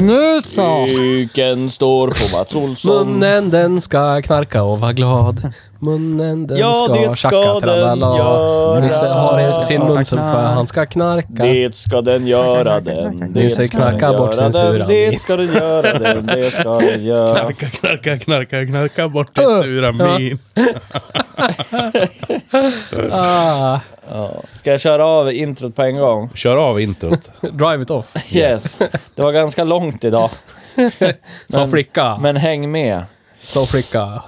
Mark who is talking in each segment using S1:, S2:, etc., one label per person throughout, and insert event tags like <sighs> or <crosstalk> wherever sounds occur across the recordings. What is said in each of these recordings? S1: Nu så!
S2: Kuken står på Mats Olsson.
S1: Munnen den ska knarka och vara glad. Munnen den
S2: Ja,
S1: ska
S2: det ska
S1: tjacka
S2: den göra.
S1: tralala. Nisse har i sin
S3: Ska
S1: mun så för
S3: knarka.
S1: han ska knarka.
S2: Det ska den göra den. Det
S1: Nisse
S2: ska den
S1: knarkar bort
S2: göra den.
S1: censuran.
S2: Det ska den göra den. Det ska den <laughs> göra.
S4: Knarka, knarka, knarka, knarka bort det sura min.
S1: Ah,
S2: Ska jag köra av introt på en gång?
S4: Kör av introt.
S1: drive it off.
S2: Yes. Det var ganska långt <laughs> idag.
S1: Som
S2: Men-
S1: flicka.
S2: Men häng med.
S1: Som flicka.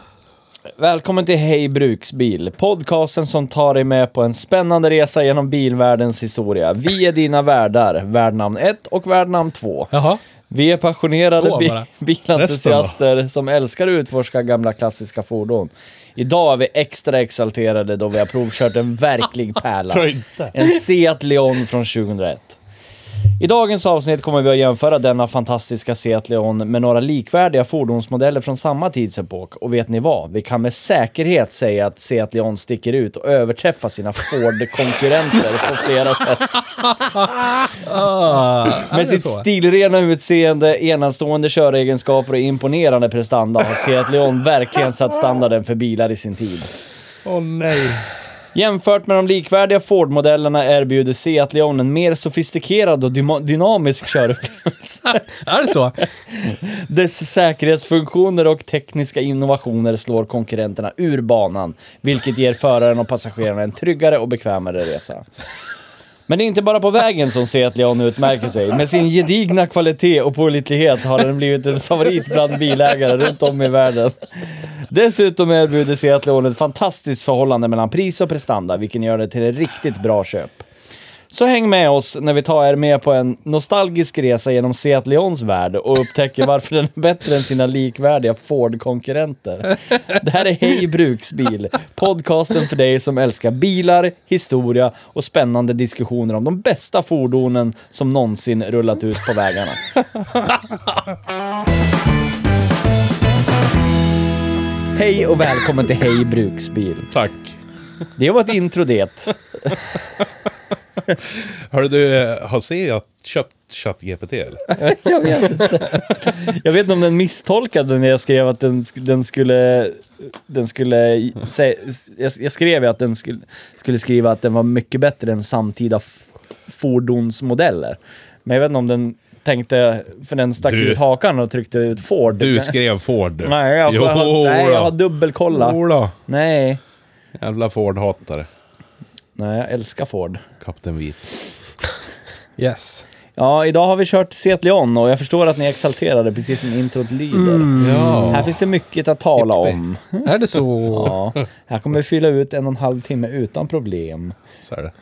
S2: Välkommen till Hej Bruksbil, podcasten som tar dig med på en spännande resa genom bilvärldens historia. Vi är dina värdar, värdnamn 1 och värdnamn 2.
S1: Jaha.
S2: Vi är passionerade
S1: Två
S2: bi
S1: bara.
S2: bilentusiaster som älskar att utforska gamla klassiska fordon. Idag är vi extra exalterade då vi har provkört en verklig pärla.
S4: inte.
S2: En Seat Leon från 2001. I dagens avsnitt kommer vi att jämföra denna fantastiska Seat Leon med några likvärdiga fordonsmodeller från samma tidsepok. Och vet ni vad? Vi kan med säkerhet säga att Seat Leon sticker ut och överträffar sina Ford-konkurrenter på flera sätt.
S1: Ah, är det
S2: Med sitt
S1: så?
S2: stilrena utseende, enastående köregenskaper och imponerande prestanda har
S4: <laughs>
S2: Seat Leon verkligen satt standarden för bilar i sin tid.
S4: Åh nej.
S2: Jämfört med de likvärdiga Ford-modellerna erbjuder Seat Leon en mer sofistikerad och dyma- dynamisk körupplevelse.
S1: Är det så?
S2: Dess säkerhetsfunktioner och tekniska innovationer slår konkurrenterna ur banan, vilket ger föraren och passagerarna en tryggare och bekvämare resa. Men det är inte bara på vägen som Seat Leon utmärker sig. Med sin gedigna kvalitet och pålitlighet har den blivit en favorit bland bilägare runt om i världen. Dessutom erbjuder Seat Leon ett fantastiskt förhållande mellan pris och prestanda, vilket gör det till ett riktigt bra köp. Så häng med oss när vi tar er med på en nostalgisk resa genom Seat Leons värld och upptäcker varför den är bättre än sina likvärdiga Ford-konkurrenter. Det här är Hej Bruksbil, podcasten för dig som älskar bilar, historia och spännande diskussioner om de bästa fordonen som någonsin rullat ut på vägarna. Hej och välkommen till Hej Bruksbil.
S4: Tack.
S2: Det var ett intro det.
S4: Hörru du, eh, har Seat köpt ChatGPT eller?
S2: Jag vet inte. Jag vet inte om den misstolkade när jag skrev att den, sk- den skulle... Den skulle sä- jag, jag skrev ju att den skulle, skulle skriva att den var mycket bättre än samtida f- fordonsmodeller. Men jag vet inte om den tänkte... För den stack
S4: Du-
S2: ut hakan och tryckte ut Ford. <laughs>
S4: Du skrev Ford du.
S2: Nej, jag, jag, har- nej, jag har dubbelkollat.
S4: Jodå.
S2: Nej.
S4: Jävla Ford-hatare.
S2: Nej, jag älskar Ford.
S4: Kapten Vit.
S1: Yes.
S2: Ja, idag har vi kört Seat Leon och jag förstår att ni är exalterade, precis som introt lyder.
S4: Mm.
S2: Här finns det mycket att tala om.
S1: Är det så?
S2: Ja, här kommer vi fylla ut en och en halv timme utan problem.
S4: Så är det.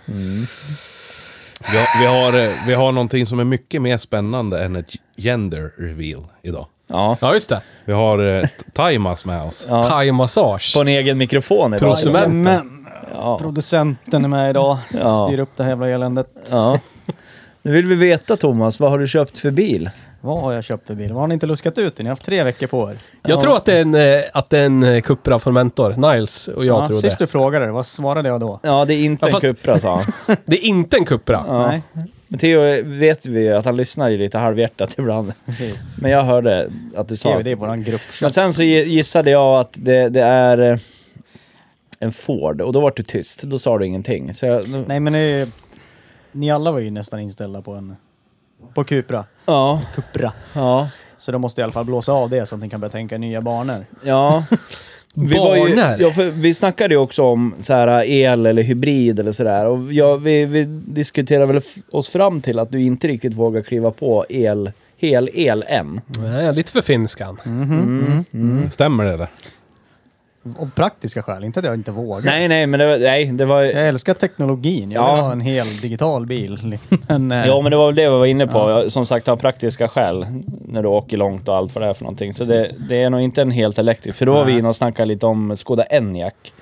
S4: Vi, har, vi, har, eh, vi har någonting som är mycket mer spännande än ett gender reveal idag.
S2: Ja.
S1: Ja, just det.
S4: Vi har eh, Timas med oss.
S2: Ja.
S1: Thai-massage.
S2: På en egen mikrofon idag.
S1: Prosumenten.
S3: Men
S2: Ja.
S3: producenten är med idag.
S2: Ja.
S3: Styr upp det här jävla eländet.
S2: ja. Nu vill vi veta Thomas, vad har du köpt för bil?
S3: Vad har jag köpt för bil? Vad har ni inte luskat ut? Ni har haft tre veckor på er.
S1: Jag tror att det är en, eh, att det är en eh, Cupra från Mentor. Niles och jag
S3: Ja,
S1: tror
S3: sist
S1: det.
S3: du frågade, vad svarade jag då?
S2: Ja, det är inte
S1: Ja, fast-
S2: en Cupra sa han.
S1: Det är inte en Cupra.
S2: Ja.
S3: Nej,
S2: Men Theo vet vi ju att han lyssnar ju lite halvhjärtat ibland.
S3: precis.
S2: Men jag hörde att du sa
S3: Skrev det i
S2: att...
S3: våran grupp.
S2: Men sen så gi- gissade jag att det, det är eh, en Ford och då var du tyst. Då sa du ingenting. Så jag,
S3: Nej, men ni, ni alla var ju nästan inställda på en... På Cupra.
S2: ja,
S3: Cupra.
S2: ja,
S3: Så då måste jag i alla fall blåsa av det så att ni kan börja tänka nya banor.
S2: ja. Vi, var ju,
S1: Barnar.
S2: ja, för vi snackade ju också om så här, äh, el eller hybrid eller sådär. Och jag, vi, vi diskuterade väl f- oss fram till att du inte riktigt vågar kliva på el hel-el än.
S1: Nej, lite för finskan.
S2: Mm,
S4: Stämmer det eller?
S3: Av praktiska skäl, inte att jag inte vågar.
S2: Nej, nej, men det var... Nej, det var
S3: Jag älskar teknologin. Jag
S2: Ja.
S3: vill ha en hel digital bil. <laughs> Men, eh,
S2: Ja, men det var väl det vi var inne på. Jag- Som sagt, av praktiska skäl. När du åker långt och allt vad det är för någonting. Så det, det är nog inte en helt elektrisk. För då var vi inne och snackade lite om Skoda Enyaq.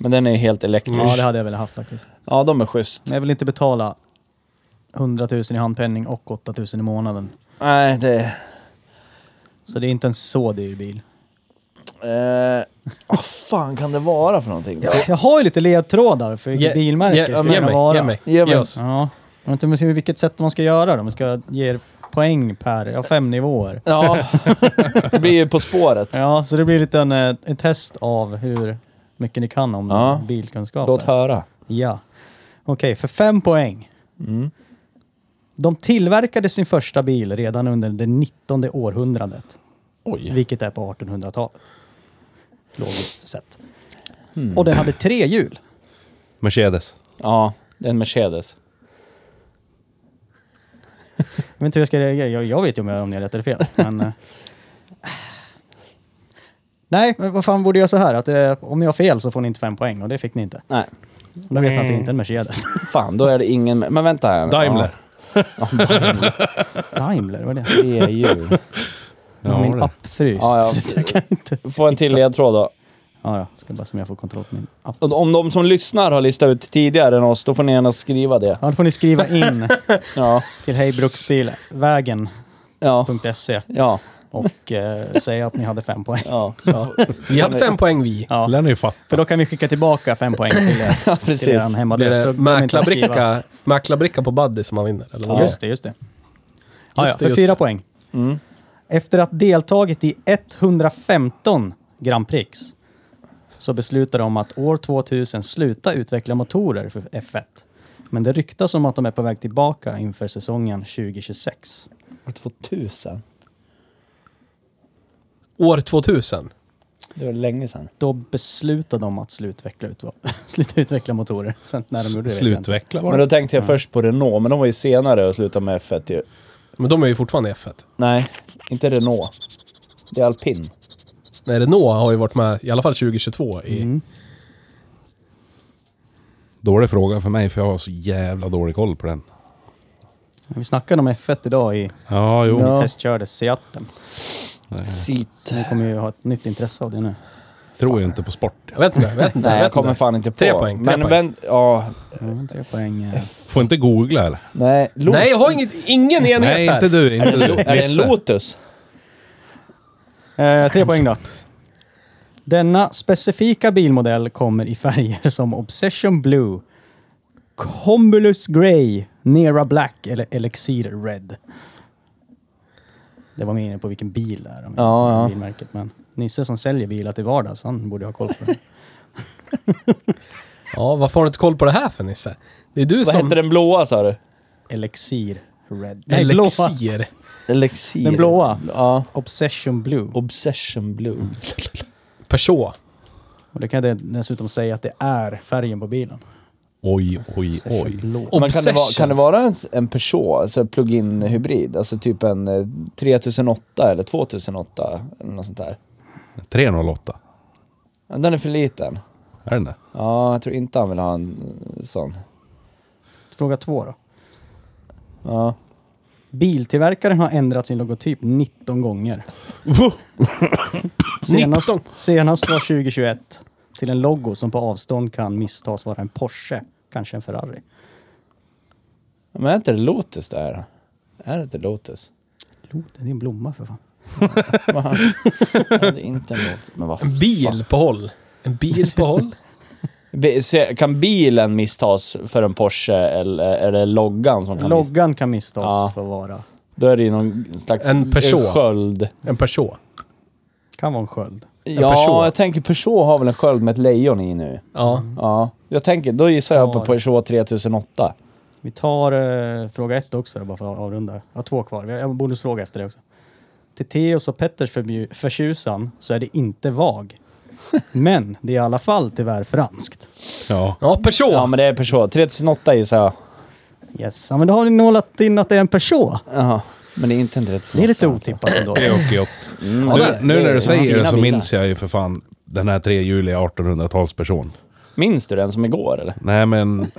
S2: Men den är ju helt elektrisk.
S3: ja, det hade jag velat haft faktiskt.
S2: Ja, de är schysst.
S3: Men jag vill inte betala 100 000 i handpenning och 8 000 i månaden.
S2: Nej, det...
S3: Så det är inte en så dyr bil.
S2: Eh, vad fan kan det vara för någonting? då?
S3: Jag har ju lite ledtrådar för vilket bilmärke det skulle
S1: ge
S3: kunna
S1: mig,
S3: vara.
S1: Ge mig.
S2: Ge mig.
S1: Ge oss.
S3: Ja. Jag vet inte men vilket sätt man ska göra då. Man ska ge er poäng per, ja fem nivåer.
S2: Ja, det blir ju På spåret.
S3: Ja, så det blir lite en, eh, en test av hur mycket ni kan om
S2: Ja.
S3: bilkunskap.
S2: Låt höra.
S3: Ja. Okej, för fem poäng.
S1: Mm.
S3: De tillverkade sin första bil redan under det 19 århundradet.
S2: Oj.
S3: Vilket är på 1800-talet. Logiskt sett.
S2: Hmm.
S3: Och den hade tre hjul.
S4: Mercedes.
S2: Ja, det är en Mercedes.
S3: Jag vet inte hur jag ska reagera. Jag, jag vet ju om jag om jag är rätt eller
S2: <laughs>
S3: fel. Men, eh. Nej, men vad fan borde jag så här? Att, eh, om ni har fel så får ni inte fem poäng och det fick ni inte.
S2: Nej,
S3: Då vet ni att det inte är en
S2: <laughs>
S3: Mercedes.
S2: fan, då är det ingen... Men vänta här.
S4: Daimler.
S2: Ja, ja, Daimler.
S3: Daimler, vad är det?
S2: Det är ju...
S3: Nu är min
S4: det.
S3: app fryst.
S2: Ja,
S3: <laughs>
S2: ja.
S3: Så jag kan inte...
S2: Få en till ledtråd då.
S3: Ja, ja. Ska bara se om jag får kontroll på min app.
S2: Och Om de som lyssnar har listat ut tidigare än oss, då får ni gärna skriva det.
S3: Ja, då får ni skriva in
S2: Ja,
S3: till hejbruksbilvägen.se
S2: ja, ja.
S3: och eh, säga att ni hade fem poäng.
S2: ja.
S1: Vi hade fem poäng vi.
S3: Ja.
S4: Lär ni ju fatta.
S3: För då kan vi skicka tillbaka fem poäng till er,
S2: Ja,
S3: till
S2: precis.
S3: er
S1: Blir
S3: hemadress.
S1: det
S3: så kommer inte att skriva.
S1: mäklarbricka, mäklarbricka på Buddy som man vinner? Eller vad?
S3: Just det, just det. Ja, ja,
S1: Just det,
S3: för
S1: just
S3: fyra
S1: det.
S3: poäng.
S2: Mm.
S3: Efter att deltagit i 115 Grand Prix så beslutade de att år 2000 sluta utveckla motorer för F1. Men det ryktas om att de är på väg tillbaka inför säsongen 2026.
S2: År 2000?
S1: År 2000.
S2: Det var länge sedan.
S3: Då beslutade de att slutveckla ut, <laughs> sluta utveckla motorer. Sen när de gjorde det vet jag inte.
S4: Slutveckla var
S2: Men
S4: det.
S2: då tänkte jag först på Renault, men de var ju senare och slutade med F1 ju.
S1: Men de är ju fortfarande i F1.
S2: Nej, inte Renault. Det är alpin.
S1: Nej, Renault har ju varit med i alla fall 2022 i...
S3: Mm.
S4: Dålig fråga för mig för jag har så jävla dålig koll på den.
S3: Vi snackade om F1 idag i
S4: Ja, jo.
S3: när
S2: Ja.
S3: vi testkörde Seatten.
S2: Seat.
S3: Ni kommer ju ha ett nytt intresse av det nu. Eh,
S4: Tror ju inte på sport.
S1: Jag vet inte,
S2: <laughs>
S1: jag vet inte.
S2: Nej,
S1: vet
S2: jag kommer
S1: inte.
S2: fan inte på.
S1: Tre poäng, tre
S2: men
S1: poäng.
S2: vänt... Ja.
S3: Ja, tre poäng. eh.
S4: Får inte googla eller?
S2: Nej, Lotus.
S1: Nej, jag har inget, ingen enhet
S4: Nej,
S1: här.
S4: inte du. Inte du.
S2: Är det
S4: Nisse.
S2: en Lotus?
S3: Eh, tre poäng då. Denna specifika bilmodell kommer i färger <laughs> som Obsession Blue, Combulus Grey, Nera Black eller Elixir Red. Det var mer inne på vilken bil det är. Om
S2: Ja, ja.
S3: Bilmärket, men Nisse som säljer bilar till vardags, han borde ha koll på det.
S1: Ja, varför har du inte koll på det här för Nisse? Det är du
S2: Vad
S1: som...
S2: hette den blåa sa du?
S3: Elixir Red. Nej, blåa.
S1: Elixir.
S2: Elixir.
S3: Den blåa.
S2: Ja.
S3: Obsession Blue.
S2: Obsession Blue.
S1: Peugeot.
S3: Och det kan jag dessutom säga att det är färgen på bilen.
S4: Oj, oj,
S3: Obsession
S4: oj.
S3: Blue.
S2: Men kan det, vara, kan
S1: Obsession.
S2: det vara en, en Peugeot, alltså plug-in hybrid? Alltså typ en eh, 3008 eller 2008 eller något sånt där.
S4: 308.
S2: Ja, Den är för liten.
S4: Är den det?
S2: Ja, jag tror inte han vill ha en eh, sån.
S3: Fråga två då.
S2: Ja.
S3: Biltillverkaren har ändrat sin logotyp 19 gånger. senast,
S1: 19?
S3: senast var 2021 till en logo som på avstånd kan misstas vara en Porsche, kanske en Ferrari.
S2: Men är inte det Lotus det här då? Är det inte Lotus?
S3: Lo, Det är en blomma för fan.
S2: Va? Ja, det är inte en Lotus. Men vad
S1: En bil på håll. En bil på håll.
S2: Bi- se- Kan bilen misstas för en Porsche eller är det loggan som kan miss-
S3: Loggan kan misstas
S2: Ja.
S3: för att vara...
S2: Då är det ju någon slags
S1: En Peugeot.
S2: sköld.
S1: En Peugeot.
S3: Kan vara en sköld.
S2: Ja,
S1: Peugeot.
S2: jag tänker Peugeot har väl en sköld med ett lejon i nu.
S1: Ja.
S2: Ja, jag tänker, då gissar jag på
S3: Ja,
S2: Peugeot 3008.
S3: Vi tar eh, fråga ett också, bara för att avrunda. Jag har två kvar. Vi har en bonusfråga efter det också. Till Theos och Petters förbju- förtjusan så är det inte
S2: <laughs>
S3: VAG. Men det är i alla fall tyvärr franskt.
S4: Ja.
S1: Ja, Peugeot.
S2: Ja, men det är Peugeot. 3008 gissar jag.
S3: Yes, ja, men då har ni nålat in att det är en Peugeot.
S2: Jaha. Men det är inte en rätt
S3: Det är lite otippat ändå.
S4: Det är också gött.
S2: Mm,
S4: Nu,
S2: det är-
S4: nu när du säger
S2: fina
S4: det så
S2: bilar.
S4: minns jag ju för fan den här trehjuliga 1800-talsperson.
S2: Minns du den som igår eller? <laughs>
S4: Nej men...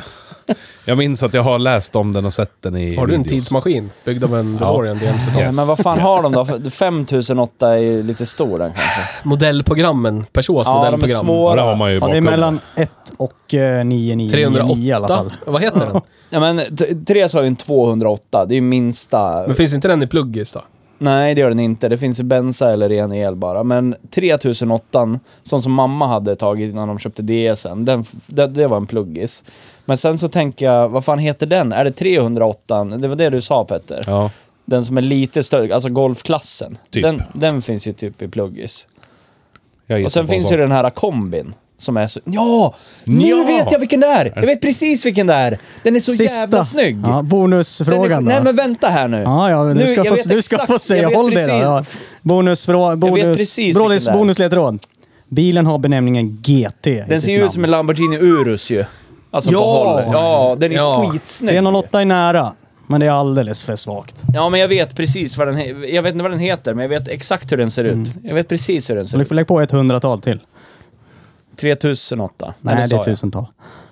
S4: Jag minns att jag har läst om den och sett den i
S1: Har du en
S4: videos.
S1: tidsmaskin byggd av en DeLorean DMC?
S2: Ja, men vad fan har de då? 5008 är ju lite stor den kanske.
S1: Modellprogrammen, Peugeots
S2: Ja, de är
S1: modellprogram.
S4: Ja,
S2: svåra.
S4: det har man ju i
S3: Ja, det är
S4: bakgrunden.
S3: mellan 1 och eh, 999 i alla
S1: 308?
S3: fall.
S1: Vad heter den?
S2: Ja, men t- Therese har ju en 208, det är ju minsta.
S1: Men finns inte den i pluggis då?
S2: Nej, det gör den inte. Det finns i bensa eller ren el bara. Men 3008, sån som mamma hade tagit innan de köpte DSen, den, f- det, det var en pluggis. Men sen så tänker jag, vad fan heter den? Är det 308? Det var det du sa Petter.
S4: Ja.
S2: Den som är lite större, alltså golfklassen.
S4: Typ.
S2: Den, den finns ju typ i pluggis.
S4: Jag
S2: Och sen finns ju den här kombin som är så... Ja! Nu
S4: Ja!
S2: vet jag vilken det är! Jag vet precis vilken det är! Den är så jävla snygg!
S3: Ja,
S2: Den
S3: bonusfrågan
S2: är, nej
S3: då.
S2: men vänta här nu.
S3: Ja, ja, du ska,
S2: jag
S3: få,
S2: vet
S3: du ska
S2: exakt-
S3: få säga.
S2: jag vet
S3: Håll dig då.
S2: precis.
S3: Ja. Bonusfråga. Bonus,
S2: precis vilken
S3: bonus,
S2: det är.
S3: bonusledtråd. Bilen har benämningen GT i
S2: Den
S3: sitt
S2: ser ju ut som
S3: namn.
S2: en Lamborghini Urus ju. Alltså på
S1: Ja!
S2: håll. Ja, den är
S1: Ja.
S2: skitsnygg.
S3: 308 är nära, men det är alldeles för svagt.
S2: Ja, men jag vet precis vad den he- Jag vet inte vad den heter, men jag vet exakt hur den ser ut. Jag vet precis hur den
S3: Så
S2: ser
S3: Mm. du
S2: ut.
S3: får lägga på ett hundratal till.
S2: 3008.
S3: Nej, det
S2: sa
S3: är
S2: jag.
S3: tusental.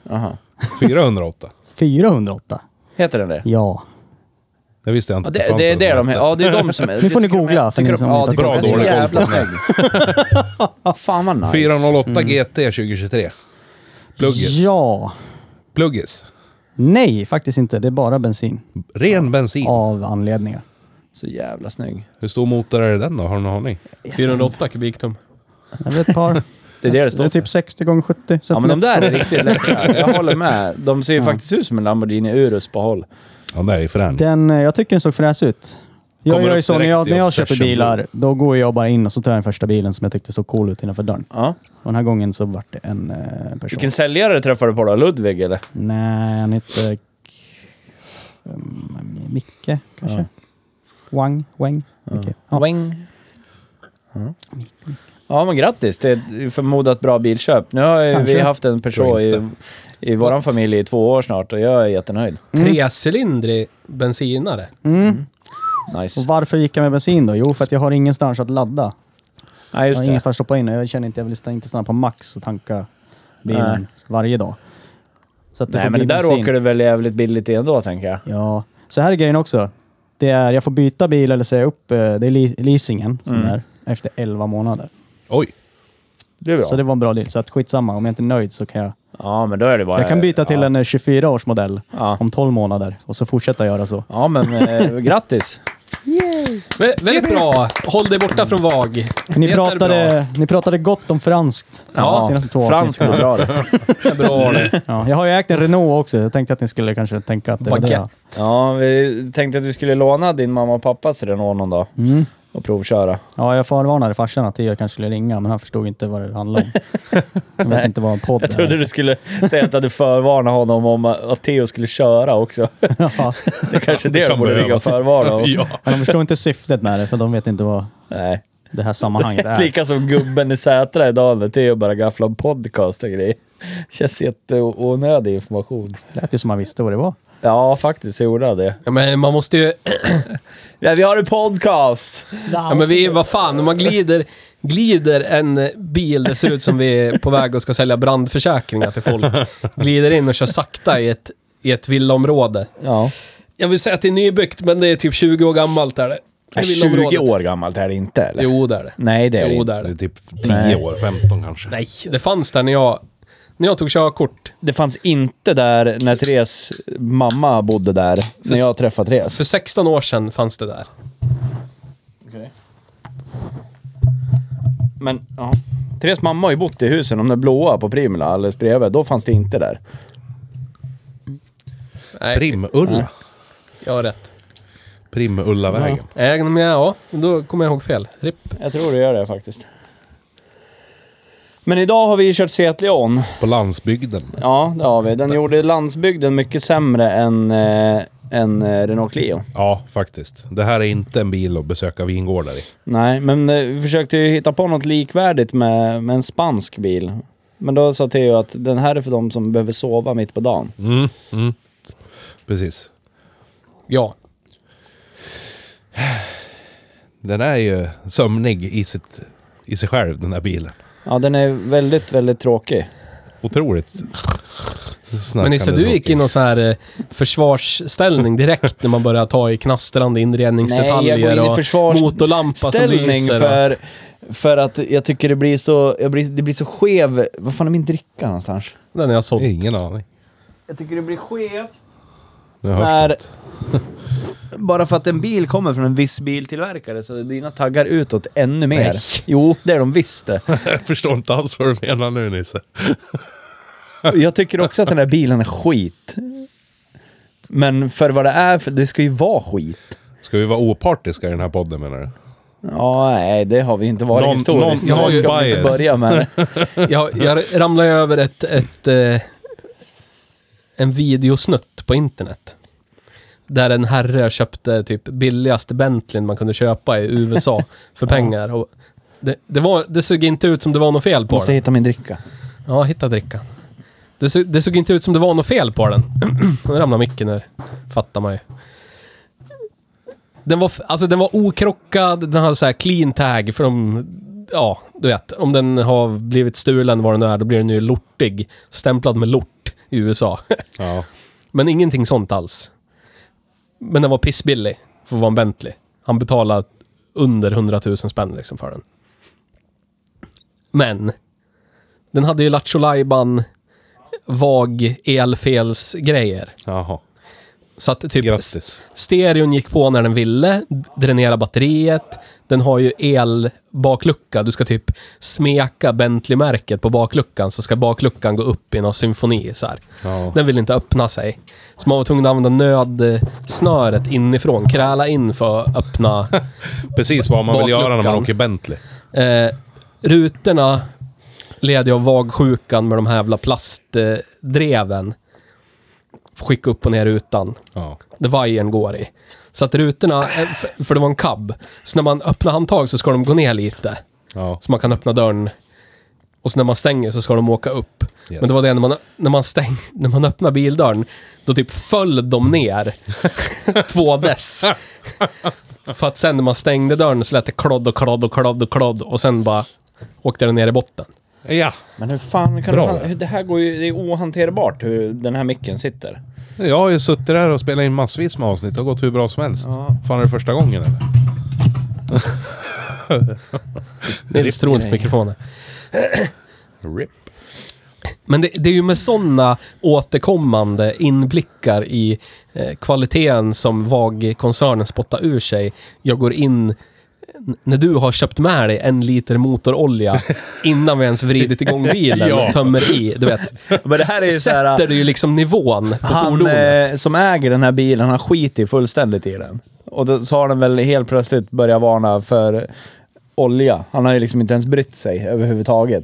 S2: Aha.
S4: 408.
S3: 408?
S2: Heter den det?
S3: Ja.
S4: Det visste jag
S2: Ja,
S4: inte. att
S2: det,
S4: fanns
S2: det,
S4: en
S2: det är
S4: som
S2: de
S4: hette.
S2: Ja, det är
S3: <laughs>
S2: de som...
S3: Nu får ni googla, för ni som
S2: ja,
S3: inte
S2: tycker
S4: har
S2: de är
S4: koll.
S2: så
S4: Bra, dålig
S2: jävla
S4: koll
S2: snygg. <laughs>
S4: på
S2: Fan vad nice.
S4: 408
S1: Mm.
S4: GT 2023. Pluggis.
S3: Ja.
S4: Pluggis.
S3: Nej, faktiskt inte. Det är bara bensin.
S4: Ren bensin.
S3: Av anledningar.
S2: Så jävla snygg.
S4: Hur stor motor är det den då? Har du någon aning?
S1: 408 kubiktum.
S3: Det är ett
S2: <laughs>
S3: par.
S2: Det är det det
S3: Det
S2: står
S3: är
S2: för.
S3: typ 60 gånger 70
S2: Ja men de där är
S3: centimeter
S2: riktigt läckra. Jag håller med. De ser ju faktiskt ut som en Lamborghini Urus på håll.
S4: Ja, det är ju frän.
S3: Den, eh, jag tycker den såg fräs ut. Jag
S4: Kommer
S3: gör ju
S4: upp
S3: så när
S4: direkt
S3: jag,
S4: i
S3: när jag
S4: obsession
S3: köper bilar, då går jag bara in och så tar jag den första bilen som jag tyckte såg cool ut innanför dörren.
S2: Ja.
S3: Och den här gången så vart det en eh, person.
S2: Vilken säljare träffade du på då? Ludvig eller?
S3: Nej, han hette... K- um, Micke, kanske? Wang? Wang? Micke. Ja.
S2: Wing. Ja men grattis, det är ett förmodat bra bilköp. Nu har ju
S3: Kanske.
S2: vi haft en Peugeot
S4: Tror
S2: i,
S4: inte.
S2: i våran familj i två år snart och jag är jättenöjd.
S3: Mm.
S1: Trecylindrig bensinare.
S2: Mm.
S3: Och
S2: Nice.
S3: varför gick jag med bensin då? Jo, för att jag har ingenstans att ladda.
S2: Ja,
S3: Jag
S2: just
S3: har
S2: det.
S3: ingenstans att stoppa in och jag känner inte, jag vill stanna- inte stanna på max och tanka bilen
S2: Nej.
S3: varje dag. Så att det
S2: Nej
S3: får
S2: men det
S3: bli
S2: där
S3: bensin.
S2: åker du väl jävligt billigt i ändå tänker jag.
S3: Ja, så här är grejen också. Det är, jag får byta bil eller säga upp, eh, det är li- leasingen som
S2: Mm.
S3: är efter 11 månader.
S4: Oj.
S2: Det är
S3: Så det
S2: bra.
S3: var en bra deal. Så att skitsamma, om jag inte är nöjd så kan jag...
S2: Ja men då är det bara...
S3: Jag kan byta till
S2: ja.
S3: en 24-årsmodell
S2: Ja.
S3: om 12 månader och så fortsätta göra så.
S2: Ja men eh, grattis.
S1: Vä- väldigt bra. Håll dig borta från VAG. Det
S3: Ni
S1: är
S3: pratade, ni pratade gott om franskt
S1: Ja,
S3: de senaste två
S2: Franskt
S3: avsnitten.
S2: är bra det.
S1: bra. Bra
S2: Mm.
S1: det.
S3: Ja, jag har ju ägt en Renault också, jag tänkte att ni skulle kanske tänka att det var det.
S1: Baguette.
S2: Ja, vi tänkte att vi skulle låna din mamma och pappas Renault någon dag och provköra.
S3: Ja, jag förvarnade farsan att jag kanske skulle ringa, men han förstod inte vad det handlade om.
S2: <laughs>
S3: Han vet inte vad en podd
S2: Jag trodde
S3: är.
S2: du skulle säga att du hade förvarnat honom om att Theo skulle köra också. <laughs>
S3: <laughs> Ja,
S2: Det är kanske det,
S4: kan
S2: de borde ringa och
S4: behövas.
S2: förvarna om.
S4: Ja.
S3: de förstår inte syftet med det, för de vet inte vad
S2: Nej.
S3: det här sammanhanget är.
S2: <laughs> Lika som gubben i Sätra idag när Theo bara gafflade om podcast och grejer. <laughs> Känns jätteonödig information.
S3: lät ju som han visste vad det var.
S2: Ja, faktiskt gjorde jag det.
S1: Ja, men man måste ju...
S2: Ja, vi har en podcast!
S1: Ja, men vi, vad fan, om man glider, glider en bil, det ser ut som vi är på väg och ska sälja brandförsäkringar till folk. Glider in och kör sakta i ett, i ett villaområde.
S2: Ja.
S1: Jag vill säga att det är nybyggt, men det är typ 20 år gammalt är det. Det är villaområdet.
S2: 20 Äh, år gammalt är det inte eller?
S1: Jo, det är det.
S2: Nej, det är det
S1: Jo,
S2: inte.
S1: det är
S4: Det är
S1: det.
S4: typ 10 år, 15 kanske.
S1: Nej, det fanns där när jag, när jag tog körkort.
S2: Det fanns inte där när Therese mamma bodde där, när jag träffade Therese.
S1: För 16 år sedan fanns det där.
S2: Men, ja. Therese mamma har ju bott i husen, de där blåa på Primula, alldeles bredvid. Då fanns det inte där.
S1: Nej,
S4: Primulla.
S1: jag har rätt.
S4: Primullavägen.
S1: Äh, men ja, då kommer jag ihåg fel. RIP.
S2: Jag tror du gör det faktiskt. Men idag har vi ju kört Seat Leon.
S4: På landsbygden.
S2: Ja, det har vi. Den gjorde landsbygden mycket sämre än, eh, än eh, Renault Clio.
S4: Ja, faktiskt. Det här är inte en bil att besöka vingårdar i.
S2: Nej, men eh, vi försökte ju hitta på något likvärdigt med, med en spansk bil. Men då sa Theo att den här är för de som behöver sova mitt på dagen.
S4: Mm, mm. Precis.
S1: Ja.
S4: Den är ju sömnig i, sitt, i sig själv, den här bilen.
S2: Ja, den är väldigt, väldigt tråkig.
S4: Otroligt
S1: Men Nisse, du gick i
S4: in
S1: någon sån här eh, försvarsställning direkt när man började ta i knastrande inredningsdetaljer
S2: Nej, jag går in i
S1: och
S2: försvars-
S1: motorlampa som
S2: Ställning
S1: lyser. och-
S2: för, för att jag tycker det blir så, jag blir, det blir så skev... Vad fan är min dricka någonstans?
S1: Den har jag sålt.
S4: Ingen aning.
S2: Jag tycker det blir skevt
S4: Nu hörs
S2: när...
S4: något.
S2: Bara för att en bil kommer från en viss biltillverkare så är dina taggar utåt ännu mer.
S1: Nej.
S2: Jo, det är de visst det.
S4: Jag <laughs> förstår inte alls vad du menar nu Nisse.
S2: Jag tycker också att den här bilen är skit. Men för vad det är, för det ska ju vara skit.
S4: Ska vi vara opartiska i den här podden menar du?
S2: Ja, nej, det har vi ju inte varit
S4: Någon-
S2: historiskt.
S4: någon-
S2: så
S4: någon
S2: det ska vi inte
S4: biased.
S2: börja med.
S4: <laughs>
S1: Jag, jag ramlade över ett, ett, eh, en videosnutt på internet. Där en herre köpte typ billigaste Bentleyn man kunde köpa i USA för pengar. Och det, det, var, det såg inte ut som det var något fel på
S2: Måste
S1: den.
S2: hitta min dricka.
S1: Ja, hitta drickan. Det, såg- det såg inte ut som det var något fel på den. <clears throat> nu ramlar micken ner. Fattar man ju. Den var, f- alltså den var okrockad, den hade så här clean tag för de... Ja, du vet. Om den har blivit stulen vad den är, då blir den ju lortig. Stämplad med lort i USA. <laughs>
S4: Ja.
S1: Men ingenting sånt alls. Men den var pissbillig för att vara en Bentley. Han betalade under 100 000 spänn liksom för den. Men. Den hade ju Lattjo Lajban vag elfelsgrejer.
S4: Jaha.
S1: Så att typ
S4: Grattis.
S1: Stereon gick på när den ville, dränera batteriet. Den har ju elbaklucka. Du ska typ smeka Bentley-märket på bakluckan så ska bakluckan gå upp i någon symfoni. Så här.
S4: Ja.
S1: Den vill inte öppna sig. Så man var tvungen att använda nödsnöret inifrån, kräla in för att öppna.
S4: Precis vad man vill göra när man
S1: Bakluckan.
S4: åker Bentley.
S1: Eh, rutorna led ju av vagsjukan med de här jävla plastdreven. Eh, dreven. Skicka upp och ner rutan
S4: Ja.
S1: där vajern går i. Så att rutorna, eh, f- för det var en cab. Så när man öppnar handtag så ska de gå ner lite.
S4: Ja.
S1: Så man kan öppna dörren. Och så när man stänger så ska de åka upp.
S4: Yes.
S1: Men det var det när man, när man, stäng, <laughs> när man öppnade bildörren, då typ föll de ner. Två dess. För att sen när man stängde dörren så lät det klodd och klodd och klodd och klodd. Och sen bara åkte den ner i botten.
S4: ja.
S2: Men hur fan kan
S4: Bra.
S2: du... hur- Det här går ju... Det är ohanterbart hur den här micken sitter.
S4: Jag har ju suttit där och spelat in massvis med avsnitt. Det har gått hur bra som helst. Fan, är det första gången eller?
S1: Nils tror inte
S2: grej.
S1: mikrofonen.
S4: RIP.
S1: Men det, det är ju med sådana återkommande inblickar i eh, kvaliteten som VAG-koncernen spottar ur sig. Jag går in n- när du har köpt med dig en
S2: <laughs>
S1: liter motorolja innan vi ens vridit igång bilen
S4: Ja.
S1: och tömmer i. Du vet.
S2: Men det här är ju så här-
S1: Sätter du ju liksom nivån på
S2: Han
S1: fordonet.
S2: eh, som äger den här bilen, han skiter ju fullständigt i den. Och då, så har den väl helt plötsligt börjat varna för olja. Han har ju liksom inte ens brytt sig överhuvudtaget.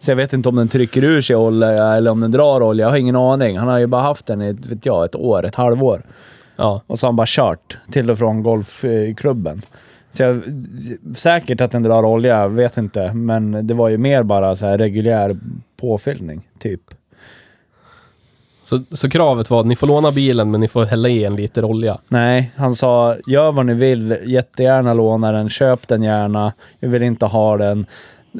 S2: Så jag vet inte om den trycker ur sig olja eller om den drar olja. Jag har ingen aning. Han har ju bara haft den i ett- vet jag, ett år, ett halvår.
S1: Ja.
S2: Och så har han bara kört till och från golfklubben. Så jag, säkert att den drar olja, vet inte. Men det var ju mer bara så här reguljär påfyllning, typ.
S1: Så, så kravet var att ni får låna bilen men ni får hälla i en liter olja.
S2: Nej, han sa gör vad ni vill, jättegärna låna den, köp den gärna, jag vill inte ha den.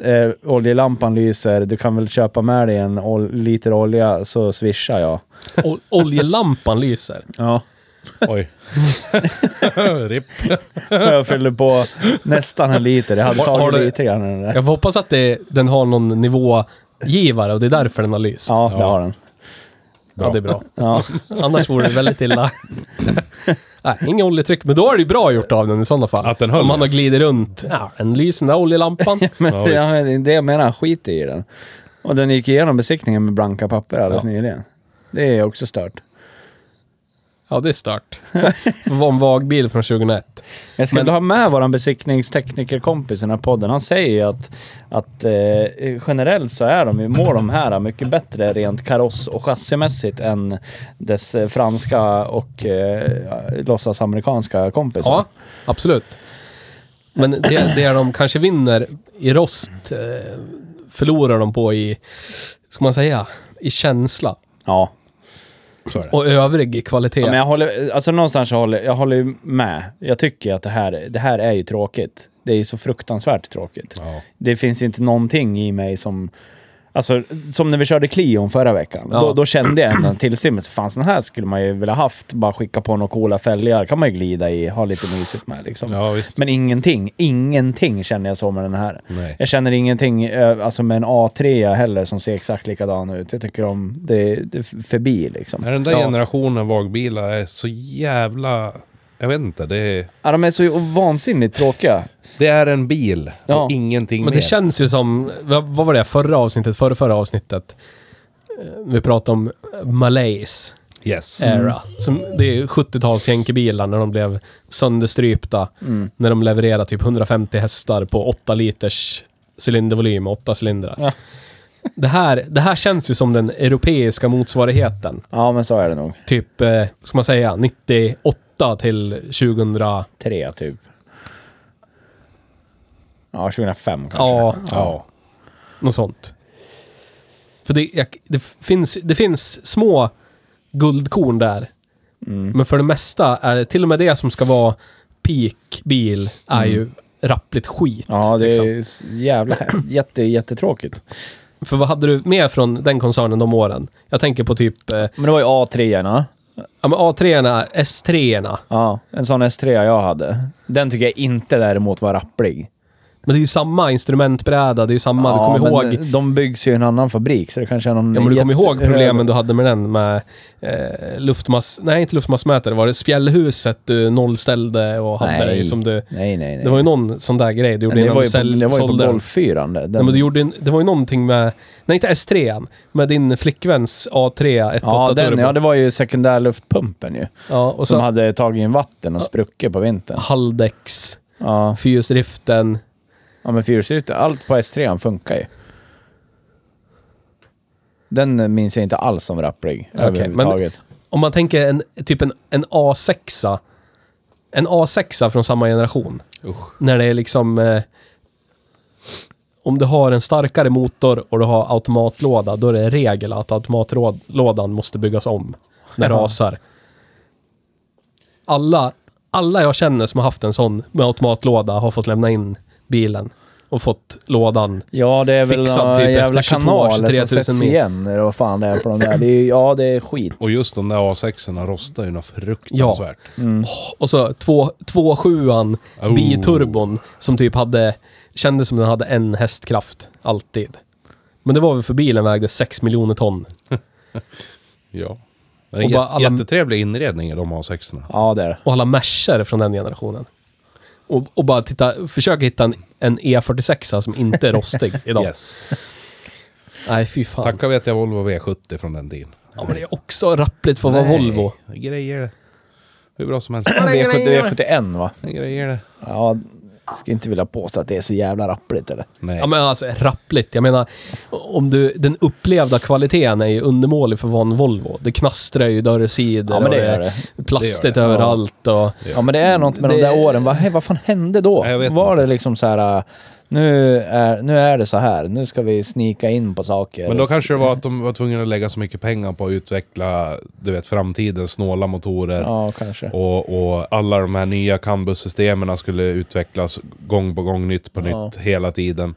S2: Eh, oljelampan lyser, du kan väl köpa med dig en ol- liter olja så swishar jag.
S1: O- oljelampan lyser.
S2: Ja.
S4: Oj. <laughs> RIP.
S2: Jag fyllde på nästan en liter, jag hade
S1: Har- har
S2: tagit
S1: du-
S2: lite grann ur den där.
S1: Jag får hoppas att det, den har någon nivågivare och det är därför den har lyst.
S2: Ja, det har den.
S1: ja det är bra.
S2: Ja.
S1: Annars vore det väldigt
S4: <laughs>
S1: illa. Nej, inga oljetryck. Men då är det ju bra gjort av den i sådana fall.
S4: Att den höll.
S1: Om man har glidit runt. Ja, en lysande
S4: <laughs>
S1: oljelampan.
S2: <laughs> Men
S4: Ja,
S2: det,
S4: visst.
S2: ja, men det jag menar, skit i den. Och den gick igenom besiktningen med blanka papper alldeles nyligen. Det är också stört.
S1: Ja, det är stört. Det var en vag bil från 2001.
S2: Jag skulle
S1: Men-
S2: ha med våran besiktningsteknikerkompis i den här podden. Han säger ju att, att eh, generellt så är de, ju- mår de här mycket bättre rent kaross och chassimässigt än dess eh, franska och eh, låtsas amerikanska kompisar.
S1: Ja, absolut. Men det, det de kanske vinner i rost eh, förlorar de på i, ska man säga, i känsla.
S2: ja.
S4: Så är det.
S1: Och övrig kvalitet.
S2: Ja, men jag håller, alltså någonstans så håller jag håller ju med. Jag tycker att det här, det här är ju tråkigt. Det är ju så fruktansvärt tråkigt.
S4: Ja.
S2: Det finns inte någonting i mig som... Alltså, som när vi körde Clion förra veckan.
S1: Ja.
S2: Då, då kände jag ändå en tillstymmelse. Fan, sån här skulle man ju vilja haft. Bara skicka på några coola fälgar. kan man ju glida i, ha lite mysigt med liksom.
S4: Ja, visst.
S2: Men ingenting, ingenting känner jag så med den här.
S4: Nej.
S2: Jag känner ingenting eh, alltså med en A3 heller som ser exakt likadan ut. Jag tycker om det, det är förbi liksom.
S4: Nej, den där
S2: Ja.
S4: generationen vagbilar är så jävla... Jag vet inte, det är,
S2: Ja, de är så vansinnigt tråkiga.
S4: det är en bil
S2: Ja.
S4: och ingenting
S1: Men
S4: mer.
S1: det känns ju som, vad vad var det, förra avsnittet, förra, förra avsnittet. eh, Vi pratade om Malays
S4: Yes.
S1: era. Som, det är 70-tals jänkebilar när de blev sönderstrypta. När de levererade typ 150 hästar på 8 liters cylindervolym och 8 cylindrar.
S2: Ja.
S1: Det, här, det här känns ju som den europeiska motsvarigheten.
S2: Ja, men så är det nog.
S1: Typ, eh, ska man säga, 98 till 2000...
S2: Tre, typ. Ja, 2005 kanske.
S1: Ja,
S4: Ja.
S1: Något sånt. För det, jag, det, finns, det finns små guldkorn där.
S2: Mm.
S1: Men för det mesta är det till och med det som ska vara peak-bil är ju rappligt skit.
S2: Mm. Ja, det
S1: liksom.
S2: är s-
S1: <clears throat>
S2: jävla jätte, jättetråkigt.
S1: För vad hade du med från den koncernen de åren? Jag tänker på typ eh,
S2: Men det var ju A3-orna.
S1: ja, men A3-erna, S3-erna.
S2: Ja, en sån S3 jag hade. Den tycker jag inte däremot var rapplig.
S1: Men det är ju samma instrumentbräda, det är ju samma.
S2: ja,
S1: du kommer
S2: men
S1: ihåg...
S2: de- De byggs ju i en annan fabrik, så det kanske är någon
S1: Ja, men du kommer
S2: jätte-
S1: ihåg problemen du hade med den med eh, luftmass... Nej, inte luftmassmätare. Var det spjällhuset du nollställde och hade
S2: Nej.
S1: dig som du...
S2: Nej, nej, nej.
S1: Det var ju någon sån där grej du gjorde
S2: Men det
S1: innan
S2: var ju
S1: du
S2: på,
S1: sälj,
S2: det var ju på
S1: sålde den.
S2: Golf 4. Den.
S1: Nej, men du gjorde, en- det var ju någonting med, nej inte S3, an med din flickväns A3 1.8
S2: ja, den,
S1: turbo.
S2: ja, det var ju sekundärluftpumpen ju.
S1: Ja, och så Ah.
S2: Som hade tagit in vatten och spruckit på vintern.
S1: Haldex,
S2: Ja,
S1: fyrhjulsdriften.
S2: ja men fyrhjulsdriften, allt på S3 funkar ju. Den minns jag inte alls som rapplig
S1: Okej,
S2: överhuvudtaget.
S1: Om man tänker en, typ en, en A6, en A6 från samma generation.
S4: Usch.
S1: När det är liksom... Eh, om du har en starkare motor och du har automatlåda, då är det regel att automatlådan måste byggas om när det
S2: Ja.
S1: rasar. Alla, alla jag känner som har haft en sån med automatlåda har fått lämna in bilen och fått lådan.
S2: Ja, det är väl
S1: Fixad
S2: några
S1: typ efter
S2: jävla
S1: 22,
S2: kanaler
S1: 23
S2: som
S1: 000
S2: sätts
S1: mil.
S2: igen. Eller vad fan det är på de där. Det är, ju- ja, det är skit.
S4: Och just de där A6orna rostar ju något fruktansvärt.
S1: Och så två- 2.7an
S4: Oh.
S1: biturbon som typ hade, kändes som den hade en hästkraft alltid. Men det var väl för bilen vägde 6 miljoner ton.
S4: Ja. Men
S1: Och
S4: jä-
S1: bara alla-
S4: Jättetrevlig inredning i de A6orna.
S2: Ja, det är det.
S1: och alla Mercer från den generationen. Och, och bara titta, försöka hitta en, en E46 som inte
S2: <laughs>
S1: är rostig idag.
S4: Yes.
S1: Nej, fy fan.
S4: Tacka vet jag Volvo V70 från den tiden.
S1: Ja, men det är också rappligt för att vara
S4: Nej,
S1: Volvo.
S4: Grejer det. Hur bra som helst.
S2: V70, V71 va?
S4: Grejer det.
S2: Ja, ska inte vilja påstå att det är så jävla rappligt eller?
S4: Nej.
S1: Ja, men alltså rappligt. Jag menar, om du, den upplevda kvaliteten är ju undermålig för att vara en Volvo. Det knastrar ju dörrsidor
S2: Ja, men det
S1: och
S2: gör det.
S1: är plastigt
S4: Det
S2: gör det.
S1: överallt. Och,
S2: Ja, men det är något med
S1: Det-
S2: de där åren. Vad, vad fan hände då?
S4: Ja, jag vet
S2: Var
S4: inte.
S2: det liksom så här... äh, Nu är, nu är det så här. Nu ska vi snika in på saker.
S4: Men då kanske det var att de var tvungna att lägga så mycket pengar på att utveckla, du vet, framtidens snåla motorer.
S2: Ja, kanske.
S4: Och, och alla de här nya Cambus-systemen skulle utvecklas gång på gång, nytt på
S2: Ja.
S4: nytt, hela tiden.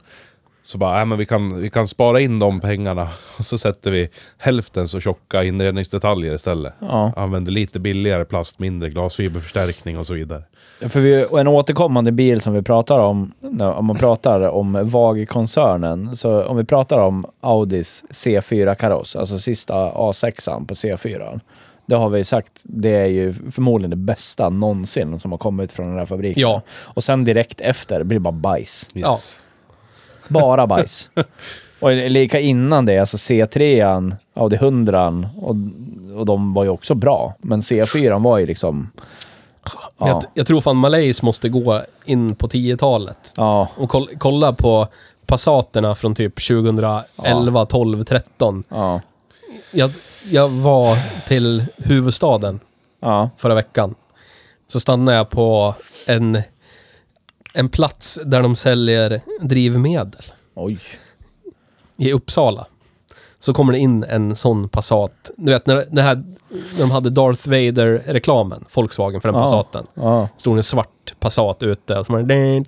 S4: Så bara, äh, men vi kan, vi kan spara in de pengarna <laughs> och så sätter vi hälften så tjocka inredningsdetaljer istället.
S2: Ja.
S4: Använder lite billigare plast, mindre glasfiberförstärkning och så vidare.
S2: För vi, och en återkommande bil som vi pratar om, när- om man pratar om VAG-koncernen, så om vi pratar om Audis C4-kaross, alltså sista A6an på C4, det har vi sagt, det är ju förmodligen det bästa någonsin som har kommit från den här fabriken.
S1: Ja.
S2: Och sen direkt efter blir det bara bajs.
S4: Yes.
S2: Bara bajs. och lika innan det, alltså C3an, Audi 100 och, och de var ju också bra. Men C4 var ju liksom...
S1: Men jag, jag tror fan Malays måste gå in på 10-talet.
S2: Ja.
S1: Och koll, kolla på Passaterna från typ 2011, 12, 13.
S2: Ja.
S1: Jag, jag var till huvudstaden
S2: Ja.
S1: förra veckan. Så stannade jag på en, en plats där de säljer drivmedel
S2: Oj.
S1: i Uppsala. så kommer det in en sån Passat. Du vet, när, det här, när de hade Darth Vader-reklamen, Volkswagen, för den
S2: Ja.
S1: Passaten.
S2: Ja.
S1: Stod en svart Passat ute och så var det...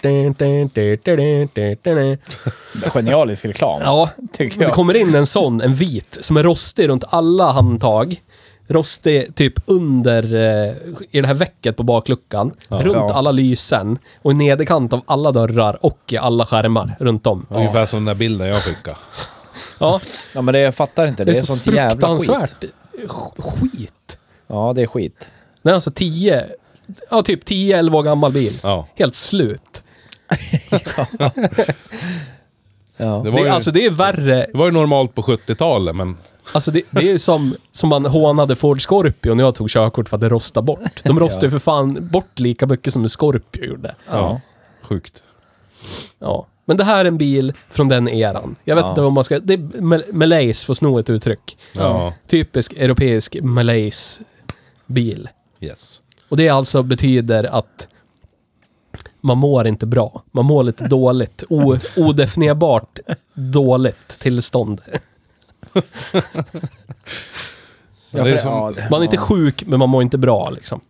S2: Genialisk reklam.
S1: Ja,
S2: Tycker
S1: det
S2: jag.
S1: kommer in en sån, en vit, som är rostig runt alla handtag. Rostig typ under, eh, i det här väcket på bakluckan. runt
S2: Ja.
S1: alla lysen. Och i nederkant av alla dörrar och i alla skärmar runt om. Ja,
S4: Ungefär som den där bilden jag skickade.
S2: Ja, men det, jag fattar inte.
S1: det,
S2: Det,
S1: är så
S2: sånt jävla skit.
S1: fruktansvärt sk- skit.
S2: Ja, det är skit.
S1: Den är alltså 10, ja typ 10-11 år gammal bil.
S4: Ja.
S1: Helt slut.
S2: Ja.
S4: Det var,
S1: Det,
S4: ju,
S1: alltså det är värre
S4: det var ju normalt på 70-talet, men...
S1: Alltså det, det är ju som, som man hånade Ford Scorpio när jag tog körkort för att det rostade bort. De rostade ju för fan bort lika mycket som en Scorpio gjorde.
S4: Ja. Sjukt.
S1: Ja. Men det här är en bil från den eran. Jag vet
S2: Ja.
S1: inte vad man ska... Det är Mal- Malays, för att sno ett uttryck.
S4: Ja.
S1: Typisk europeisk Malays bil.
S4: Yes.
S1: Och det alltså betyder att man mår inte bra. Man mår lite dåligt. O, odefinierbart dåligt tillstånd.
S4: Ja, det är som,
S1: Man är inte sjuk, men man mår inte bra liksom.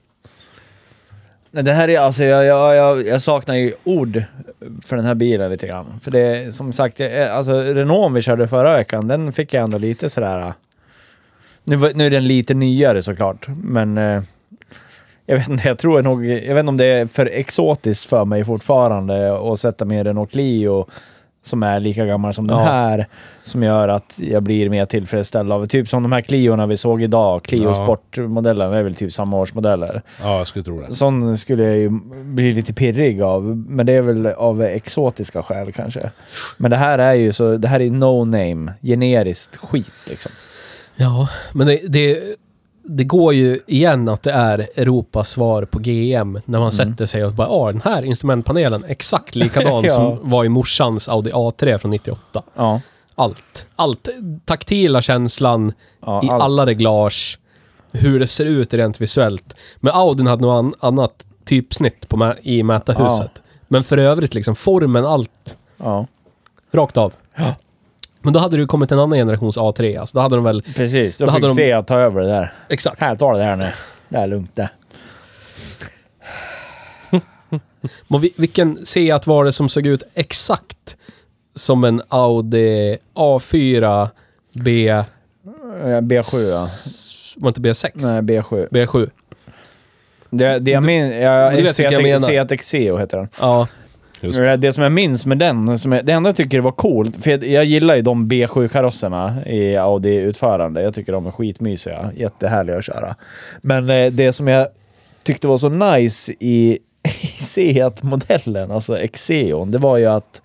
S2: Nej, det här är alltså, jag, jag, jag, jag saknar ju ord för den här bilen lite grann. För det är, som sagt, det är- alltså Renault vi körde förra veckan, den fick jag ändå lite sådär... äh, Nu, var- nu är den lite nyare såklart, men... eh, Jag vet inte, jag tror nog... Jag vet inte om det är för exotiskt för mig fortfarande att sätta mig i en Renault Clio som är lika gammal som den
S1: Ja.
S2: här. Som gör att jag blir mer tillfredsställd av... Typ som de här Cliorna vi såg idag. Clio
S4: Ja.
S2: Sport-modellen är väl typ samma årsmodeller.
S4: ja, jag skulle tro det.
S2: Sån skulle jag ju bli lite pirrig av, men det är väl av exotiska skäl kanske. Men det här är ju så, det här är no name, generiskt skit liksom.
S1: Ja, men det, det, det går ju igen att det är Europas svar på GM när
S2: Mm.
S1: man sätter sig och bara ah, den här instrumentpanelen exakt
S2: <laughs>
S1: likadan
S2: Ja.
S1: som var i morsans Audi A3 från 98.
S2: Ja.
S1: Allt. Allt. Taktila känslan
S2: Ja,
S1: i
S2: allt.
S1: alla reglage. Hur det ser ut rent visuellt. Men Audin hade något an- annat typsnitt på mä- i mätarhuset. Men för övrigt liksom formen, allt.
S2: Ja,
S1: Rakt av. Men då hade det ju kommit en annan generations A3. Alltså, då hade de väl...
S2: precis. Då,
S1: Då
S2: fick
S1: hade de-
S2: se att ta över det där.
S1: Exakt.
S2: Här, tar det här nu. Det här är lugnt det.
S1: Men vi- vilken Seat var det som såg ut exakt som en Audi A4 B...
S2: Eh, B7 ja.
S1: Var inte B6?
S2: Nej, B7.
S1: B7.
S2: Det, det jag minns...
S1: du vet vilka jag menar.
S2: Seat Exeo heter den.
S1: Ja.
S4: Just
S2: Det. det som jag minns med den, som jag, det enda jag tycker var coolt, för jag, jag gillar ju de B7-karosserna i Audi-utförande. Jag tycker de är skitmysiga, jättehärliga att köra. Men eh, det som jag tyckte var så nice i, <laughs> i Seat-modellen, alltså Exeon, det var ju att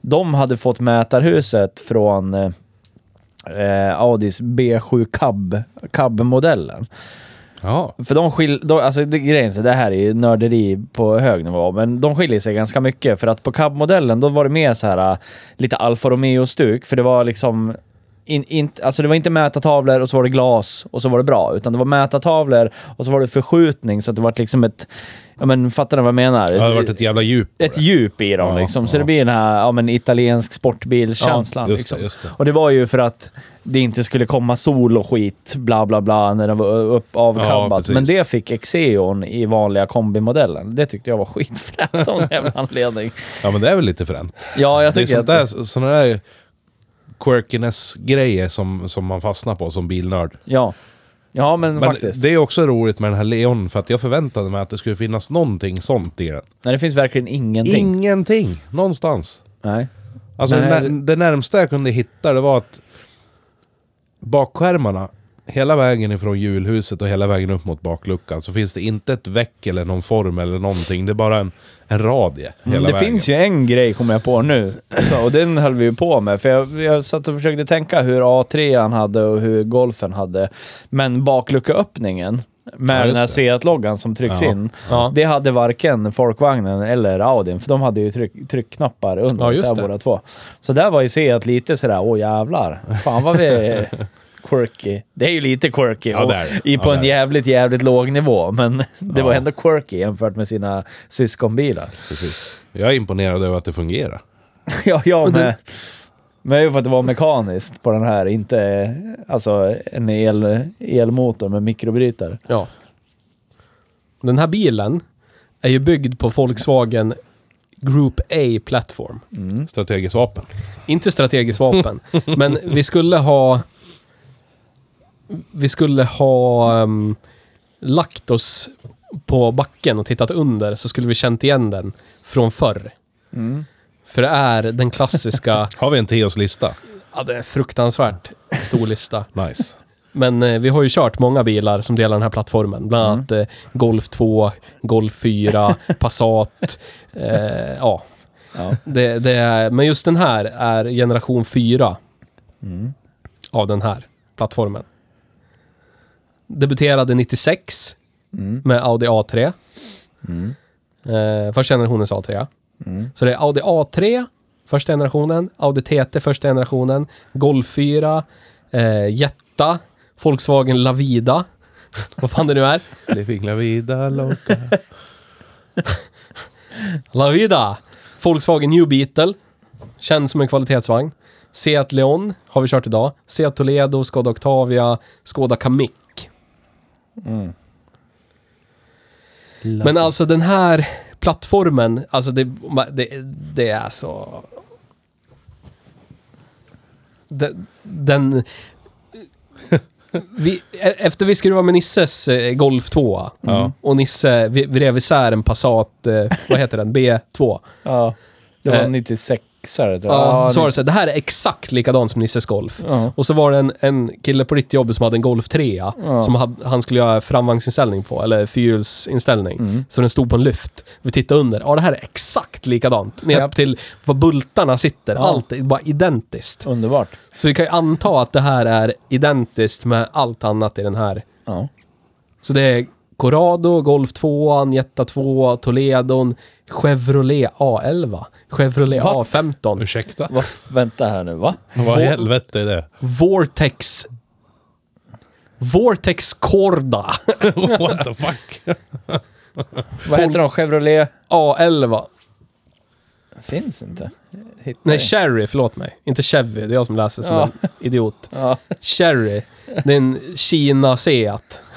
S2: de hade fått mätarhuset från eh, eh, Audis B7 Cab- Cab-modellen.
S4: Ja.
S2: För de skiljer, de, alltså det, grejen är, det här är ju nörderi på hög nivå, men de skiljer sig ganska mycket. För att på cab-modellen, då var det mer så här äh, lite Alfa Romeo-stuk, för det var liksom in, in, alltså det var inte mätartavlor och så var det glas och så var det bra. Utan det var mätartavlor och så var det förskjutning så att det var liksom ett... Ja men fattar ni vad jag menar?
S4: Det hade varit ett jävla djup på
S2: ett
S4: det.
S2: djup i dem
S4: Ja,
S2: liksom. Så
S4: ja.
S2: det blir den här ja, men, italiensk sportbilskänslan.
S4: Ja, just
S2: liksom.
S4: det, just det.
S2: Och det var ju för att det inte skulle komma sol och skit, bla bla bla, när den var upp avkabbat.
S4: precis.
S2: Men det fick Exeon i vanliga kombimodellen. Det tyckte jag var <laughs> skitfränt av någon jävla anledning.
S4: Ja, men det är väl lite fränt.
S2: Ja, jag
S4: Det är
S2: tycker
S4: sånt
S2: att...
S4: där, såna där quirkiness-grejer som, som man fastnar på som bilnörd.
S2: Ja. ja, men,
S4: Men
S2: Mm, faktiskt.
S4: det är också roligt med den här Leon, för att jag förväntade mig att det skulle finnas någonting sånt i den.
S2: Nej, det finns verkligen ingenting.
S4: Ingenting! Någonstans.
S2: Nej.
S4: Alltså
S2: Nej,
S4: det,
S2: det-
S4: när, det närmsta jag kunde hitta det var att bakskärmarna, hela vägen ifrån julhuset och hela vägen upp mot bakluckan, så finns det inte ett väck eller någon form eller någonting. Det är bara en, en radie hela
S2: Mm, det
S4: vägen.
S2: finns ju en grej kommer jag på nu. Så, och den höll vi ju på med. För jag, jag satt och försökte tänka hur A3 hade och hur golfen hade. Men bakluckaöppningen med
S4: Ja, just
S2: den här
S4: det.
S2: Seat-loggan som trycks
S4: Ja.
S2: in.
S1: Ja.
S2: Det hade varken Folkvagnen eller Audin, för de hade ju tryck, tryckknappar under
S1: Ja, just
S2: så här,
S1: det.
S2: båda två. Så där var ju Seat lite sådär, åh jävlar. Fan vad vi
S4: <laughs>
S2: är quirky. Det är ju lite quirky.
S4: Ja,
S2: och
S4: det är det.
S2: i
S4: Ja,
S2: på
S4: det
S2: en
S4: är det.
S2: jävligt, jävligt låg nivå. Men <laughs> det var
S4: Ja.
S2: ändå quirky jämfört med sina syskonbilar.
S4: Precis. Jag är imponerad över att det fungerar.
S2: <laughs> ja, jag
S1: Och den-
S2: med. Men det är ju för att det var mekaniskt på den här, inte eh, alltså, en el, elmotor med mikrobrytare.
S1: Ja. Den här bilen är ju byggd på Volkswagen Group A Platform.
S2: Mm.
S4: Strategiskt vapen.
S1: Inte strategiskt <laughs> vapen, men vi skulle ha... Vi skulle ha ehm, lagt oss på backen och tittat under så skulle vi känt igen den från förr. Mm. För det är den klassiska...
S4: Har vi en Theos lista?
S1: <laughs> ja, det är fruktansvärt stor lista.
S4: Nice.
S1: Men eh, vi har ju kört många bilar som delar den här plattformen. Bland annat eh, Golf 2, Golf 4, Passat. Eh, ja.
S2: Ja.
S1: Det, det är, men just den här är generation 4 av den här plattformen. Debuterade 96 med Audi A3. Eh, första generationens A3. Så det är Audi A3, första generationen, Audi TT, första generationen, Golf 4, eh, Jetta, Volkswagen Lavida. <laughs> Vad fan det nu är.
S4: Det fingrar vida loka.
S1: Lavida! Volkswagen New Beetle. Känd som en kvalitetsvagn. Seat Leon har vi kört idag. Seat Toledo, Skoda Octavia, Skoda Kamiq. Men alltså den här plattformen, alltså det, det, det är så... Den... den vi, e- efter vi skruvade med Nisses eh, Golf 2
S4: Ja.
S1: och Nisse vi- vred isär en Passat, eh, vad heter den, B2.
S2: Ja. Det var
S1: Eh.
S2: en 96 tror jag.
S1: Ja, så var
S2: det-
S1: det så här, det här är exakt likadant som Nisses Golf.
S2: Ja.
S1: Och så var det en, en kille på ditt jobb som hade en Golf 3 som hade, han skulle göra framvagnsinställning på, eller fyrhjulsinställning.
S2: Mm.
S1: Så den stod på en lyft. Vi tittade under, ja det här är exakt likadant. Ner
S2: Japp.
S1: till var bultarna sitter, allt är bara identiskt.
S2: Underbart.
S1: Så vi kan ju anta att det här är identiskt med allt annat i den här.
S2: Ja.
S1: Så det är Corrado, Golf 2, Jetta 2, Toledon, Chevrolet A11, Chevrolet
S2: What?
S1: A15.
S4: Ursäkta?
S2: Va? Vänta här nu, va?
S4: Vad i helvete är det?
S1: Vortex... Vortex <laughs> Corda
S4: What the fuck?
S2: Vad heter de? Chevrolet?
S1: A11.
S2: Finns inte. Hittar
S1: Nej,
S2: jag.
S1: Cherry, förlåt mig. Inte Chevy, det är jag som läser som
S2: Ja.
S1: en idiot.
S2: ja.
S1: Cherry, det är en Kina Seat.
S2: <laughs>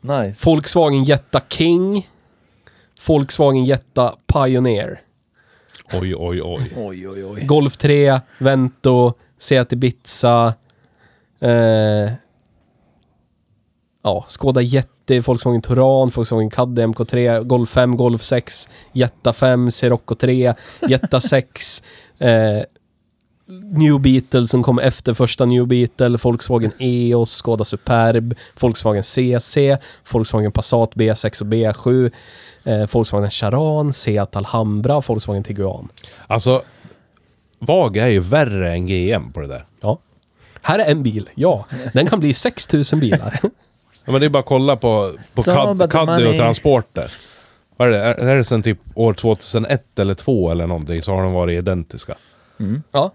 S2: Nice.
S1: Volkswagen Jetta King. Volkswagen Jetta Pioneer.
S4: Oj, oj, oj.
S2: Oj, oj, oj.
S1: Golf 3, Vento, Seat Ibiza. Eh, ja, Skoda Jätte, Volkswagen Touran, Volkswagen Caddy, MK3, Golf 5, Golf 6, Jetta 5, Sirocco 3, Jetta 6. Eh, New Beetle som kom efter första New Beetle, Volkswagen EOS, Skoda Superb, Volkswagen CC, Volkswagen Passat B6 och B7, eh, Volkswagen Charan, Seat Alhambra, Volkswagen Tiguan.
S4: Alltså, Vaga är ju värre än GM på det där.
S1: Ja. Här är en bil, ja. Den kan bli 6000 bilar.
S4: Ja, men det är bara att kolla på, på
S2: Some
S4: Cad-
S2: about the
S4: Caddy och
S2: money.
S4: Transporter. Vad är det? Är, är det sen typ år 2001 eller 2 eller någonting så har de varit identiska.
S1: <laughs> Ja.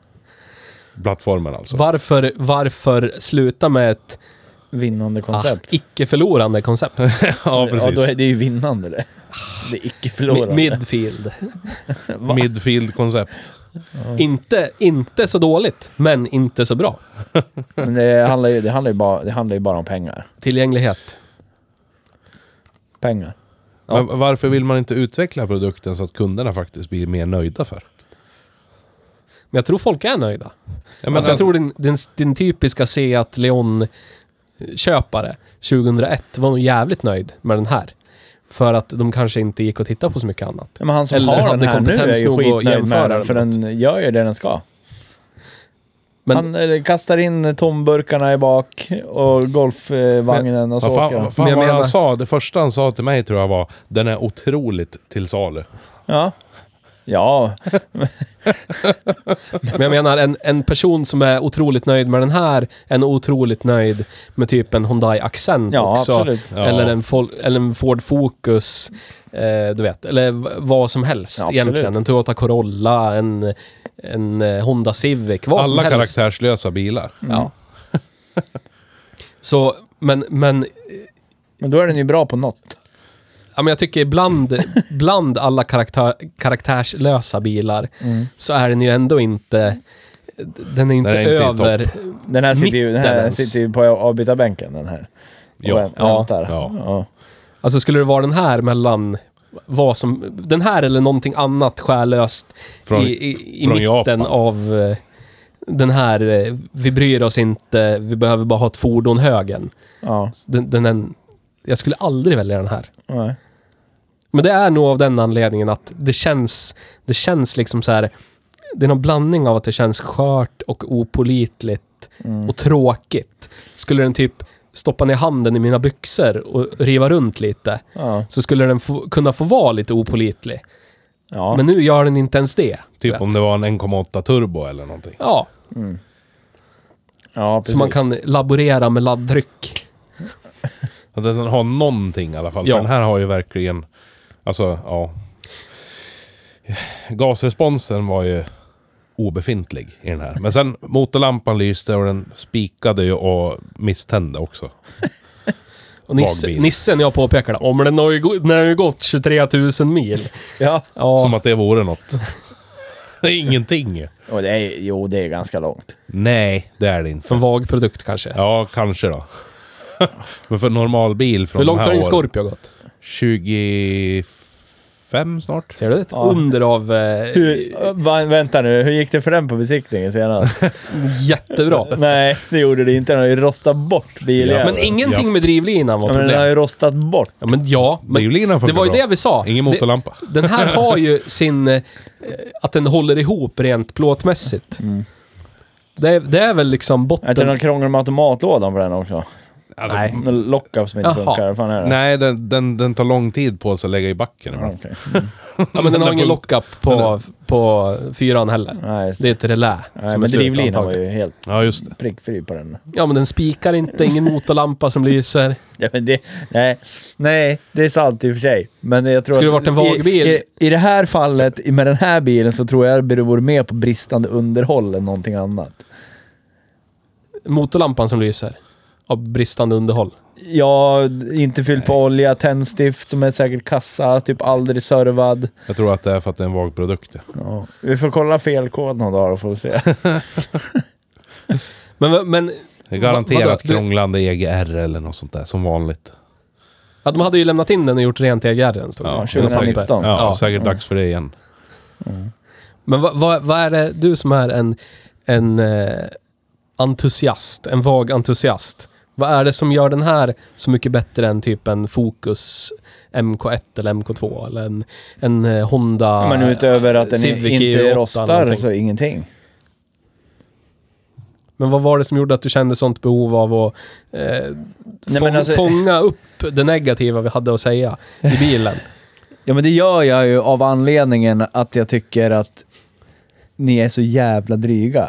S4: Plattformen alltså.
S1: Varför, varför sluta med ett
S2: Vinnande
S1: ah,
S2: koncept.
S1: icke-förlorande <laughs> koncept?
S4: ja,
S2: ja, då är
S4: precis.
S2: det ju vinnande det. Det är icke
S1: Mi-
S2: förlorande.
S1: Midfield.
S4: Midfield-koncept.
S1: Inte, inte så dåligt, men inte så bra.
S2: Men det handlar, ju, det, handlar ju bara, det handlar ju bara om pengar.
S1: Tillgänglighet.
S2: Pengar.
S1: Ja.
S4: Men varför vill man inte utveckla produkten så att kunderna faktiskt blir mer nöjda för?
S1: Men jag tror folk är nöjda.
S4: Jag,
S1: alltså, jag tror din, din, din typiska Seat Leon-köpare 2001 var nog jävligt nöjd med den här. För att de kanske inte gick och tittade på så mycket annat.
S2: Men han som
S1: Eller
S2: har
S1: hade
S2: den här nu är
S1: kompetens
S2: ju
S1: nog att
S2: skitnöjd
S1: jämföra
S2: med den, för
S1: den
S2: den gör ju det den ska.
S1: Men
S2: han eller, kastar in tomburkarna i bak och golfvagnen och så
S4: vad
S2: åker
S4: fan,
S2: han.
S4: vad fan
S1: Men jag
S4: vad han
S1: menar-
S4: sa, det första han sa till mig tror jag var den är otroligt till salu.
S2: Ja. Ja,
S1: Men jag menar, en, en person som är otroligt nöjd med den här, en otroligt nöjd med typ en Hyundai Accent
S2: Ja,
S1: också.
S2: absolut.
S4: Ja.
S1: Eller, en Fol- eller en Ford Focus, eh, du vet. Eller v- vad som helst
S2: Ja, absolut.
S1: egentligen. En Toyota Corolla, en, en eh, Honda Civic, vad som
S4: Alla
S1: helst.
S4: karaktärslösa bilar.
S2: Mm.
S1: Ja. Så, men, men
S2: men då är den ju bra på något.
S1: Ja, men jag tycker ibland, bland alla karaktär, karaktärslösa bilar
S2: Mm.
S1: så är den ju ändå inte... Den är inte,
S4: är inte i
S1: över...
S2: Den här sitter ju, den
S1: Mitten
S2: här
S1: ens.
S2: sitter ju på avbytarbänken den här. Och
S4: Ja.
S2: vä-
S1: Ja.
S2: väntar.
S4: Ja.
S2: Ja.
S1: Alltså skulle det vara den här mellan vad som... Den här eller någonting annat skärlöst
S4: Från-
S1: i, i, i
S4: från
S1: mitten
S4: Japan.
S1: av eh, den här eh, vi bryr oss inte, vi behöver bara ha ett fordon högen.
S2: Ja.
S1: Den, den, den, jag skulle aldrig välja den här.
S2: Nej.
S1: Men det är nog av den anledningen att det känns, det känns liksom så här. Det är någon blandning av att det känns skört och opolitligt
S2: Mm.
S4: Mm.
S1: och tråkigt. Skulle den typ stoppa ner handen i mina byxor och riva runt lite
S2: Ja.
S1: så skulle den få, kunna få vara lite opolitlig.
S2: Ja.
S1: Men nu gör den inte ens det. du
S4: Typ
S1: vet.
S4: om det var en 1,8 turbo eller någonting.
S1: Ja,
S2: ja, precis.
S1: så man kan laborera med laddtryck.
S4: Att den har någonting i alla fall.
S1: Ja.
S4: För den här har ju verkligen... Alltså, ja. Gasresponsen var ju obefintlig i den här. Men sen motorlampan lyste och den spikade ju och misstände också.
S1: Och Nisse,
S4: Lagbil.
S1: Nissen jag påpekar det, om den har ju, gå- den har ju gått 23 000 mil.
S2: Ja.
S1: Ja.
S4: Som att det vore något. <laughs> det är ingenting.
S2: Och det är, jo, det är ganska långt.
S4: Nej, det är
S1: För
S4: det
S1: en
S4: inte.
S1: vag produkt kanske.
S4: Ja, kanske då. <laughs> Men för en normal bil från
S1: Hur långt
S4: de
S1: har
S4: här
S1: din
S4: åren-
S1: Scorpio gått?
S4: 25 snart.
S1: Ser du? Ett under av... Eh,
S4: <laughs>
S2: Hur, va, vänta nu, hur gick det för den på besiktningen senast?
S1: jättebra.
S2: Nej, det gjorde det inte. Den har ju rostat bort biljäveln.
S1: Men ingenting
S4: Ja.
S1: med drivlinan var
S2: Ja, men den har
S1: problem.
S2: ju rostat bort.
S1: Ja, men ja. Men
S4: Drivlinan
S1: det
S4: funkar
S1: var ju
S4: bra.
S1: det vi sa.
S4: Ingen
S1: Det-
S4: motorlampa.
S1: Den här har ju sin... eh, Att den håller ihop rent plåtmässigt.
S2: Mm.
S1: Det, är, det är väl liksom
S2: Är inte det någon
S1: botten...
S2: krångel med automatlådan på den också?
S4: Ja, det-
S1: Nej.
S2: Någon lockup som inte
S1: Jaha.
S2: funkar? Vad fan är det?
S4: Nej, den, den, den tar lång tid på sig att lägga i
S2: Ja,
S4: backen. ibland.
S2: okej.
S1: Ja, men den har
S4: den
S1: ingen
S4: fun-
S1: lockup på, på fyran heller.
S2: Mm. Nej, just
S1: Det
S2: det.
S1: är ett relä
S2: Nej,
S1: som är
S2: men
S1: slut
S2: drivlinan var
S1: antagligen.
S2: ju helt
S4: Ja, just det.
S2: prickfri på den.
S1: Ja, men den spikar inte. Ingen motorlampa som lyser.
S2: Ja, men det, nej, nej, det är sant i och för sig. Men jag tror
S1: Skulle
S2: att
S1: det varit en vag bil?
S2: I, i, I det här fallet, med den här bilen, så tror jag det beror mer på bristande underhåll än någonting annat.
S1: Motorlampan som lyser. Av bristande underhåll.
S2: Ja, inte fyllt på olja, tändstift som är säkert kassa, typ aldrig servad.
S4: Jag tror att det är för att det är en vag produkt.
S2: Ja. Vi får kolla felkod någon dag då får vi se.
S1: Men, men
S4: Det är
S1: Va-
S4: garanterat
S1: vadå? Du-
S4: krånglande EGR eller något sånt där, som vanligt.
S1: Ja, de hade ju lämnat in den och gjort rent EGR stod det.
S4: Ja,
S1: Det var papper.
S2: 2019.
S4: Ja,
S1: Ja.
S4: säkert dags för det igen.
S1: Men vad, vad, vad är det du som är en, en eh, entusiast, en vag entusiast? Vad är det som gör den här så mycket bättre än typ en Focus MK1 eller MK2 eller en, en eh, Honda
S2: <laughs> Men utöver att den
S1: Civic
S2: inte
S1: E8 eller
S2: rostar
S1: någonting.
S2: så ingenting.
S1: Men vad var det som gjorde att du kände sånt behov av att eh,
S2: Nej,
S1: få,
S2: men alltså-
S1: fånga upp det negativa vi hade att säga i bilen?
S2: Ja men det gör jag ju av anledningen att jag tycker att ni är så jävla dryga.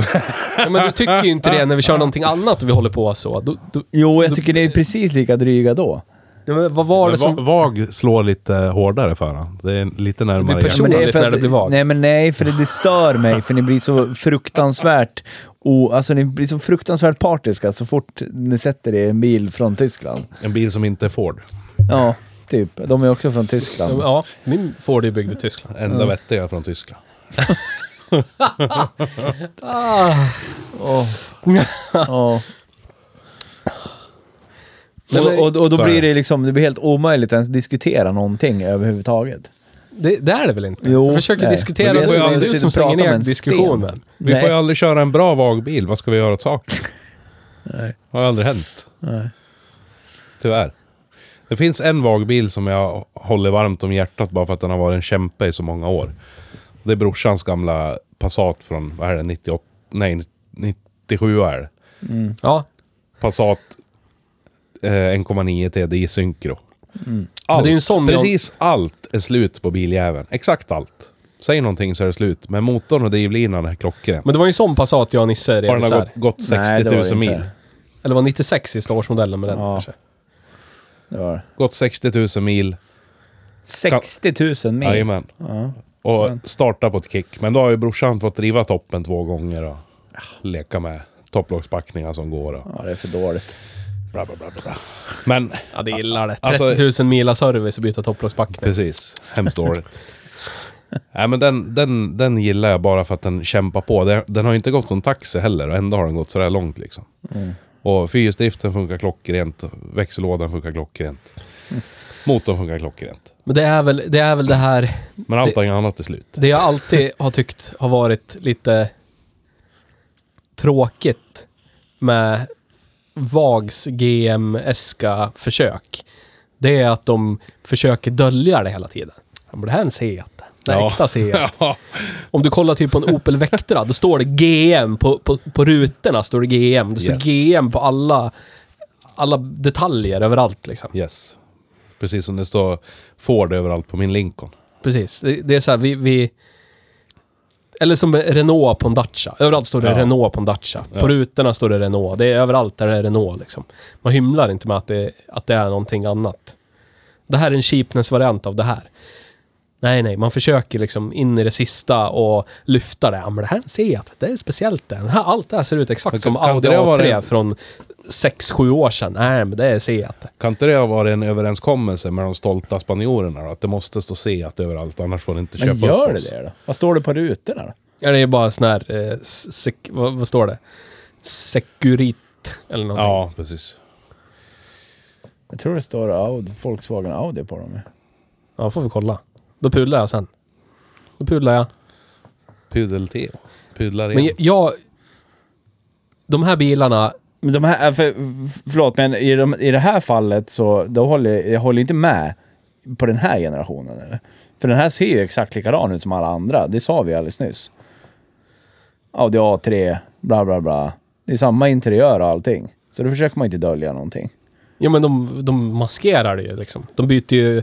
S1: ja, men du tycker ju inte det när vi kör någonting annat och vi håller på så. Du, du,
S2: <laughs> Jo, jag tycker ni är precis lika dryga då.
S1: ja, men vad var det
S4: Men
S1: som...
S4: va- Vag slår lite hårdare för han. Det är lite närmare
S1: Det blir
S4: igen.
S1: person-
S2: men
S1: personligt när det blir vagt.
S2: Nej, men nej, för det, det stör mig, för ni blir så fruktansvärt... Och, alltså ni blir så fruktansvärt partiska så fort ni sätter er i en bil från Tyskland.
S4: En bil som inte är Ford.
S2: Ja, typ. De är också från Tyskland.
S1: Ja, min Ford är byggd i Tyskland.
S4: Enda vettiga från Tyskland. <laughs>
S2: Åh. Ja. Och, och, och då
S4: Så är
S2: blir
S4: det.
S2: det liksom, det blir helt omöjligt att ens diskutera någonting överhuvudtaget.
S1: Det, det är det väl inte?
S2: Jo,
S1: jag försöker
S2: nej.
S1: diskutera,
S2: Men
S1: det
S2: det är
S1: är
S4: som
S1: ju
S4: att
S1: du
S2: sitta
S1: som
S2: och
S1: slänger
S2: prata med
S1: ner
S2: en
S1: diskussionen.
S4: Vi
S2: Nej.
S4: får ju aldrig köra en bra vagbil. Vad ska vi göra åt saken?
S1: <laughs>
S4: Det har ju aldrig hänt. Tyvärr. Det finns en vagbil som jag håller varmt om hjärtat bara för att den har varit en kämpe i så många år. Det är brorsans gamla Passat från, vad är det, 98, nej 97 är det.
S1: Ja,
S4: Passat eh, 1,9 TDI synkro.
S1: Mm. Men
S4: Allt,
S1: det är ju en sån-
S4: precis allt är slut på biljäveln. Exakt allt. Säg någonting så är det slut. Men motorn och drivlinan är klockrent.
S1: men det var ju en sån Passat jag och Nisse
S4: Bara den
S1: rev
S4: har
S1: gått...
S4: gått, gått
S2: Nej,
S4: 60
S2: det var
S4: 000
S2: det inte.
S4: mil.
S1: Eller var 96 sista årsmodellen med den
S2: Ja.
S1: kanske?
S2: Det var det.
S4: Gått 60 000 mil.
S2: 60 000 mil.
S4: Jajamän. Och starta på ett kick. Men då har ju brorsan fått driva toppen två gånger och leka med topplockspackningar som går. Och
S2: Ja, det är för dåligt.
S4: bla, bla, bla, bla, bla.
S2: <laughs>
S4: Men
S1: Ja, det gillar det. 30
S4: Alltså-
S1: 000 mila service och byta topplockspackning.
S4: precis, hemskt dåligt. Nej, men den, den, den gillar jag bara för att den kämpar på. Den, den har ju inte gått som taxi heller och ändå har den gått sådär långt liksom.
S2: Mm.
S4: Och fyrhjulsdriften funkar klockrent, växellådan funkar klockrent.
S2: Mm.
S4: Motorn funkar klockrent.
S1: Men det är väl det, är väl det här,
S4: Men allt det... annat är slut.
S1: det jag alltid har tyckt har varit lite tråkigt med VAGs GM-eska försök. Det är att de försöker dölja det hela tiden. Ja, Men det här är en Seat. Det är
S4: Ja.
S1: äkta Seat.
S4: <laughs> Ja,
S1: Om du kollar typ på en Opel Vectra, då står det GM på, på, på rutorna. Står det GM. Det står
S4: Yes.
S1: GM på alla, alla detaljer överallt liksom.
S4: yes. Precis som det står Ford överallt på min Lincoln.
S1: Precis. Det, det är så här, vi, vi... Eller som Renault på en Dacia. Överallt står det
S4: Ja.
S1: Renault på en Dacia.
S4: Ja.
S1: På rutorna står det Renault. Det är överallt där det är Renault liksom. Man hymlar inte med att det, att det är någonting annat. Det här är en cheapness-variant av det här. Nej, nej, man försöker liksom in i det sista och lyfta det. Ja, men det här ser jag att det är speciellt. Den här, allt det här ser ut
S4: Men
S1: exakt som
S4: kan- kan
S1: Audi
S4: det där
S1: A3
S4: vara en-
S1: från 6-7 år sedan. Nej, men det är Seat.
S4: Kan inte det ha varit en överenskommelse med de stolta spanjorerna då? Att det måste stå Seat överallt, annars får ni inte köpa
S2: Men gör
S4: upp
S2: det
S4: oss.
S2: det då? Vad står det på rutorna då?
S1: Ja, det är bara sån här... Eh, s- sek- vad, vad står det? Sekurit eller någonting.
S4: Ja, precis.
S2: Jag tror det står Audi, Volkswagen Audi på dem. ja.
S1: Ja, får vi kolla. Då pudlar jag sen. Då pudlar jag.
S4: Pudel-T. Pudlar
S1: Men
S4: igen.
S1: jag... jag de här bilarna...
S2: Men de här, äh, för, förlåt, men i, de, i det här fallet så då håller jag- jag håller inte med på den här generationen. Eller? För den här ser ju exakt likadan ut som alla andra. Det sa vi alldeles nyss. Audi A3, bla bla bla. Det är samma interiör och allting. Så då försöker man inte dölja någonting.
S1: Ja, men de, de maskerar det ju liksom. De byter ju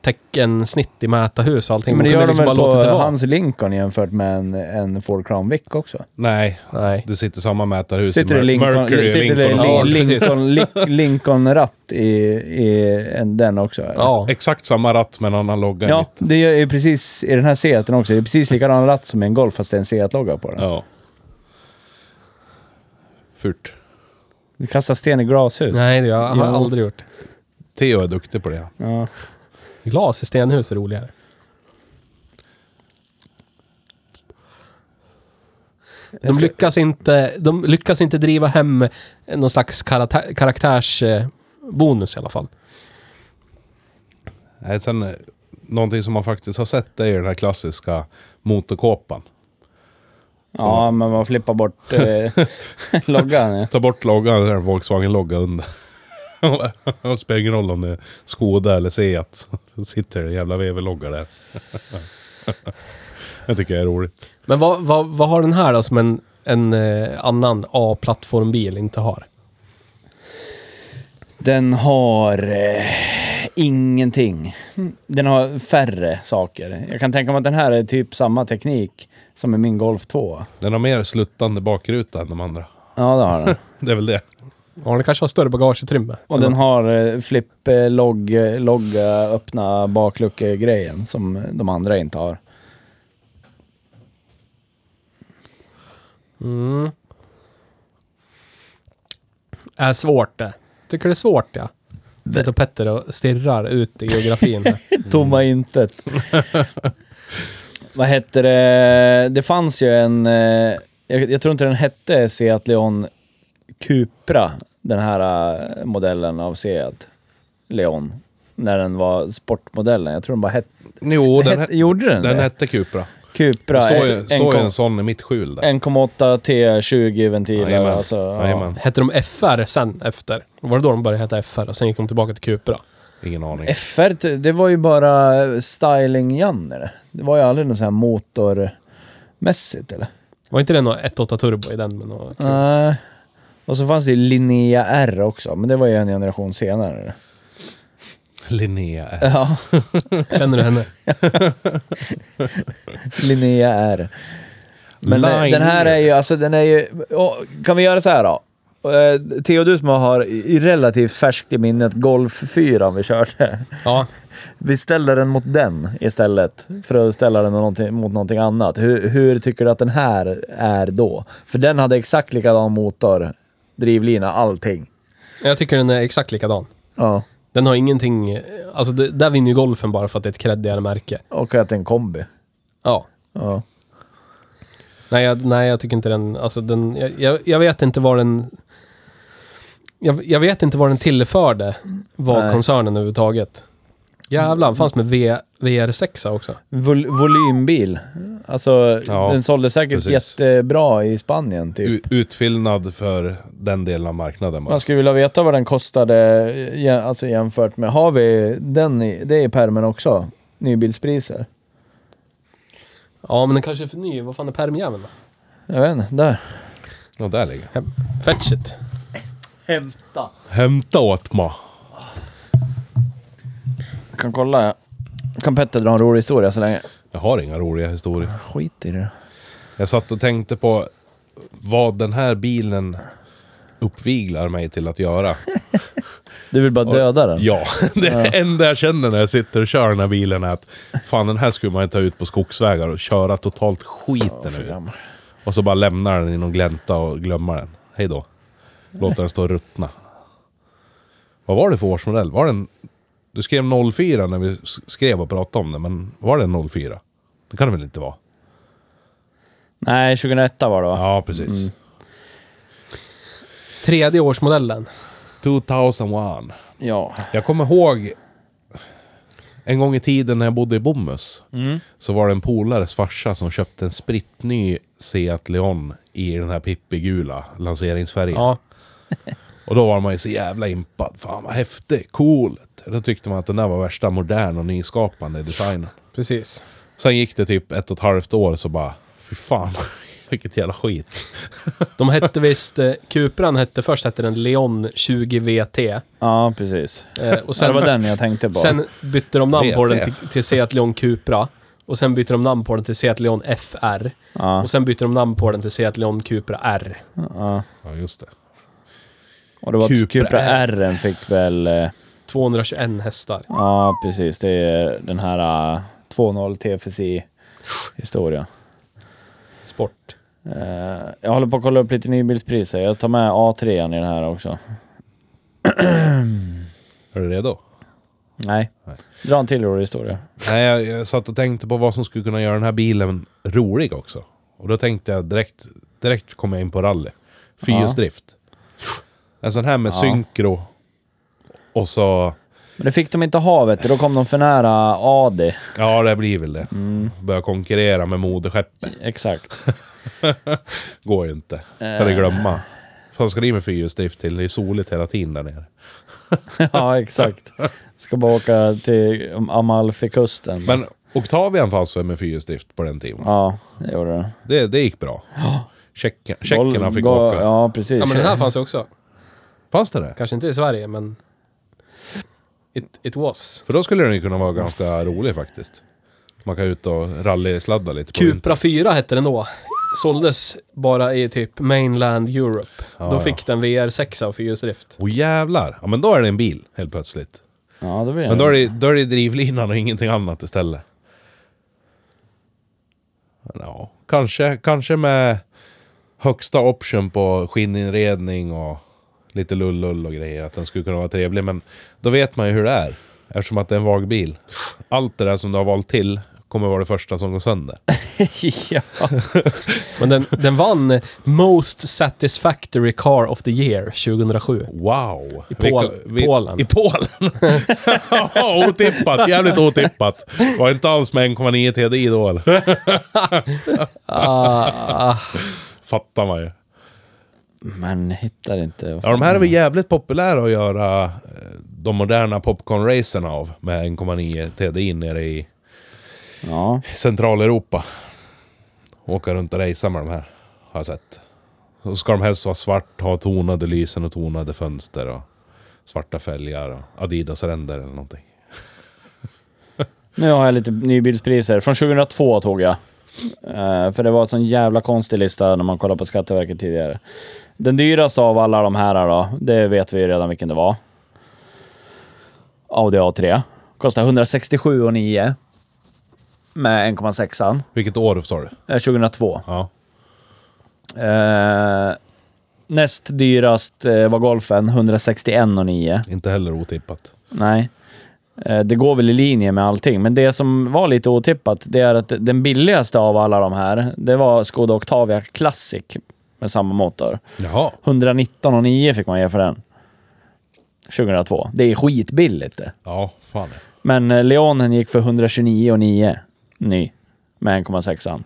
S1: teckensnitt i mätarhus och allting.
S2: Men det
S1: kunde
S2: gör de
S1: liksom
S2: väl
S1: bara låtit det
S2: på
S1: vara.
S2: hans Lincoln jämfört med en, en Ford Crown Vic också?
S4: Nej,
S1: Nej.
S4: det sitter samma mätarhus
S2: Sitter det
S4: Mer-
S2: Lincoln,
S4: Mercury i
S2: sitter det
S4: Lincoln.
S2: Li-
S4: Ja,
S2: Lincoln, Li- Lincoln-ratt i, i en, den också? eller?
S1: Ja.
S4: Exakt samma ratt men analoga
S2: Ja, det är ju precis i den här Seaten också. Det är precis likadan ratt som i en Golf fast det är en Seat-logga på den.
S4: ja. Furt.
S2: Du kastar sten i glashus.
S1: Nej, det har jag har
S2: Jo.
S1: aldrig gjort.
S4: Theo är duktig på det.
S2: Ja.
S1: Glas i stenhus är roligare. De lyckas, inte, de lyckas inte driva hem någon slags karata- karaktärsbonus i alla fall.
S4: Nej, sen, eh, någonting som man faktiskt har sett är ju den här klassiska motorkåpan.
S2: ja, men man flippar bort eh, <laughs> loggan. Ja.
S4: Ta bort loggan, den här Volkswagen-logga under. <laughs> Det spelar ingen roll om det är Skoda eller Seat. Då sitter det en jävla VW-logga där. <laughs> Det tycker jag är roligt.
S1: Men vad, vad, vad har den här då som en, en eh, annan A-plattformbil inte har?
S2: Den har eh, ingenting. Den har färre saker. Jag kan tänka mig att den här är typ samma teknik som i min Golf 2.
S4: Den har mer sluttande bakruta än de andra.
S2: Ja, det har den.
S4: Det är väl det.
S1: Ja, den kanske har större bagageutrymme.
S2: Och den har eh, flipp, eh, logg, eh, logga, öppna bakluckegrejen som de andra inte har.
S1: Mm. Är svårt det. Tycker det är svårt ja. Sitter Petter och stirrar ut i geografin. här.
S2: <laughs> Tomma intet. Vad hette det? Det fanns ju en... eh, Jag, jag tror inte den hette Seat Leon Cupra, den här eh, modellen av Seat Leon. När den var sportmodellen. Jag tror den bara hette...
S4: <laughs> Jo, den,
S2: hette-
S4: het,
S2: gjorde den,
S4: den
S2: det?
S4: hette Cupra.
S2: Cupra.
S4: Det står ju,
S2: en-
S4: står ju
S2: en-
S4: en sån i mitt skjul där.
S2: 1,8 T20 ventiler.
S4: Jajamän.
S2: alltså, ja.
S4: Jajamän.
S1: Hette de FR sen efter? Var det då de började heta FR och sen gick de tillbaka till Cupra?
S4: Ingen aning.
S2: FR, t- det var ju bara styling-Janne. det. Det var ju aldrig något sånt här motormässigt eller?
S1: Var inte det någon 1.8 turbo i den? Men någon kul?
S2: Nej. Och så fanns det ju Linnea R också, men det var ju en generation senare.
S4: Linnea. är-
S2: Ja,
S1: Känner du henne?
S2: <laughs> Linnea R. Men eh,
S4: Line
S2: den här är ju, alltså den är ju... Åh, kan vi göra så här då? Eh, Theo, du som har i- relativt färskt i minnet Golf 4 vi körde.
S1: Ja.
S2: Vi ställer den mot den istället för att ställa den någonting- mot någonting annat. Hur, hur tycker du att den här är då? För den hade exakt likadan motor, drivlina, allting.
S1: Jag tycker den är exakt likadan.
S2: Ja.
S1: Den har ingenting... Alltså, det, där vinner ju golfen bara för att det är ett creddigare märke.
S2: Och att det är en kombi.
S1: Ja.
S2: Ja.
S1: Nej, jag, nej, jag tycker inte den... Alltså den jag- jag, jag vet inte vad den... Jag, jag vet inte vad den tillförde, vad
S2: Nej.
S1: koncernen överhuvudtaget. Jävlar, den fanns med v, VR6 också.
S2: Vol volymbil. Alltså,
S4: Ja,
S2: den sålde säkert
S4: precis.
S2: jättebra i Spanien typ.
S4: U- utfyllnad för den delen av marknaden bara.
S2: Man skulle vilja veta vad den kostade jä- alltså jämfört med... Har vi den i, det i permen också? Nybilspriser?
S1: Ja, men den kanske är för ny. Vad fan är pärmjäveln då?
S2: Jag vet inte, där.
S4: Ja, där ligger den.
S1: Fetch shit.
S2: Hämta.
S4: Hämta åt mig.
S2: Jag kan kolla. Kan Petter dra en rolig historia så länge?
S4: Jag har inga roliga historier.
S2: Skit i det.
S4: Jag satt och tänkte på vad den här bilen uppviglar mig till att göra.
S2: Du vill bara döda den?
S4: Ja, <laughs> det enda jag känner när jag sitter och kör den här bilen är att fan den här skulle man ju ta ut på skogsvägar och köra totalt skiten
S2: För
S4: ur.
S2: gammal.
S4: Och så bara lämna den i någon glänta och glömma den. Hej då. Låt den stå och ruttna. Vad var det för årsmodell? Var den... Du skrev 04 när vi s- skrev och pratade om det, men var det 04? Det kan det väl inte vara?
S2: Nej, 2001 var det va?
S4: Ja, precis.
S1: Tredje årsmodellen.
S4: 2001.
S2: Ja.
S4: Jag kommer ihåg en gång i tiden när jag bodde i Bomhus. Så var det en polares farsa som köpte en sprittny Seat Leon i den här pippigula lanseringsfärgen.
S1: Ja.
S4: Och då var man ju så jävla impad. Fan vad häftig, coolt. Då tyckte man att den där var värsta modern och nyskapande i designen.
S1: Precis.
S4: Sen gick det typ ett och ett halvt år så bara, fy fan. <laughs> Vilket jävla skit.
S1: De hette visst... Eh, Cupran hette först hette den Leon 20 VT. Eh,
S2: Ja, precis.
S1: och
S2: Så det
S1: sen,
S2: var den jag tänkte på.
S1: sen bytte de namn på
S4: VT.
S1: den till, till Seat Leon Cupra. Och sen bytte de namn på den till Seat Leon FR.
S2: ja,
S1: Och sen bytte de namn på den till Seat Leon Cupra R.
S2: ja.
S4: Ja, just det.
S2: Och det var att
S4: Cupra
S2: Cupra R fick väl... eh,
S1: 221 hästar.
S2: Ja, precis. Det är den här eh, 2.0 TFSI-historia.
S1: Sport.
S2: Eh, jag håller på att kolla upp lite nybilspriser. Jag tar med A3 an i den här också.
S4: Är du redo?
S2: Nej.
S4: Nej.
S2: Dra en till rolig historia.
S4: Nej, jag, jag satt och tänkte på vad som skulle kunna göra den här bilen rolig också. Och då tänkte jag direkt, direkt kom jag in på rally. Fyrhjulsdrift. En sån här med synkro. Och så,
S2: Men det fick de inte ha vet du. Då kom de för nära AD.
S4: ja det blir väl det.
S2: Mm.
S4: Börja konkurrera med moderskeppet.
S2: Exakt. <laughs>
S4: Går ju inte. Kan
S2: Eh.
S4: du glömma. Fan ska det med fyrhjulsdrift till? Det är soligt hela tiden där nere.
S2: ja, exakt. Ska bara åka till Amalfikusten.
S4: Men Octavian fanns väl med fyrhjulsdrift på den tiden?
S2: Ja, det gjorde det.
S4: Det, det gick bra. Tjecken- Tjeckerna fick
S2: Volvo-
S4: åka.
S2: Ja, precis.
S1: Ja, men den här fanns ju också.
S4: Fanns det det?
S1: Kanske inte i Sverige, men... It, it was.
S4: För då skulle den ju kunna vara ganska rolig faktiskt. Man kan ut och rallysladda lite på vintern.
S1: Cupra 4 hette den då. Såldes bara i typ mainland Europe. Då
S4: ja.
S1: fick den VR6 av fyrhjulsdrift.
S4: Åh jävlar! Ja men då är det en bil helt plötsligt.
S2: Ja, då blir det.
S4: Men då är det, då är det drivlinan och ingenting annat istället. Ja, kanske, kanske med högsta option på skinninredning och lite lullull och grejer. Att den skulle kunna vara trevlig. Men då vet man ju hur det är. Eftersom att det är en vag bil. Allt det där som du har valt till kommer vara det första som går sönder.
S2: <laughs> ja.
S1: Men den, den vann Most Satisfactory Car of the Year 2007.
S4: Wow! I
S1: Pol- Polen.
S4: I Polen? <laughs> Ja, otippat. Jävligt otippat. Var inte alls med 1,9 TDI då eller? Fattar man ju.
S2: Men hittar inte.
S4: Ja, de här är väl jävligt populära att göra eh, de moderna popcorn-racerna av med 1,9 TDI nere i
S2: Ja.
S4: Centraleuropa. Åka runt och racea med de här, har jag sett. Så ska de helst vara svart, ha tonade lysen och tonade fönster och svarta fälgar och Adidas-ränder eller någonting.
S2: Nu har jag lite nybilspriser. Från 2002 tog jag. Eh, för det var en sån jävla konstig lista när man kollade på Skatteverket tidigare. Den dyraste av alla de här då, det vet vi ju redan vilken det var. Audi A3. Kostar 167 och 9 Med 1,6an.
S4: Vilket år sa du?
S2: Eh, 2002.
S4: Ja.
S2: Eh, näst dyrast eh, var golfen, 161,9.
S4: Inte heller otippat.
S2: Nej. Eh, Det går väl i linje med allting, men det som var lite otippat, det är att den billigaste av alla de här, det var Skoda Octavia Classic med samma motor.
S4: Jaha.
S2: 119,9 fick man ge för den. 2002. Det är skitbilligt det.
S4: Ja, fan.
S2: Men eh, Leonen gick för 129,9 ny med 1,6an.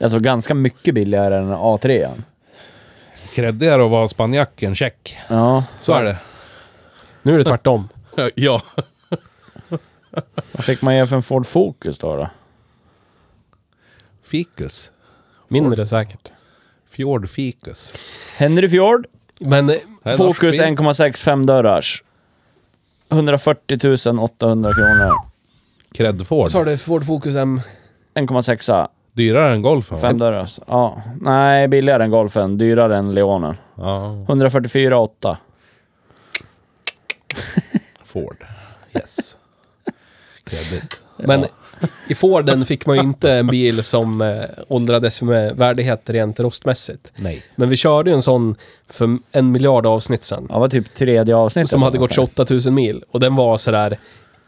S2: Alltså ganska mycket billigare än A3. an
S4: Creddigare att vara spanjack än tjeck.
S2: Ja,
S4: Så är det.
S1: Nu är det tvärtom.
S4: Ja. <laughs>
S2: vad fick man ge för en Ford Focus då? då?
S4: Fikus.
S1: Mindre säkert.
S4: Fjordfikus.
S2: Henry Fjord,
S1: Men eh,
S4: Här är
S2: Focus
S4: norsk Äh, bil.
S2: 1,6 femdörrars. 140 800 kronor.
S4: Cred Ford.
S1: sa du Ford Focus M?
S2: 1,6
S4: Dyrare än golfen. va?
S2: femdörrars. Ja, nej, billigare än golfen, dyrare än Leonen.
S4: Ja,
S2: 144 8.
S4: Ford. <laughs> Yes. Credit.
S1: Men i Forden fick man ju inte en bil som eh, åldrades med värdighet rent rostmässigt.
S4: Nej.
S1: Men vi körde ju en sån för en miljard avsnitt sen.
S2: Ja, var typ tredje avsnittet.
S1: Som hade gått
S2: någonstans.
S1: 28 000 mil. Och den var sådär,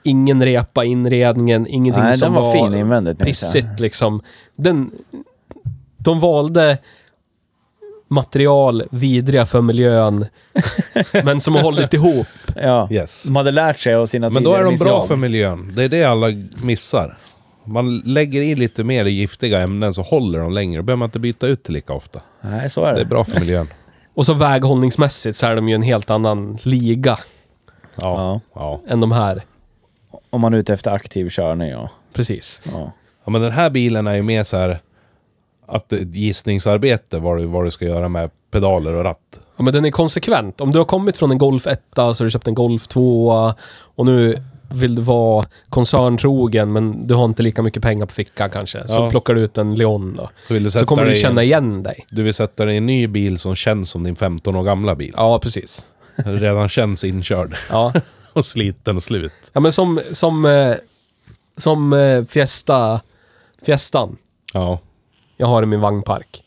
S1: ingen repa i inredningen, ingenting
S2: Nej,
S1: som
S2: den var, fin invändigt. minns jag.
S1: pissigt liksom. Den, de valde material vidriga
S2: <laughs>
S1: för miljön, men som har hållit ihop.
S2: Ja.
S4: Yes.
S2: De hade lärt sig av sina
S4: Men då
S2: tidigare
S4: är de bra
S2: misstag.
S4: för miljön. Det är det alla missar. Man lägger i lite mer giftiga ämnen så håller de längre. Då behöver man inte byta ut det lika ofta.
S2: Nej, så är
S4: Det
S2: det.
S4: är bra
S1: <laughs>
S4: för miljön.
S1: Och så väghållningsmässigt så är de ju en helt annan liga
S4: Ja. Ja.
S1: än de här.
S2: Om man är ute efter aktiv körning, ja.
S1: Precis.
S2: ja.
S4: ja. Men den här bilen är ju mer så här att det är ett gissningsarbete vad du, vad du ska göra med pedaler och ratt.
S1: Ja, men den är konsekvent. Om du har kommit från en Golf 1 så har du köpt en Golf 2 och nu vill du vara koncerntrogen men du har inte lika mycket pengar på fickan kanske. Så
S4: Ja.
S1: plockar du ut en Leon då.
S4: Så, vill du sätta
S1: Så kommer du
S4: dig i en-
S1: känna igen dig.
S4: Du vill sätta dig i en ny bil som känns som din 15 år gamla bil.
S1: Ja, precis.
S4: <laughs> Redan känns inkörd <laughs>
S1: Ja,
S4: och sliten och slut.
S1: ja men som, som, eh, som eh, Fiesta, Fiestan
S4: Ja.
S1: jag har i min vagnpark.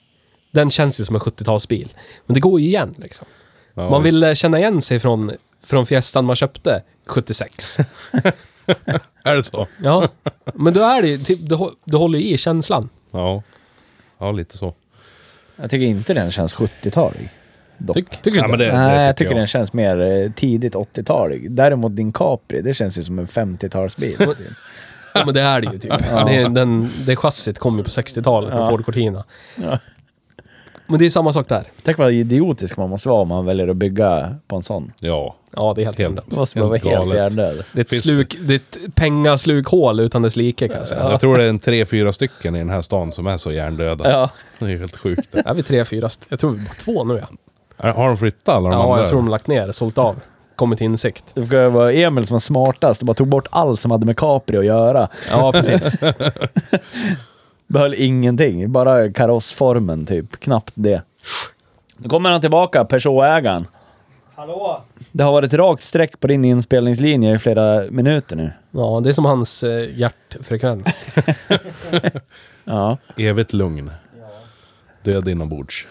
S1: Den känns ju som en 70-talsbil. Men det går ju igen liksom.
S4: ja
S1: Man
S4: visst.
S1: vill eh, känna igen sig från, från Fiestan man köpte 76.
S4: Är det så?
S1: Ja, men då är det ju, typ, du, hå- du håller ju i känslan.
S4: Ja. Ja, lite så.
S2: Jag tycker inte den känns 70-talig. dock.
S1: Ty, tycker du
S4: Ja,
S1: inte?
S4: men det,
S2: Nej,
S4: det
S2: jag tycker den känns mer eh, tidigt 80-talig. Däremot din Capri, det känns ju som en 50-talsbil.
S1: Ja, men det är det ju typ. Det, är den, det chassit kom ju på 60-talet med
S2: Ja.
S1: Ford Cortina.
S2: Ja.
S1: Men det är samma sak där.
S2: Tänk vad idiotisk man måste vara om man väljer att bygga på en sån.
S4: Ja.
S1: Ja, det är helt
S4: Helt.
S1: helt.
S2: Då måste man vara
S4: Helt
S2: helt
S4: galet.
S2: hjärndöd.
S1: Det är ett,
S4: Finns-
S1: sluk, det är ett pengaslukhål utan dess like kan jag säga.
S4: Jag tror det är en tre, fyra stycken i den här stan som är så hjärndöda.
S2: Ja.
S4: Det är ju helt sjukt. det.
S1: Är vi tre, fyra? st- Jag tror vi är bara två nu ja.
S4: Är- Har de flyttat alla de andra?
S1: Ja, jag tror de har lagt ner, sålt av. Kommit till insikt.
S2: Det brukar ju vara Emil som var smartast och bara tog bort allt som hade med Capri att göra.
S1: Ja, precis.
S2: <laughs> Behöll ingenting, bara karossformen typ. Knappt det. Nu kommer han tillbaka, Peugeot-ägaren.
S3: Hallå!
S2: Det har varit rakt streck på din inspelningslinje i flera minuter nu.
S1: Ja, det är som hans eh, hjärtfrekvens.
S2: Ja.
S4: Evigt lugn. Död inombords.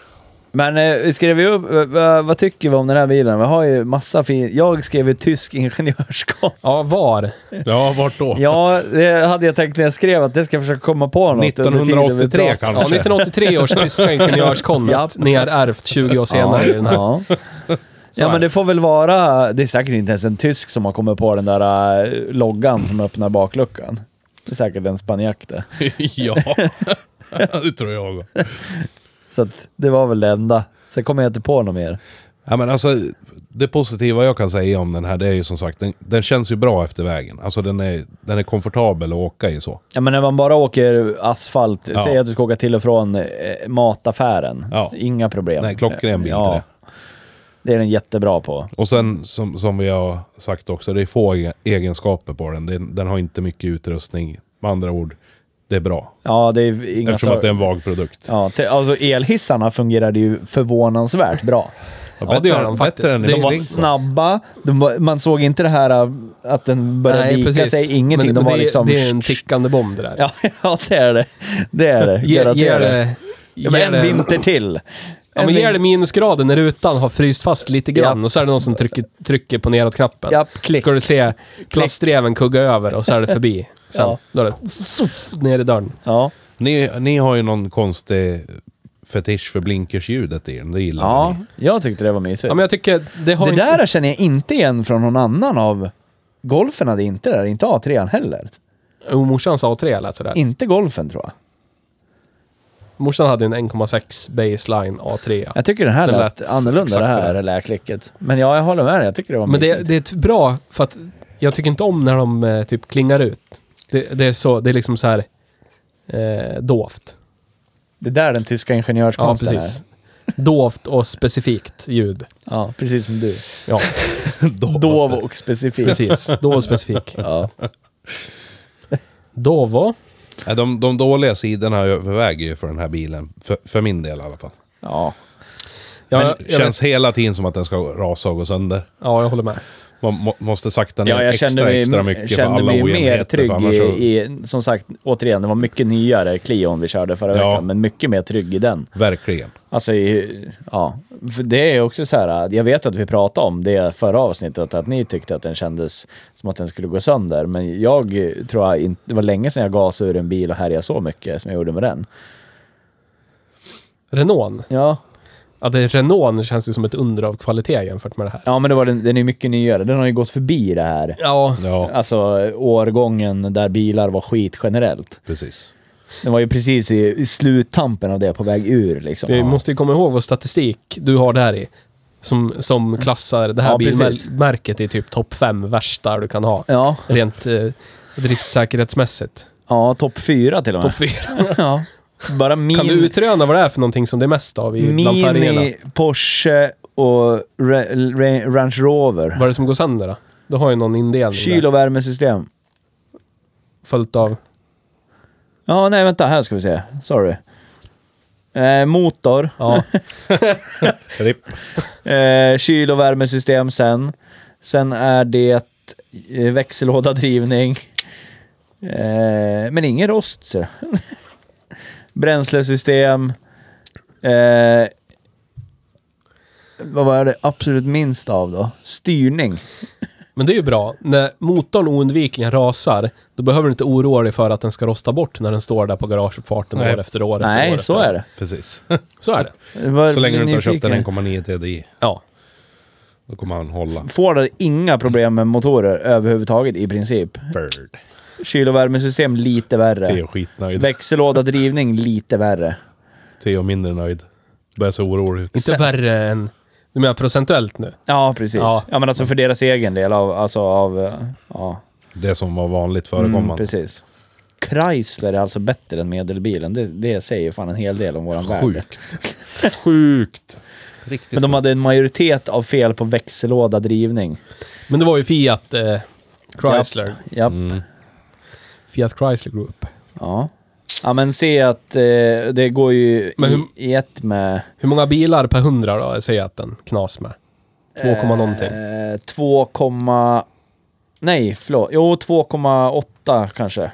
S2: Men eh, vi skrev ju upp, eh, vad- vad tycker vi om den här bilen? Vi har ju massa fin... Jag skrev ju tysk ingenjörskonst.
S1: Ja, var?
S4: Ja, vart då?
S2: Ja, det hade jag tänkt när jag skrev att det ska jag försöka komma på något. under tiden vi
S4: 1983
S2: pratar.
S1: Ja,
S4: kanske?
S1: 1983 års <laughs> tyska ingenjörskonst ni har ärvt 20 år senare i den här.
S2: Ja. ja, men det får väl vara... Det är säkert inte ens en tysk som har kommit på den där eh, loggan som öppnar bakluckan. Det är säkert en spanjack det.
S4: ja. <laughs> det tror jag också.
S2: Så att det var väl det enda. Sen kommer jag inte på något mer.
S4: Ja, men alltså, det positiva jag kan säga om den här det är ju som sagt, den, den känns ju bra efter vägen. Alltså den är, den är komfortabel att åka i så.
S2: Ja, men när man bara åker asfalt,
S4: Ja.
S2: säg att du ska åka till och från eh, mataffären.
S4: Ja.
S2: Inga problem.
S4: Nej, klockren bil till
S2: ja.
S4: det.
S2: det är den jättebra på.
S4: Och sen som, som vi har sagt också, det är få egen- egenskaper på den. den. Den har inte mycket utrustning. Med andra ord, det är bra.
S2: Ja, det är inga
S4: Eftersom att det är
S2: sorg-
S4: en vag produkt.
S2: Ja, te- alltså elhissarna fungerade ju förvånansvärt bra.
S1: Ja, det gör de faktiskt.
S4: Bättre än
S1: Det
S4: det
S1: är
S2: De var snabba, de var, man såg inte det här äh, att den började vika sig, ingenting.
S1: Men-
S2: de
S1: men
S2: var
S1: det,
S2: liksom...
S1: det är
S2: <laughs>
S1: en tickande bomb det där.
S2: ja, ja, det är det. Det är det.
S1: Ge, ge
S2: Garanterat.
S1: det... Ge
S2: Ja, men en
S1: det
S2: vinter till.
S1: Ja, men
S2: Eller-
S1: ger det minusgraden när rutan har fryst fast lite grann
S2: Ja.
S1: och så är det någon som trycker, trycker på neråt-knappen.
S2: Japp, klick.
S1: Ska du se plastreven kugga över och så är
S2: <laughs>
S1: det förbi. Sen,
S2: Ja.
S1: då är det zoff, ner i dörren.
S2: Ja.
S4: Ni, ni har ju någon konstig fetisch för blinkersljudet i den. Det gillar
S2: ja,
S4: ni.
S2: jag tyckte det var mysigt.
S1: Ja, men jag tycker det har
S2: det
S1: inte...
S2: där känner jag inte igen från någon annan av... Golfen hade inte det där, inte A3 heller.
S1: Jo, morsans A3 lät sådär.
S2: Inte golfen tror jag.
S1: Morsan hade ju en 1,6 baseline A3.
S2: Jag tycker den här
S1: Det
S2: lät,
S1: lät
S2: annorlunda,
S1: exakt
S2: det
S1: sådär.
S2: här det där klicket. Men ja, jag håller med dig. Jag tycker det var
S1: Men det,
S2: mysigt.
S1: det är ett bra, för att jag tycker inte om när de eh, typ klingar ut. Det, det är så, det är liksom så här eh, dovt.
S2: Det är där den tyska
S1: Ja,
S2: ingenjörskonsten
S1: precis. Dovt och specifikt ljud.
S2: är. Ja, precis som du.
S4: <laughs>
S1: Ja,
S2: Dov och specifik.
S1: precis. Dov och specifik.
S2: Ja.
S1: Dovo.
S4: Nej, Äh, De, de dåliga sidorna överväger ju för den här bilen. För, för min del i alla fall.
S2: ja.
S1: Ja,
S4: Men
S1: jag,
S4: det
S1: jag,
S4: känns
S1: vet-
S4: hela tiden som att den ska rasa och gå sönder.
S1: ja, jag håller med.
S4: Man må, måste sakta ner
S2: Ja, jag
S4: extra,
S2: kände mig,
S4: extra mycket för
S2: kände
S4: alla
S2: mig mer
S4: ojämnheter.
S2: trygg
S4: för
S2: i,
S4: annars så
S2: i... Som sagt, återigen, det var mycket nyare Clion vi körde förra
S4: Ja.
S2: veckan, men mycket mer trygg i den.
S4: Verkligen.
S2: Alltså, i- ja. För det är också så här, jag vet att vi pratade om det förra avsnittet, att ni tyckte att den kändes som att den skulle gå sönder. Men jag tror jag inte, det var länge sedan jag gasade ur en bil och härjade så mycket som jag gjorde med den.
S1: Renault.
S2: Ja,
S1: Ja, det är Renault känns ju som ett under av kvalitet jämfört med det här.
S2: ja men det var den, den är mycket nyare. Den har ju gått förbi det här.
S1: Ja,
S4: Ja,
S2: Alltså årgången där bilar var skit generellt.
S4: precis.
S2: Den var ju precis i, i sluttampen av det, på väg ur liksom.
S1: vi måste ju komma ihåg vår statistik du har där i. Som, som klassar det här
S2: Ja, precis.
S1: bilmärket i typ topp fem värsta du kan ha.
S2: Ja,
S1: Rent eh, driftsäkerhetsmässigt.
S2: ja topp fyra till och med.
S1: Topp fyra.
S2: <laughs> ja. Bara
S1: Kan du
S2: min,
S1: utröna vad det är för någonting som det är mest av i, bland färgerna?
S2: Mini, Porsche och Ra- Ra- Range Rover.
S1: Vad är det som går sönder då? Du har ju någon indelning
S2: Kyl
S1: där,
S2: och värmesystem.
S1: följt av...
S2: Ja, nej vänta, här ska vi se. Sorry. Eh, motor,
S1: Ja,
S4: Ripp.
S2: eh, kyl och värmesystem sen. Sen är det eh, växellåda, drivning. Eh, men ingen rost. ser jag. <laughs> Bränslesystem. Eh, vad var det absolut minst av då? Styrning.
S1: men det är ju bra. När motorn oundvikligen rasar, då behöver du inte oroa dig för att den ska rosta bort när den står där på garageuppfarten
S4: Nej.
S1: år efter år efter år
S2: Nej,
S1: efter
S2: så
S1: år.
S2: är det.
S4: Precis.
S1: Så är det.
S2: Var
S4: Så länge du inte har köpt
S2: nyfiken.
S4: en 1,9 TDI,
S1: Ja.
S4: då kommer han hålla.
S2: Ford har inga problem med motorer överhuvudtaget i princip.
S4: Bird.
S2: Kyl och värmesystem lite värre.
S4: Theo skitnöjd.
S2: Växellåda drivning lite värre.
S4: Theo mindre nöjd. Börjar se orolig ut.
S1: Inte värre än... Du menar procentuellt nu?
S2: Ja, precis.
S1: Ja.
S2: Ja. men alltså för deras egen del av, alltså av, eh, ja.
S4: Det som var vanligt
S2: Mm,
S4: förekommande.
S2: precis. Chrysler är alltså bättre än medelbilen. Det, det säger fan en hel del om våran värld.
S4: Sjukt. Sjukt. Riktigt.
S2: Men de hade en majoritet av fel på växellåda drivning.
S1: Men det var ju Fiat eh, Chrysler.
S2: Japp.
S1: Mm. Fiat Chrysler Group.
S2: Ja. Ja, men se att eh, det går ju
S1: Men hur-
S2: i, i ett med...
S1: Hur många bilar per hundra då, säger jag att den knas med? 2, någonting.
S2: Eh, 2, nej förlåt. Jo, 2,8 kanske.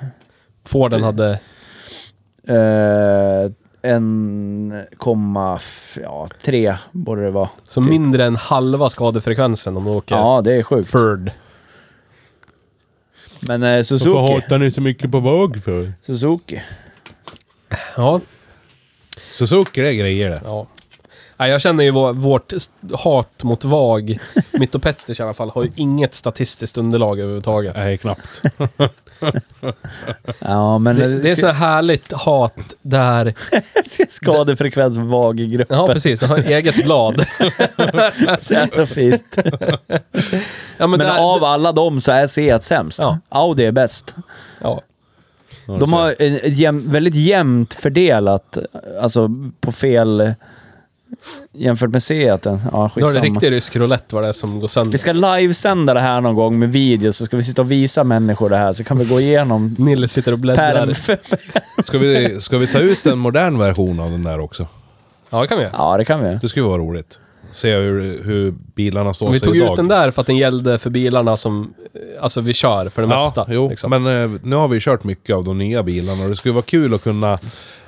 S1: Forden hade...
S2: Eh, 1,3 ja, tre borde det vara.
S1: Så mindre än halva skadefrekvensen om du åker
S2: Ja, det är sjukt.
S1: Ford.
S2: Men eh, Suzuki.
S4: ni så mycket på våg för?
S2: Suzuki.
S1: Ja.
S4: Suzuki det är grejer det.
S1: Ja. Nej, jag känner ju vår, vårt s- hat mot VAG, mitt och Petters i alla fall, har ju inget statistiskt underlag överhuvudtaget.
S4: Nej, knappt.
S2: Ja, men...
S1: Det, det
S2: <laughs>
S1: är så här härligt hat där...
S2: skadefrekvens vag i <laughs> gruppen.
S1: Ja, precis. Den har eget blad.
S2: Så jävla fint.
S1: Ja,
S2: <laughs>
S1: men
S2: Men
S1: där,
S2: av alla dem så är Seat sämst.
S1: Ja.
S2: Audi är bäst.
S1: ja.
S2: <laughs>
S4: du
S2: De har en- ett jäm, väldigt jämnt fördelat, alltså på fel... Jämfört med Seat. Ja,
S1: Då är det
S2: skitsamma.
S1: riktig rysk roulette vad det är som går sönder.
S2: Vi ska livesända det här någon gång med video, så ska vi sitta och visa människor det här, så kan vi gå igenom
S1: Nille sitter och bläddrar.
S2: pärm för...
S4: Ska vi, ska vi ta ut en modern version av den där också?
S1: Ja, det kan vi göra.
S2: <laughs> Ja, det kan vi.
S4: Det skulle vara roligt. Se hur, hur bilarna står
S1: Vi
S4: sig
S1: tog
S4: idag.
S1: ut den där för att den gällde för bilarna som... eh, Alltså, vi kör för det
S4: Ja,
S1: mesta.
S4: jo.
S1: liksom.
S4: men eh, nu har vi kört mycket av de nya bilarna och det skulle vara kul att kunna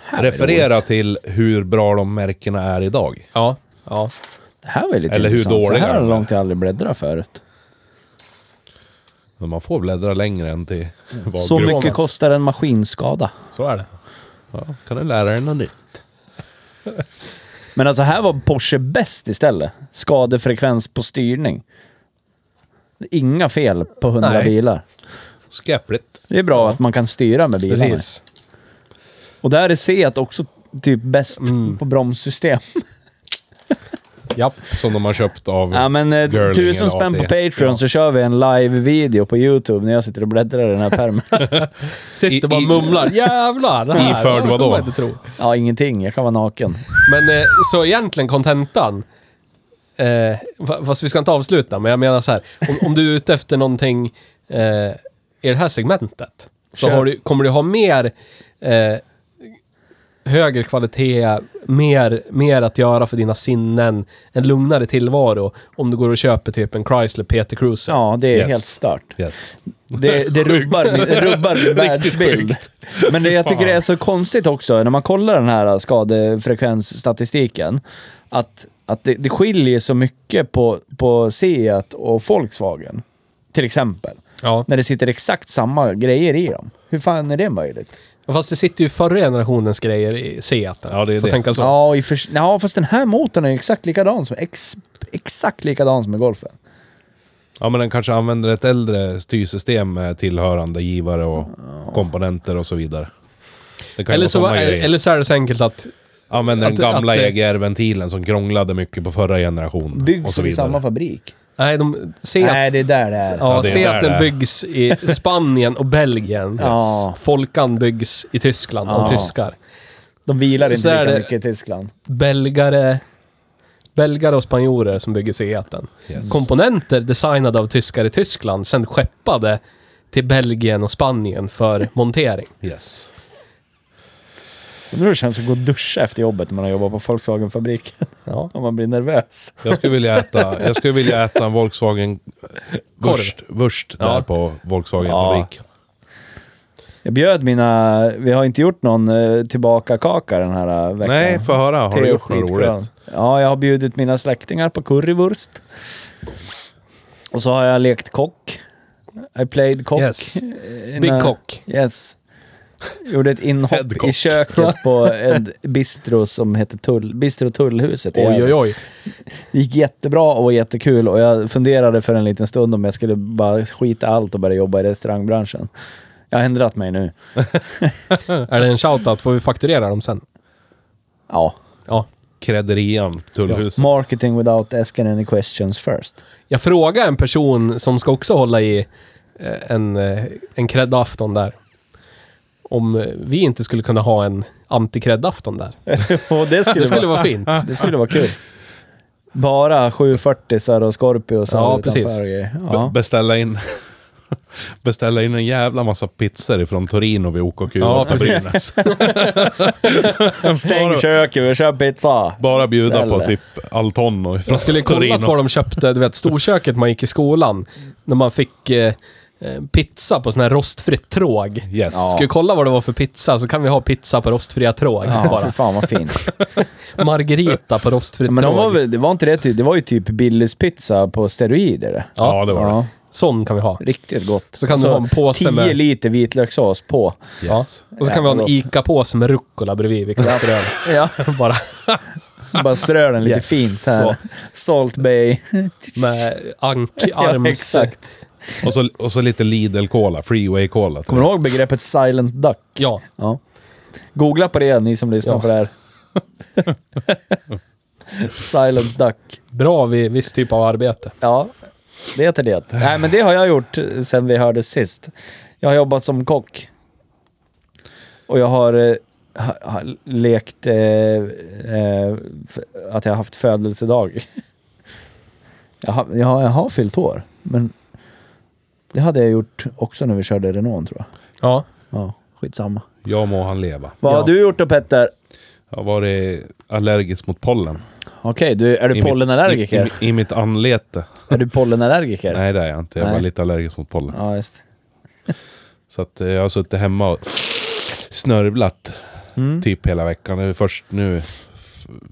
S2: här var ju
S4: Referera
S2: roligt.
S4: till hur bra de märkena är idag.
S1: Ja, ja.
S2: Det här var ju lite
S4: Eller hur
S2: intressant. Så
S4: dåliga
S2: här har
S4: de är.
S2: långt jag aldrig bläddrat förut.
S4: Men man får bläddra längre än till
S1: Mm.
S4: vad
S2: Så
S4: grupp-
S2: mycket kostar en maskinskada.
S1: Så är det.
S4: Ja, kan du lära dig något nytt?
S2: Men alltså här var Porsche bäst istället. Skadefrekvens på styrning. Inga fel på 100
S1: Nej.
S2: bilar.
S4: Skräpligt.
S2: Det är bra att man kan styra med bilarna.
S1: Precis.
S2: Och där är Seat också typ bäst på bromssystem.
S1: Ja.
S4: Som de har köpt
S2: <laughs>
S4: av
S2: Ja men eh,
S4: Girling
S2: tusen
S4: eller
S2: spänn på
S4: AT.
S2: Patreon så kör vi en live-video på YouTube när jag sitter och bläddrar i den här pärmen.
S1: Sitter bara och
S4: I- i-
S1: mumlar. Jävlar! Det här,
S4: Iförd
S1: det
S4: vadå?
S1: kommer jag inte tro.
S2: <laughs> ja, ingenting. Jag kan vara naken.
S1: Men eh, så egentligen kontentan. Eh, fa- fast vi ska inte avsluta, men jag menar så här. Om, om du är ute efter någonting eh, i det här segmentet. Så
S2: Kör.
S1: har du, kommer du ha mer eh, högre kvalitet, mer, mer att göra för dina sinnen, en lugnare tillvaro om du går och köper typ en Chrysler PT Cruiser.
S2: Ja, det är
S4: Yes.
S2: helt stört.
S4: Yes.
S2: Det, det rubbar min, det rubbar
S1: <laughs>
S2: min världsbild. Men det, jag tycker det är så konstigt också, när man kollar den här skadefrekvensstatistiken, att, att det, det skiljer så mycket på, på Seat och Volkswagen. Till exempel.
S1: Ja.
S2: När det sitter exakt samma grejer i dem. Hur fan är det möjligt?
S1: Fast det sitter ju förra generationens grejer i Seaten.
S4: Ja, det är
S1: Får
S4: det.
S1: tänka så.
S2: Ja, i för, ja, fast den här motorn är ju exakt likadan som, ex, exakt likadan som i golfen.
S4: Ja, men den kanske använder ett äldre styrsystem med tillhörande givare och komponenter och så vidare. Det kan ju
S1: Eller,
S4: vara
S1: så,
S4: såna grejer.
S1: eller så är det så enkelt att
S4: Använder
S1: att-
S4: den gamla
S1: att-
S4: EGR-ventilen som krånglade mycket på förra generationen. och
S2: Byggs
S4: så
S2: i
S4: vidare.
S2: samma fabrik.
S1: nej, de, Seat
S2: Nej, det är där det är.
S1: Ja,
S4: Ja, det är
S1: se
S4: där
S1: att
S4: det
S1: den
S4: är.
S1: byggs
S4: <laughs>
S1: i Spanien och Belgien.
S2: Ja.
S1: Folkan byggs i Tyskland
S2: Ja.
S1: av tyskar.
S2: De vilar
S1: Så-
S2: inte
S1: så är
S2: lika
S1: det-
S2: mycket i Tyskland.
S1: Belgare, belgare och spanjorer som bygger Seaten.
S4: Yes.
S1: Komponenter designade av tyskar i Tyskland, sen skeppade till Belgien och Spanien
S4: <laughs>
S1: för montering.
S4: Yes.
S2: Undrar hur det känns att gå och duscha efter jobbet när man har jobbat på Volkswagen-fabriken.
S1: Ja.
S2: <laughs> Om man blir nervös.
S4: Jag skulle vilja äta, jag skulle vilja äta en Volkswagen
S1: Korv.
S4: Wurst, wurst där
S1: Ja.
S4: på Volkswagen-fabriken.
S2: Jag bjöd mina... Vi har inte gjort någon eh, tillbaka-kaka den här eh, veckan.
S4: Nej, få höra. Har du
S2: Theo
S4: gjort något
S2: skitskön.
S4: roligt?
S2: Ja, jag har bjudit mina släktingar på currywurst. Och så har jag lekt kock. I played kock.
S1: Yes.
S2: Eh,
S1: Big
S2: när-
S1: Cock.
S2: Yes. Gjorde ett
S4: Head
S2: inhopp i
S4: cock.
S2: köket på en
S4: <laughs>
S2: bistro som heter Tull, Bistro Tullhuset. i
S1: Oj,
S2: Gävle.
S1: oj, oj.
S2: Det gick jättebra och var jättekul och jag funderade för en liten stund om jag skulle bara skita allt och börja jobba i restaurangbranschen. Jag har ändrat mig nu.
S1: Är det en shoutout? Får vi fakturera dem sen?
S2: Ja.
S1: Ja.
S4: Krädderian, Tullhuset.
S2: Marketing without asking any questions first.
S1: Jag frågade en person som ska också hålla i eh, en, eh, en creddafton där. Om eh, vi inte skulle kunna ha en anti-creddafton där.
S2: Och det skulle,
S1: Det skulle vara fint.
S2: det skulle vara kul. Bara 740 och Scorpios
S1: Ja,
S2: här utanför
S1: precis.
S2: och grejer.
S4: Be-
S2: Ja.
S4: beställa in... <laughs> Beställa in en jävla massa pizzor ifrån Torino vid OKQ
S1: Ja,
S4: på
S1: precis.
S4: Brynäs.
S2: Stäng
S4: <laughs> Bara-
S2: köket, vi kör pizza!
S4: Bara bjuda på
S2: Ställe.
S4: typ Altonno ifrån
S1: Jag skulle kolla
S4: Torino.
S1: var de köpte, du vet, storköket man gick i skolan. När man fick eh, eh, pizza på sån här rostfritt tråg.
S4: Yes.
S1: Ska vi kolla vad det var för pizza, så kan vi ha pizza på rostfria tråg.
S2: Ja, fy
S1: Bara.
S2: fan vad fint.
S1: Margarita på rostfritt
S2: Men
S1: tråg.
S2: de var väl, det var inte det, typ- det var ju typ Billys pizza på steroider.
S4: Ja, det var det.
S1: Sån kan vi ha.
S2: Riktigt gott.
S1: Så kan du ha en påse
S2: 10
S1: med-
S2: liter vitlökssås på.
S4: Yes.
S1: Och så kan vi ha en
S2: Jävlar.
S1: ICA-påse med rucola bredvid. Vi kan strö
S2: Ja.
S1: <laughs> bara
S2: Bara strö den lite
S1: Yes.
S2: fint så här.
S1: Så.
S2: Salt Bay. <laughs>
S1: med
S2: Ja,
S1: ankarms...
S2: exakt.
S4: Och, så, och så lite Lidl-cola, Freeway-cola.
S2: Kommer du ihåg begreppet silent duck?
S1: Ja,
S2: Ja. Googla på det ni som lyssnar
S1: Ja.
S2: på det här.
S1: <laughs>
S2: silent duck.
S1: bra vid viss typ av arbete.
S2: Ja, det är det. Nej, men det har jag gjort sen vi hördes sist. Jag har jobbat som kock. Och jag har, eh, ha, ha, lekt eh, eh, f- att jag har haft födelsedag. <laughs> jag, har, jag, har, jag har fyllt år, men det hade jag gjort också när vi körde Renault tror jag.
S1: Ja.
S2: Ja, skitsamma.
S4: Jag må han leva.
S2: Vad
S1: Ja.
S2: har du gjort då Petter?
S4: Jag har varit allergisk mot pollen.
S2: Okej, du, är du
S4: I mitt-
S2: pollenallergiker?
S4: I, i, I mitt anlete.
S2: är du pollenallergiker?
S4: Nej, det är jag inte. Jag är bara
S2: Nej.
S4: lite allergisk mot pollen.
S2: Ja, just.
S4: Så att eh, jag har suttit hemma och snörvlat
S2: Mm.
S4: Typ hela veckan. Det är först nu f-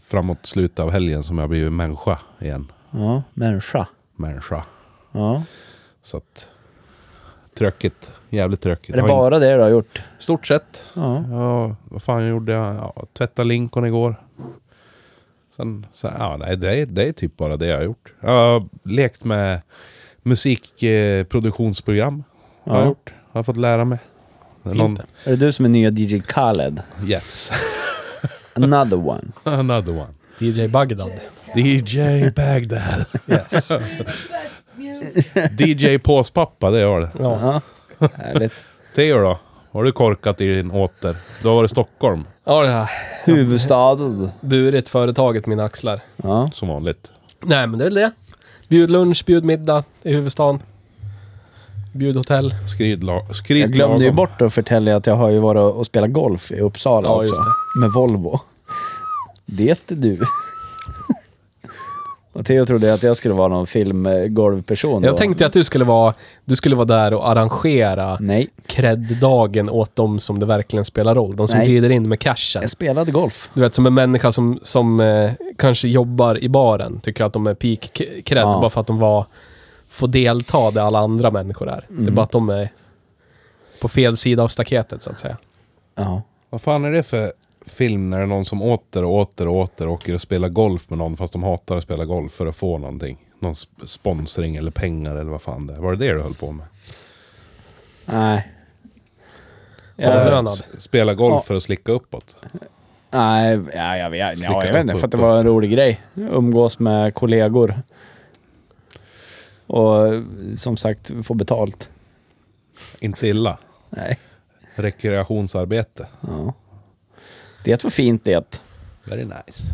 S4: framåt slutet av helgen som jag har blivit människa igen.
S2: Ja, människa.
S4: Människa.
S2: Ja.
S4: Så att... Trökigt. Jävligt trökigt.
S2: Är det
S4: Har in-
S2: bara det du har gjort?
S4: Stort sett.
S2: Ja.
S4: Ja, vad fan gjorde jag? Ja, tvättade linkon igår. Sen, sen ja, nej, det, är, det är typ bara det jag har gjort. Jag har lekt med musikproduktionsprogram. Ja. Har jag
S2: Ja.
S4: gjort. Har fått lära mig. Det är Någon,
S2: Är det du som är nya DJ Khaled?
S4: yes. <laughs>
S2: Another one.
S4: Another one.
S1: DJ Bagdad.
S4: DJ Bagdad. Yes. DJ Påspappa, det gör det.
S1: <laughs> Ja.
S2: Ja. Härligt.
S4: Theo då? Har du korkat i din åter? Du har varit i Stockholm,
S1: ja, det har
S2: Huvudstad.
S1: burit företaget på mina axlar.
S2: Ja.
S4: som vanligt.
S1: Nej, men det är väl det. Bjud lunch, bjud middag i huvudstaden. Bjud hotell.
S4: Skrid, la, skrid
S2: Jag glömde ju
S4: lagom.
S2: bort att förtälja att jag har ju varit och spelat golf i Uppsala
S1: Ja,
S2: också.
S1: just
S2: Med Volvo. Det är du. <laughs> Och Theo trodde att jag skulle vara någon filmgolvperson
S1: Jag
S2: då.
S1: tänkte att du skulle vara, du skulle vara där och arrangera
S2: Nej,
S1: cred-dagen åt de som det verkligen spelar roll. De som
S2: Nej.
S1: glider in med cashen.
S2: jag spelade golf.
S1: Du vet, som en människa som, som eh, kanske jobbar i baren, tycker att de är peak k- cred
S2: Ja.
S1: bara för att de var, får delta där alla andra människor är.
S2: Mm.
S1: Det är bara att de är på fel sida av staketet, så att säga.
S2: Ja.
S4: Vad fan är det för film när det är någon som åter och åter och åter åker och spelar golf med någon fast de hatar att spela golf för att få någonting? Någon sp- sponsring eller pengar eller vad fan det är. Var det det du höll på med?
S2: Nej.
S1: Ja,
S4: Det här,
S1: lönad.
S4: s- Spela golf
S2: Ja.
S4: för att slicka uppåt.
S2: Nej, ja, jag, vet-
S4: Slicka
S2: ja, jag vet inte.
S4: upp,
S2: För att det
S4: upp,
S2: var en rolig grej. Umgås med kollegor. Och som sagt, få betalt.
S4: Inte illa.
S2: Nej.
S4: Rekreationsarbete.
S2: Ja. Det var fint det.
S4: Very nice.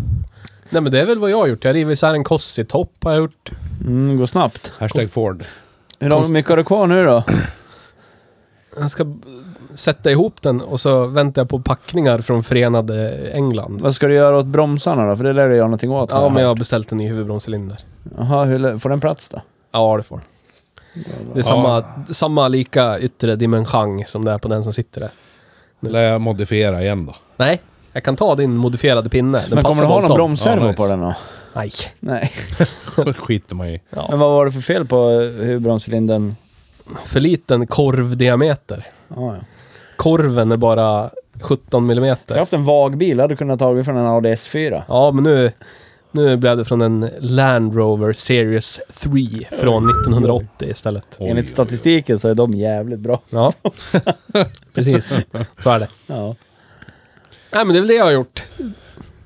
S1: Nej, men det är väl vad jag har gjort. Jag har rivit isär en Kossi-topp, har jag gjort.
S2: Mm, går snabbt.
S4: Hashtag Ford.
S2: Hur lång- mycket har du kvar nu då?
S1: Jag ska b- sätta ihop den och så väntar jag på packningar från Förenade England.
S2: Vad ska du göra åt bromsarna då? För det lär du göra någonting åt. har
S1: Ja, men jag har
S2: hört.
S1: beställt en ny huvudbromscylinder.
S2: Jaha, hur, lä- får den plats då?
S1: Ja, det får Det är samma, samma lika yttre dimension som det är på den som sitter där.
S4: Lär jag modifiera igen då.
S1: Nej, jag kan ta din modifierade pinne.
S2: men
S1: Den
S2: kommer
S1: passar
S2: du ha någon
S1: Bolton.
S2: bromsservo
S4: Ja, nice.
S2: på den då?
S1: Nej.
S2: Nej.
S4: Det skiter man i.
S1: Ja.
S2: Men vad var det för fel på huvudbromscylindern?
S1: För liten korvdiameter.
S2: Ja, ja.
S1: Korven är bara 17
S2: Jag har
S1: millimeter.
S2: haft en vag bil, hade du kunnat tagit från en Audi S4.
S1: Ja, men nu, nu blev det från en Land Rover Series 3 från 1980 istället.
S4: Oj,
S2: Enligt
S4: oj, oj.
S2: statistiken så är de jävligt bra. <laughs>
S1: Ja, precis. Så är det.
S2: Ja.
S1: Nej, men det är väl det jag har gjort.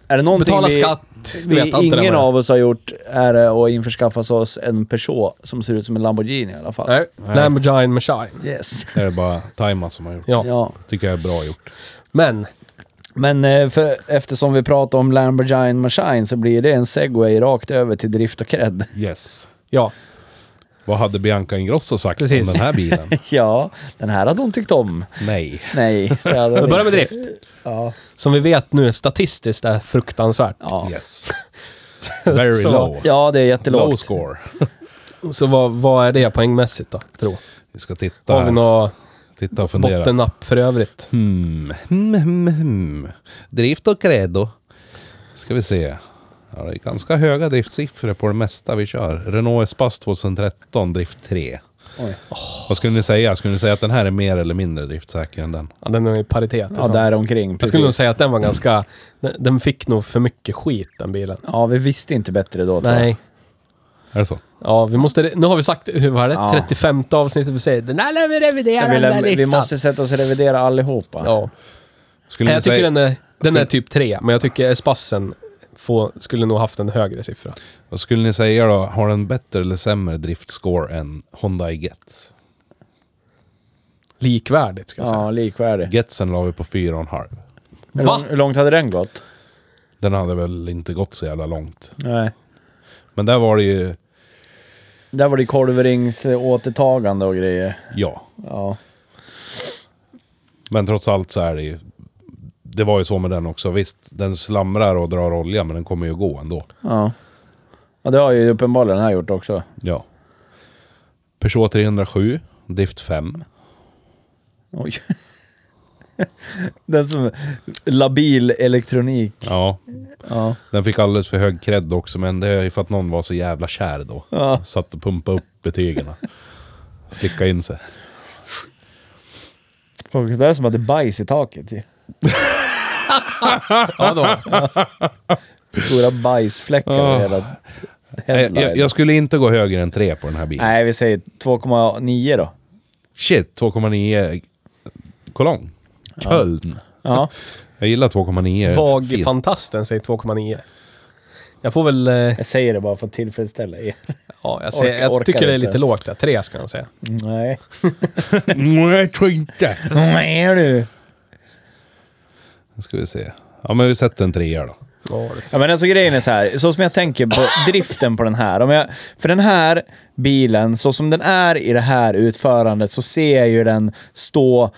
S2: Är det någonting
S1: Betala
S2: vi,
S1: skatt.
S2: vi
S1: vet allt det där
S2: ingen
S1: med.
S2: av oss har gjort är det att införskaffa oss en Peugeot som ser ut som en Lamborghini i alla fall.
S1: Nej, Lamborghini Machine.
S2: Yes.
S4: Det är bara Taima som har gjort.
S1: Ja.
S2: Ja.
S4: Tycker jag är bra gjort.
S1: men
S2: Men eh, för, eftersom vi pratar om Lamborghini Machine så blir det en segway rakt över till drift och cred. <laughs>
S4: Yes.
S1: ja,
S4: Vad hade Bianca Ingrosso sagt
S1: Precis.
S4: om den här bilen?
S2: Ja, den här hade hon tyckt om.
S1: <laughs>
S4: Nej.
S2: Nej, det hade
S1: vi
S2: hon
S1: börjar med
S2: inte.
S1: drift.
S2: Ja.
S1: Som vi vet nu statistiskt är fruktansvärt.
S2: Ja.
S4: Yes.
S1: <laughs>
S4: Very
S1: Så-
S4: low.
S2: ja, det är
S4: Low
S2: jättelågt.
S4: score.
S1: Så vad, vad är det poängmässigt då, tro?
S4: Vi ska titta,
S1: Har vi något
S4: titta och fundera.
S1: bottennapp för övrigt?
S2: Mm.
S4: Hmm. Hmm, hmm, hmm. Drift och credo. Ska vi se. Ja, det är ganska höga driftsiffror på det mesta vi kör. Renault Espace 2013, drift 3.
S2: Oj.
S4: Vad skulle ni säga? Skulle ni säga att den här är mer eller mindre driftsäker än den?
S1: Ja, den är i paritet. liksom.
S2: Ja, där omkring.
S1: jag
S2: Precis.
S1: skulle nog säga att den var ganska... den- Den fick nog för mycket skit, den bilen.
S2: Ja, vi visste inte bättre då. tror jag.
S1: Nej.
S4: Är det så?
S1: Ja, vi måste... Nu har vi sagt... Hur var det?
S2: Ja.
S1: 35 avsnittet. Vi säger den där lär vi revidera,
S2: Jag vill,
S1: den där
S2: vi
S1: listan.
S2: måste sätta oss och revidera allihopa.
S1: Ja.
S4: Skulle
S1: Nej,
S4: ni
S1: Jag tycker
S4: säga,
S1: den är, den är typ tre, men jag tycker Espassen får, skulle nog haft en högre siffra.
S4: Vad skulle ni säga då? Har den bättre eller sämre driftscore än Honda i Gets?
S1: Likvärdigt, ska jag säga.
S2: Ja, likvärdig.
S4: Getsen la vi på 4,5.
S2: Hur,
S1: Va?
S2: lång, hur långt hade den gått?
S4: Den hade väl inte gått så jävla långt.
S2: Nej.
S4: Men där var det ju,
S2: Där var det kolvringsåtertagande och grejer.
S4: ja.
S2: Ja.
S4: Men trots allt så är det ju... Det var ju så med den också. Visst, den slamrar och drar olja, men den kommer ju gå ändå.
S2: Ja. ja det har ju uppenbarligen den här gjort också.
S4: Ja.
S2: <laughs>
S4: Peugeot 307, drift 5.
S2: Oj. Den som... Labil elektronik.
S4: Ja.
S2: Ja.
S4: Den fick alldeles för hög cred också, men det är ju för att någon var så jävla kär då.
S2: Ja.
S4: Satt och pumpade upp betygen. Sticka in sig.
S2: Och Det där är som att det är bajs i taket <laughs> ju.
S1: Ja, då.
S2: Stora bajsfläckar
S4: Ja.
S2: i <laughs> hela...
S4: Jag, jag, jag skulle inte gå högre än 3 på den här bilen.
S2: Nej, vi säger 2,9 då.
S4: Shit, 2,9 kolong. Köln.
S2: Ja.
S4: <laughs> Jag gillar 2,9. Fint.
S1: Vagfantasten säger 2,9. Jag får väl... eh,
S2: Jag säger det bara för att tillfredsställa er.
S1: Ja, jag, säger,
S2: Orkar-
S1: jag
S2: orkar
S1: tycker det är
S2: inte
S1: lite
S2: ens.
S1: lågt där. Tre ska jag säga.
S2: Nej.
S4: <laughs> Nej, jag tror inte.
S2: Nej du.
S4: Nu ska vi se. Ja, men vi sätter en 3 då.
S1: Ja, det-
S2: Ja, men alltså grejen är så här, så som jag tänker på driften på den här. Om jag, för den här bilen, så som den är i det här utförandet, så ser jag ju den stå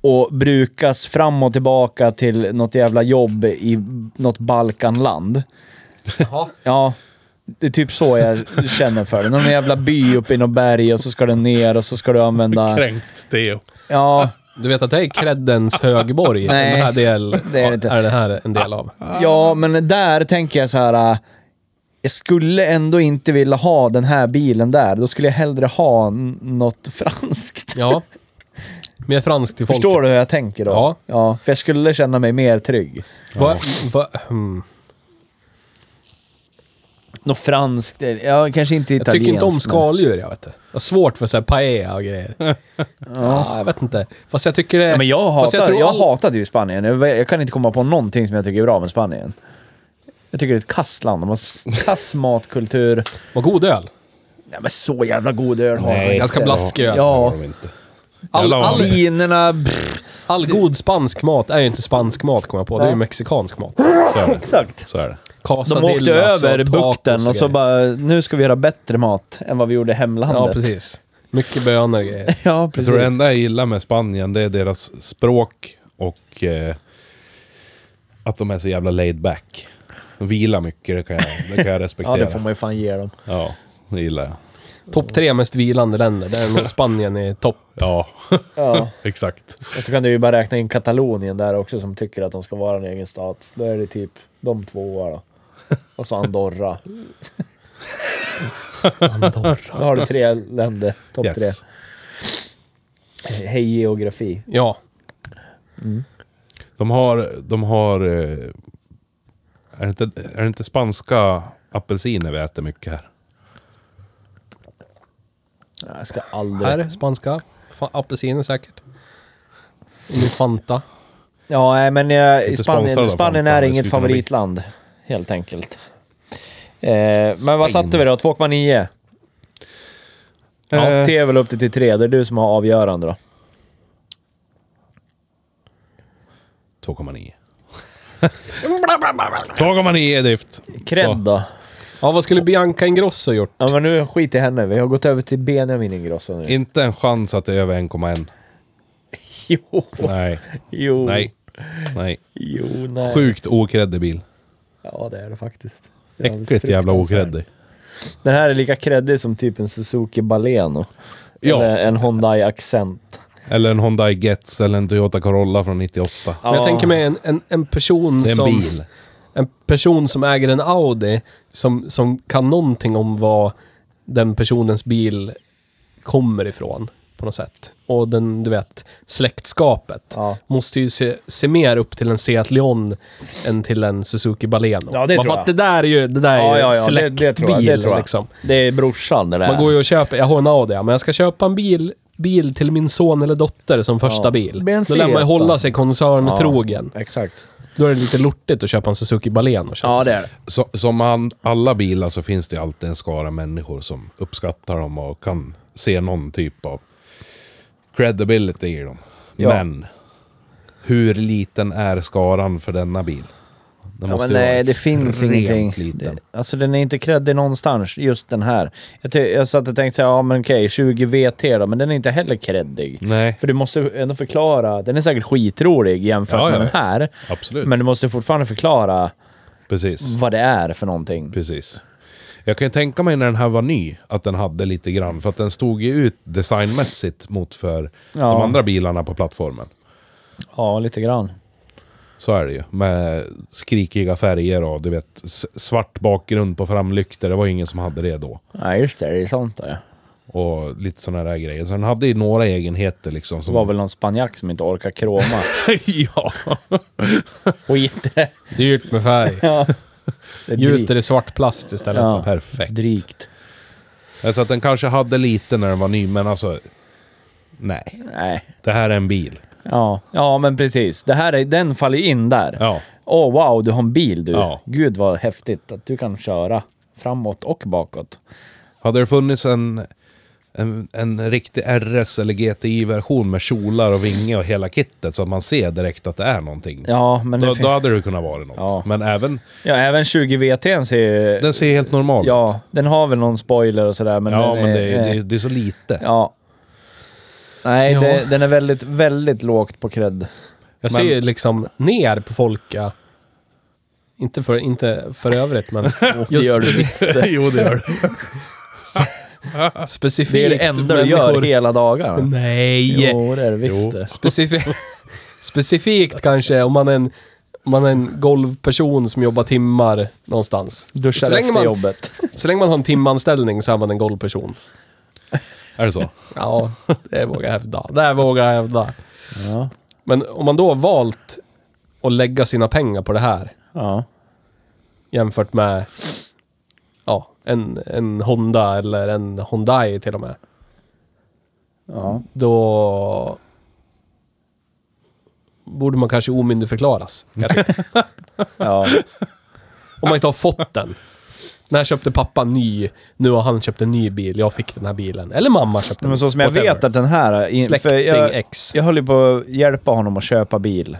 S2: och brukas fram och tillbaka till något jävla jobb i något Balkanland.
S1: Jaha.
S2: Ja, det är typ så jag känner för den. Någon jävla by uppe i något berg och så ska den ner och så ska du använda...
S4: Kränkt, Theo.
S2: Ja,
S1: Du vet att det
S2: <laughs>
S1: är creddens högborg?
S2: Nej,
S1: den här del,
S2: det är det inte.
S1: är det här en del av.
S2: Ja, men där tänker jag så här. äh, Jag skulle ändå inte vilja ha den här bilen där. Då skulle jag hellre ha n- något franskt.
S1: Ja. Mer fransk till folket.
S2: Förstår du hur jag tänker då?
S1: Ja.
S2: ja. För jag skulle känna mig mer trygg.
S1: Vad- vad- hmm.
S2: Något franskt, eller- ja kanske inte
S1: Jag
S2: italienskt.
S1: tycker inte om
S2: men-
S1: skaldjur, jag vet du. Jag har svårt för så här paella och grejer. ja. jag vet inte. Fast jag tycker det...
S2: Ja, men jag
S1: fast
S2: hatar, jag,
S1: tror all-
S2: hatade ju Spanien. Jag, jag kan inte komma på någonting som jag tycker är bra med Spanien. Jag tycker det är ett kassland. De har <laughs> s- kass matkultur.
S1: Vad god öl.
S2: Nej men så jävla god öl har de.
S1: ganska
S4: det
S1: blaskig
S4: har-
S1: öl.
S4: det har
S2: Ja.
S4: de inte.
S1: All,
S4: Jävlar vad
S1: all,
S2: Vinerna, pff,
S1: all god spansk mat är ju inte spansk mat, kommer jag på. Det är ju mexikansk mat.
S4: Så är det.
S2: exakt.
S4: Så är det.
S1: Casa
S2: De åkte
S1: Dillas och alltså,
S2: över
S1: tacos
S2: bukten och så
S1: grejer.
S2: bara, nu ska vi göra bättre mat än vad vi gjorde i hemlandet.
S1: Ja, precis. Mycket bönor och grejer.
S2: <laughs> Ja,
S4: Jag
S2: precis.
S4: tror det enda jag gillar med Spanien, det är deras språk och eh, att de är så jävla laid back. De vilar mycket, det kan jag,
S2: <laughs>
S4: det kan jag
S2: ja,
S4: respektera.
S2: det får man ju fan ge dem.
S4: Ja, det gillar jag.
S1: Topp tre mest vilande länder. Där är
S4: <laughs>
S1: nog Spanien i topp.
S4: Ja,
S2: Ja.
S4: exakt.
S2: <laughs> Och så kan du ju bara räkna in Katalonien där också som tycker att de ska vara en egen stat. Då är det typ de två då. Och så Andorra. Andorra. Då har du tre länder, topp
S4: Yes.
S2: tre. Hej geografi.
S1: Ja.
S4: De har, de har eh, är, det inte, är det inte spanska apelsiner vi äter mycket här?
S2: Nej, Jag ska aldrig...
S1: Här, spanska. Fa- Apelsiner säkert. Nu Fanta.
S2: Ja, nej, men eh, i
S4: Inte sponsrad
S2: Spanien,
S4: av
S2: Spanien
S4: Fanta,
S2: är
S4: det
S2: inget
S4: skulle kunna bli.
S2: favoritland, helt enkelt. Eh, men vad satte vi då? 2,9? Ja,
S4: Eh.
S2: T är väl upp till till 3. Det är du som har avgörande då.
S4: 2,9. 2,9 i drift.
S2: Cred då?
S1: Ja, vad skulle Bianca Ingrosso gjort?
S2: Ja, men nu skit i henne. Vi har gått över till Benjamin Ingrosso nu.
S4: Inte en chans att det är över 1,1.
S2: <laughs> Jo,
S4: Nej.
S2: jo,
S4: Nej. Nej.
S2: jo, nej.
S4: Sjukt okreddig bil.
S2: Ja, det är det faktiskt. Det är alldeles alltså.
S4: Äckligt jävla
S2: fruktansvärt.
S4: okreddig.
S2: Den här är lika kreddig som typ en Suzuki Baleno.
S4: Ja.
S2: Eller en Hyundai Accent.
S4: Eller en Honda Getz eller en Toyota Corolla från 98.
S1: Men
S2: Ja.
S1: jag tänker mig en, en, en person
S4: Det är en
S1: som...
S4: bil.
S1: En person som äger en Audi som, som kan någonting om vad den personens bil kommer ifrån på något sätt. Och den, du vet, släktskapet.
S2: Ja.
S1: Måste ju se, se mer upp till en Seat Leon än till en Suzuki Baleno.
S2: Ja, det
S1: Bara
S2: tror
S1: för att det
S2: jag.
S1: där är ju, det där är
S2: Ja,
S1: ju
S2: ja, ja, det- det tror jag, det
S1: släktbilen
S2: tror jag.
S1: liksom.
S2: Det är brorsan det där.
S1: Man går ju och köper, jag har en Audi, ja, men jag ska köpa en bil, bil till min son eller dotter som första
S2: Ja.
S1: bil.
S2: Med en
S1: Då lär man
S2: Seat,
S1: ju
S2: då.
S1: hålla sig koncerntrogen.
S2: Exakt.
S1: Då är det lite lortigt att köpa en Suzuki Baleno känns
S2: Ja,
S1: som.
S2: det är det.
S4: Så, som han, alla bilar så finns det alltid en skara människor som uppskattar dem och kan se någon typ av credibility i dem.
S2: Ja.
S4: Men hur liten är skaran för denna bil? Den
S2: Ja, men
S4: ju vara
S2: nej, det
S4: extremt
S2: finns ingenting.
S4: Liten.
S2: Det- Alltså den är inte kreddig någonstans, just den här. Jag, ty- jag satt och tänkte såhär, ja men okej, 20 VT då, men den är inte heller kreddig.
S4: Nej,
S2: För du måste ändå förklara, den är säkert skitrolig jämfört
S4: Ja, ja,
S2: med den
S4: ja.
S2: här.
S4: absolut.
S2: Men du måste fortfarande förklara
S4: Precis.
S2: vad det är för någonting.
S4: Precis. Jag kan ju tänka mig när den här var ny, att den hade lite grann. För att den stod ju ut designmässigt mot för
S2: Ja.
S4: de andra bilarna på plattformen.
S2: Ja, lite grann.
S4: Så är det ju. Med skrikiga färger och du vet, s- svart bakgrund på framlyktor. Det var ingen som hade det då.
S2: Nej, just det. Det är sånt där.
S4: Och lite sådana där grejer. Så den hade ju några egenheter liksom.
S2: Det
S4: Som...
S2: var väl någon spanjack som inte orkar kroma.
S4: <laughs> ja.
S2: Skit i det.
S1: Dyrt
S2: <laughs>
S1: med färg.
S2: Ja. Det är
S1: Gjuter i svart plast istället.
S2: Ja.
S4: Perfekt.
S2: Drygt.
S4: Så att den kanske hade lite när den var ny, men alltså... Nej.
S2: Nej.
S4: Det här är en bil.
S2: Ja. ja, men precis. Det här är, den faller ju in där.
S4: Ja.
S2: Åh wow, du har en bil du.
S4: Ja.
S2: Gud vad häftigt att du kan köra framåt och bakåt.
S4: Hade det funnits en, en, en riktig RS eller GTI-version med kjolar och vinge och hela kittet så att man ser direkt att det är någonting.
S2: Ja, men
S4: Då,
S2: det
S4: då
S2: fin-
S4: hade det kunnat vara något.
S2: Ja.
S4: Men även,
S2: ja, även 20 VT ser ju...
S4: den ser helt normal
S2: Ja, den har väl någon spoiler och sådär, men...
S4: ut. Ja,
S2: den
S4: men
S2: är-
S4: det är,
S2: eh,
S4: det är, det är så lite.
S2: Ja. Nej,
S1: Ja.
S2: Det, den är väldigt, väldigt lågt på cred.
S1: Jag
S4: Men-
S1: ser ju liksom ner på folk, ja. Inte för, inte för
S2: <laughs>
S1: övrigt, men just
S2: gör du
S1: speci-
S4: <laughs> jo, det gör det.
S1: specifikt
S2: Det är det enda du gör hela dagarna.
S1: Nej!
S2: Jo, det är det visst
S4: Jo.
S2: det.
S1: Specifi- <laughs> specifikt kanske om man är en om man är en golvperson som jobbar timmar någonstans.
S2: Duschar
S1: så, länge
S2: efter
S1: man,
S2: jobbet.
S1: så länge man har en timanställning så är man en golvperson.
S4: Är det så?
S1: Ja, det vågar jag hävda. Det vågar jag hävda.
S2: Ja.
S1: Men om man då har valt att lägga sina pengar på det här
S2: Ja.
S1: jämfört med ja, en, en Honda eller en Hyundai till och med.
S2: ja.
S1: Då borde man kanske omyndigförklaras.
S2: ja.
S1: Om man inte har fått den. När köpte pappa en ny, nu har han köpt en ny bil, jag fick den här bilen. Eller mamma köpte
S2: Men
S1: den.
S2: så som jag
S1: Whatever.
S2: vet att den här... in- för
S1: Släkting
S2: jag,
S1: X.
S2: jag höll ju på att hjälpa honom att köpa bil.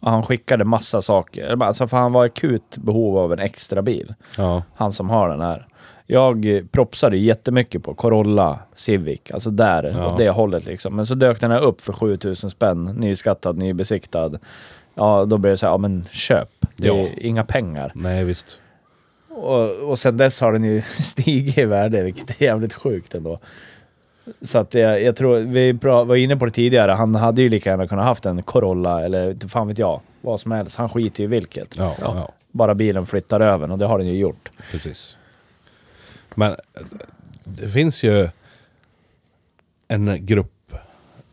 S2: Och han skickade massa saker. Alltså för han var i akut behov av en extra bil.
S4: Ja.
S2: Han som har den här. Jag eh, propsade ju jättemycket på Corolla Civic, alltså där,
S4: Ja.
S2: åt det hållet liksom. Men så dök den här upp för 7000 spänn, nyskattad, nybesiktad. Ja, då blev det så här, ja men köp. Det är
S4: Ja.
S2: inga pengar.
S4: Nej, visst.
S2: Och, och sen dess har den ju <laughs> stigit i värde, vilket är jävligt sjukt ändå. Så att jag, jag tror, vi pra- var inne på det tidigare, han hade ju lika gärna kunnat haft en Corolla eller inte fan vet jag, vad som helst. Han skiter ju i vilket.
S4: Ja, ja.
S2: Bara bilen flyttar över och det har den ju gjort.
S4: precis. Men eh, det finns ju en grupp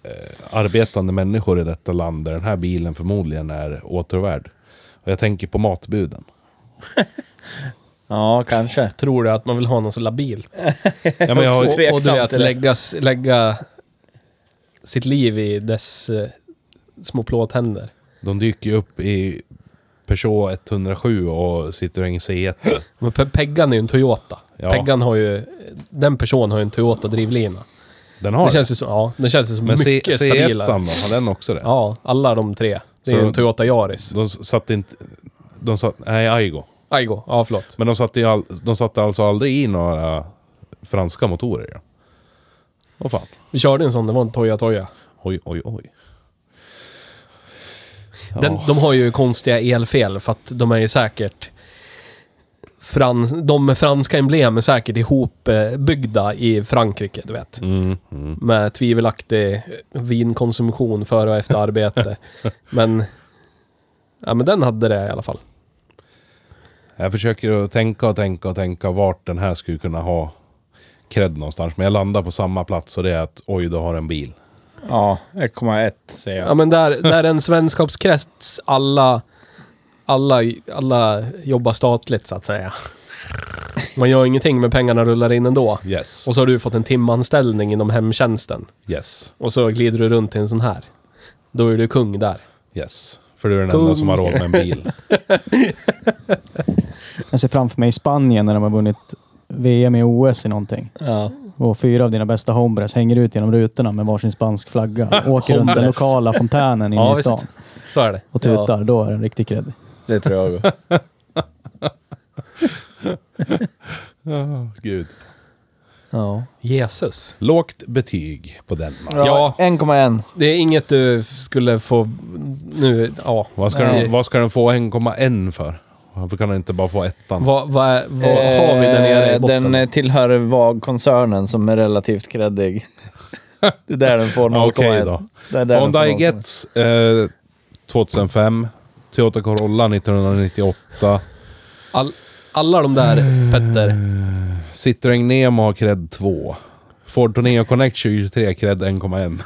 S4: eh, arbetande människor i detta land där den här bilen förmodligen är återvärd. Och jag tänker på matbuden.
S2: Ja, kanske.
S1: Tror du att man vill ha någon så labilt?
S4: Ja, men jag
S2: också
S1: och,
S4: har,
S1: och du
S2: tveksam
S1: vet,
S2: till det.
S1: lägga, s- lägga sitt liv i dess eh, små plåthänder.
S4: de dyker ju upp i Peugeot 107 och Citroën C1.
S1: Men Pe- Peggan är ju en Toyota.
S4: Ja.
S1: Peggan har ju... Den personen har ju en Toyota drivlina.
S4: Den har
S1: Det
S4: det.
S1: känns ju som, ja, den känns ju som
S4: Men C-
S1: mycket
S4: C1
S1: stabilare.
S4: då, har den också det?
S1: Ja, alla de tre. Det är
S4: Så-
S1: ju en Toyota Yaris.
S4: De satte inte... De satt, nej, Aigo.
S1: Aigo, ja förlåt.
S4: Men de satte, ju all, de satte alltså aldrig i några franska motorer. Ja. Vad fan.
S1: Vi körde en sån, det var en Toya Toya.
S4: Oj, oj, oj.
S1: Den, de har ju konstiga elfel för att de är ju säkert... Frans, de med franska emblem är säkert ihopbyggda i Frankrike, du vet.
S4: Mm, mm.
S1: Med tvivelaktig vinkonsumtion före och efter
S4: <laughs>
S1: arbete. men... Ja men den hade det i alla fall.
S4: Jag försöker att tänka och tänka och tänka vart den här skulle kunna ha cred någonstans. Men jag landar på samma plats och det är att oj, du har en bil.
S2: Ja, 1,1 säger jag.
S1: Ja men där, där en vänskapskrets alla, alla, alla jobbar statligt så att säga. Man gör ingenting men pengarna rullar in ändå.
S4: Yes.
S1: Och så har du fått en timanställning inom hemtjänsten.
S4: Yes.
S1: Och så glider du runt i en sån här. Då är du kung där.
S4: Yes. För du är den enda som har råd med en bil.
S3: Jag ser framför mig i Spanien när de har vunnit VM i OS i någonting.
S2: Ja.
S3: Och fyra av dina bästa hombres hänger ut genom rutorna med varsin spansk flagga. Och åker runt den
S1: Hombres.
S3: lokala fontänen inne
S1: Ja,
S3: i stan.
S1: visst. Så är det.
S3: Och tutar. Då är den riktigt cred.
S2: Det tror jag.
S4: Oh, <laughs> Gud.
S2: <laughs> ja.
S1: Jesus.
S4: Lågt betyg på den.
S2: ja.
S4: man.
S1: Ja.
S2: 1,1.
S1: Det är inget du skulle få nu, ja.
S4: Vad ska,
S2: Nej.
S4: den, vad ska den få 1,1 för? Varför kan den inte bara få ettan?
S1: Vad, vad, vad har vi där nere i
S2: Eh,
S1: botten?
S2: Den eh, tillhör VAG-koncernen som är relativt creddig. det är där den får 0,1.
S4: Okej då. E
S2: Det är där den får
S4: Hyundai
S2: 0,1.
S4: gets eh, 2005. Toyota Corolla 1998.
S1: All, alla de där,
S2: Eh,
S1: Petter.
S4: Citroën Nemo har cred 2. Ford Torneo Connect 2023 cred 1,1.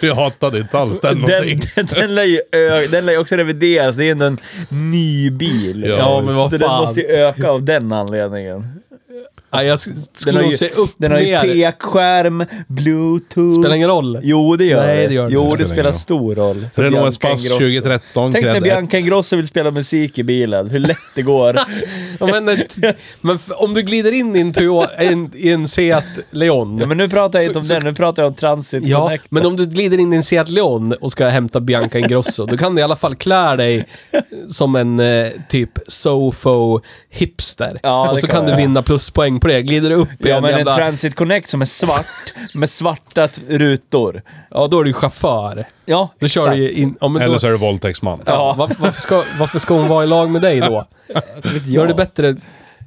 S4: <laughs> Jag hatade inte alls den
S2: Den,
S4: någonting.
S2: <laughs> den, den, lär ju ö- den lär ju också revideras, det är ändå en ny bil.
S4: Ja, Ja, men
S1: visst. vad
S2: Så
S1: fan.
S2: den måste ju öka av den anledningen.
S1: Nej, jag s-
S2: Den
S1: skulle
S2: har
S1: nog
S2: ju,
S1: se upp
S2: den har ju
S1: ner.
S2: pekskärm, bluetooth.
S1: Spelar ingen roll.
S2: Jo, det gör
S1: Nej,
S2: det.
S1: det gör det.
S2: jo, det
S4: Spelar ingen
S2: spelar
S4: roll.
S2: stor roll. för Bianca
S4: Renault Espace
S2: Ingrosso.
S4: 2013
S2: Tänk när
S4: cred
S2: Bianca
S4: 1.
S2: Ingrosso vill spela musik i bilen, hur lätt det
S4: <laughs>
S2: går.
S1: Ja, men, ett- men f- om du glider in i en, Toyota, en, i en Seat Leon.
S2: Ja, men nu pratar jag inte
S1: Så-
S2: om
S1: så-
S2: den, nu pratar jag om Transit
S1: Ja,
S2: Connect.
S1: men om du glider in i en Seat Leon och ska hämta Bianca Ingrosso, då kan du i alla fall klä dig som en eh, typ sofo hipster.
S2: Ja, det
S1: och så
S2: kan
S1: kan du
S2: jag.
S1: vinna pluspoäng på det. Glider du upp i
S2: Ja,
S1: en
S2: men en
S1: jävla...
S2: Transit Connect som är svart, med svarta t- rutor.
S1: ja, då är du chaufför.
S2: Ja,
S1: Då kör
S2: exakt.
S1: du ju in... Ja, men då,
S4: Eller så är du våldtäktsman.
S1: ja, va- varför, ska, varför ska hon vara i lag med
S2: <laughs>
S1: dig då? Då är det bättre...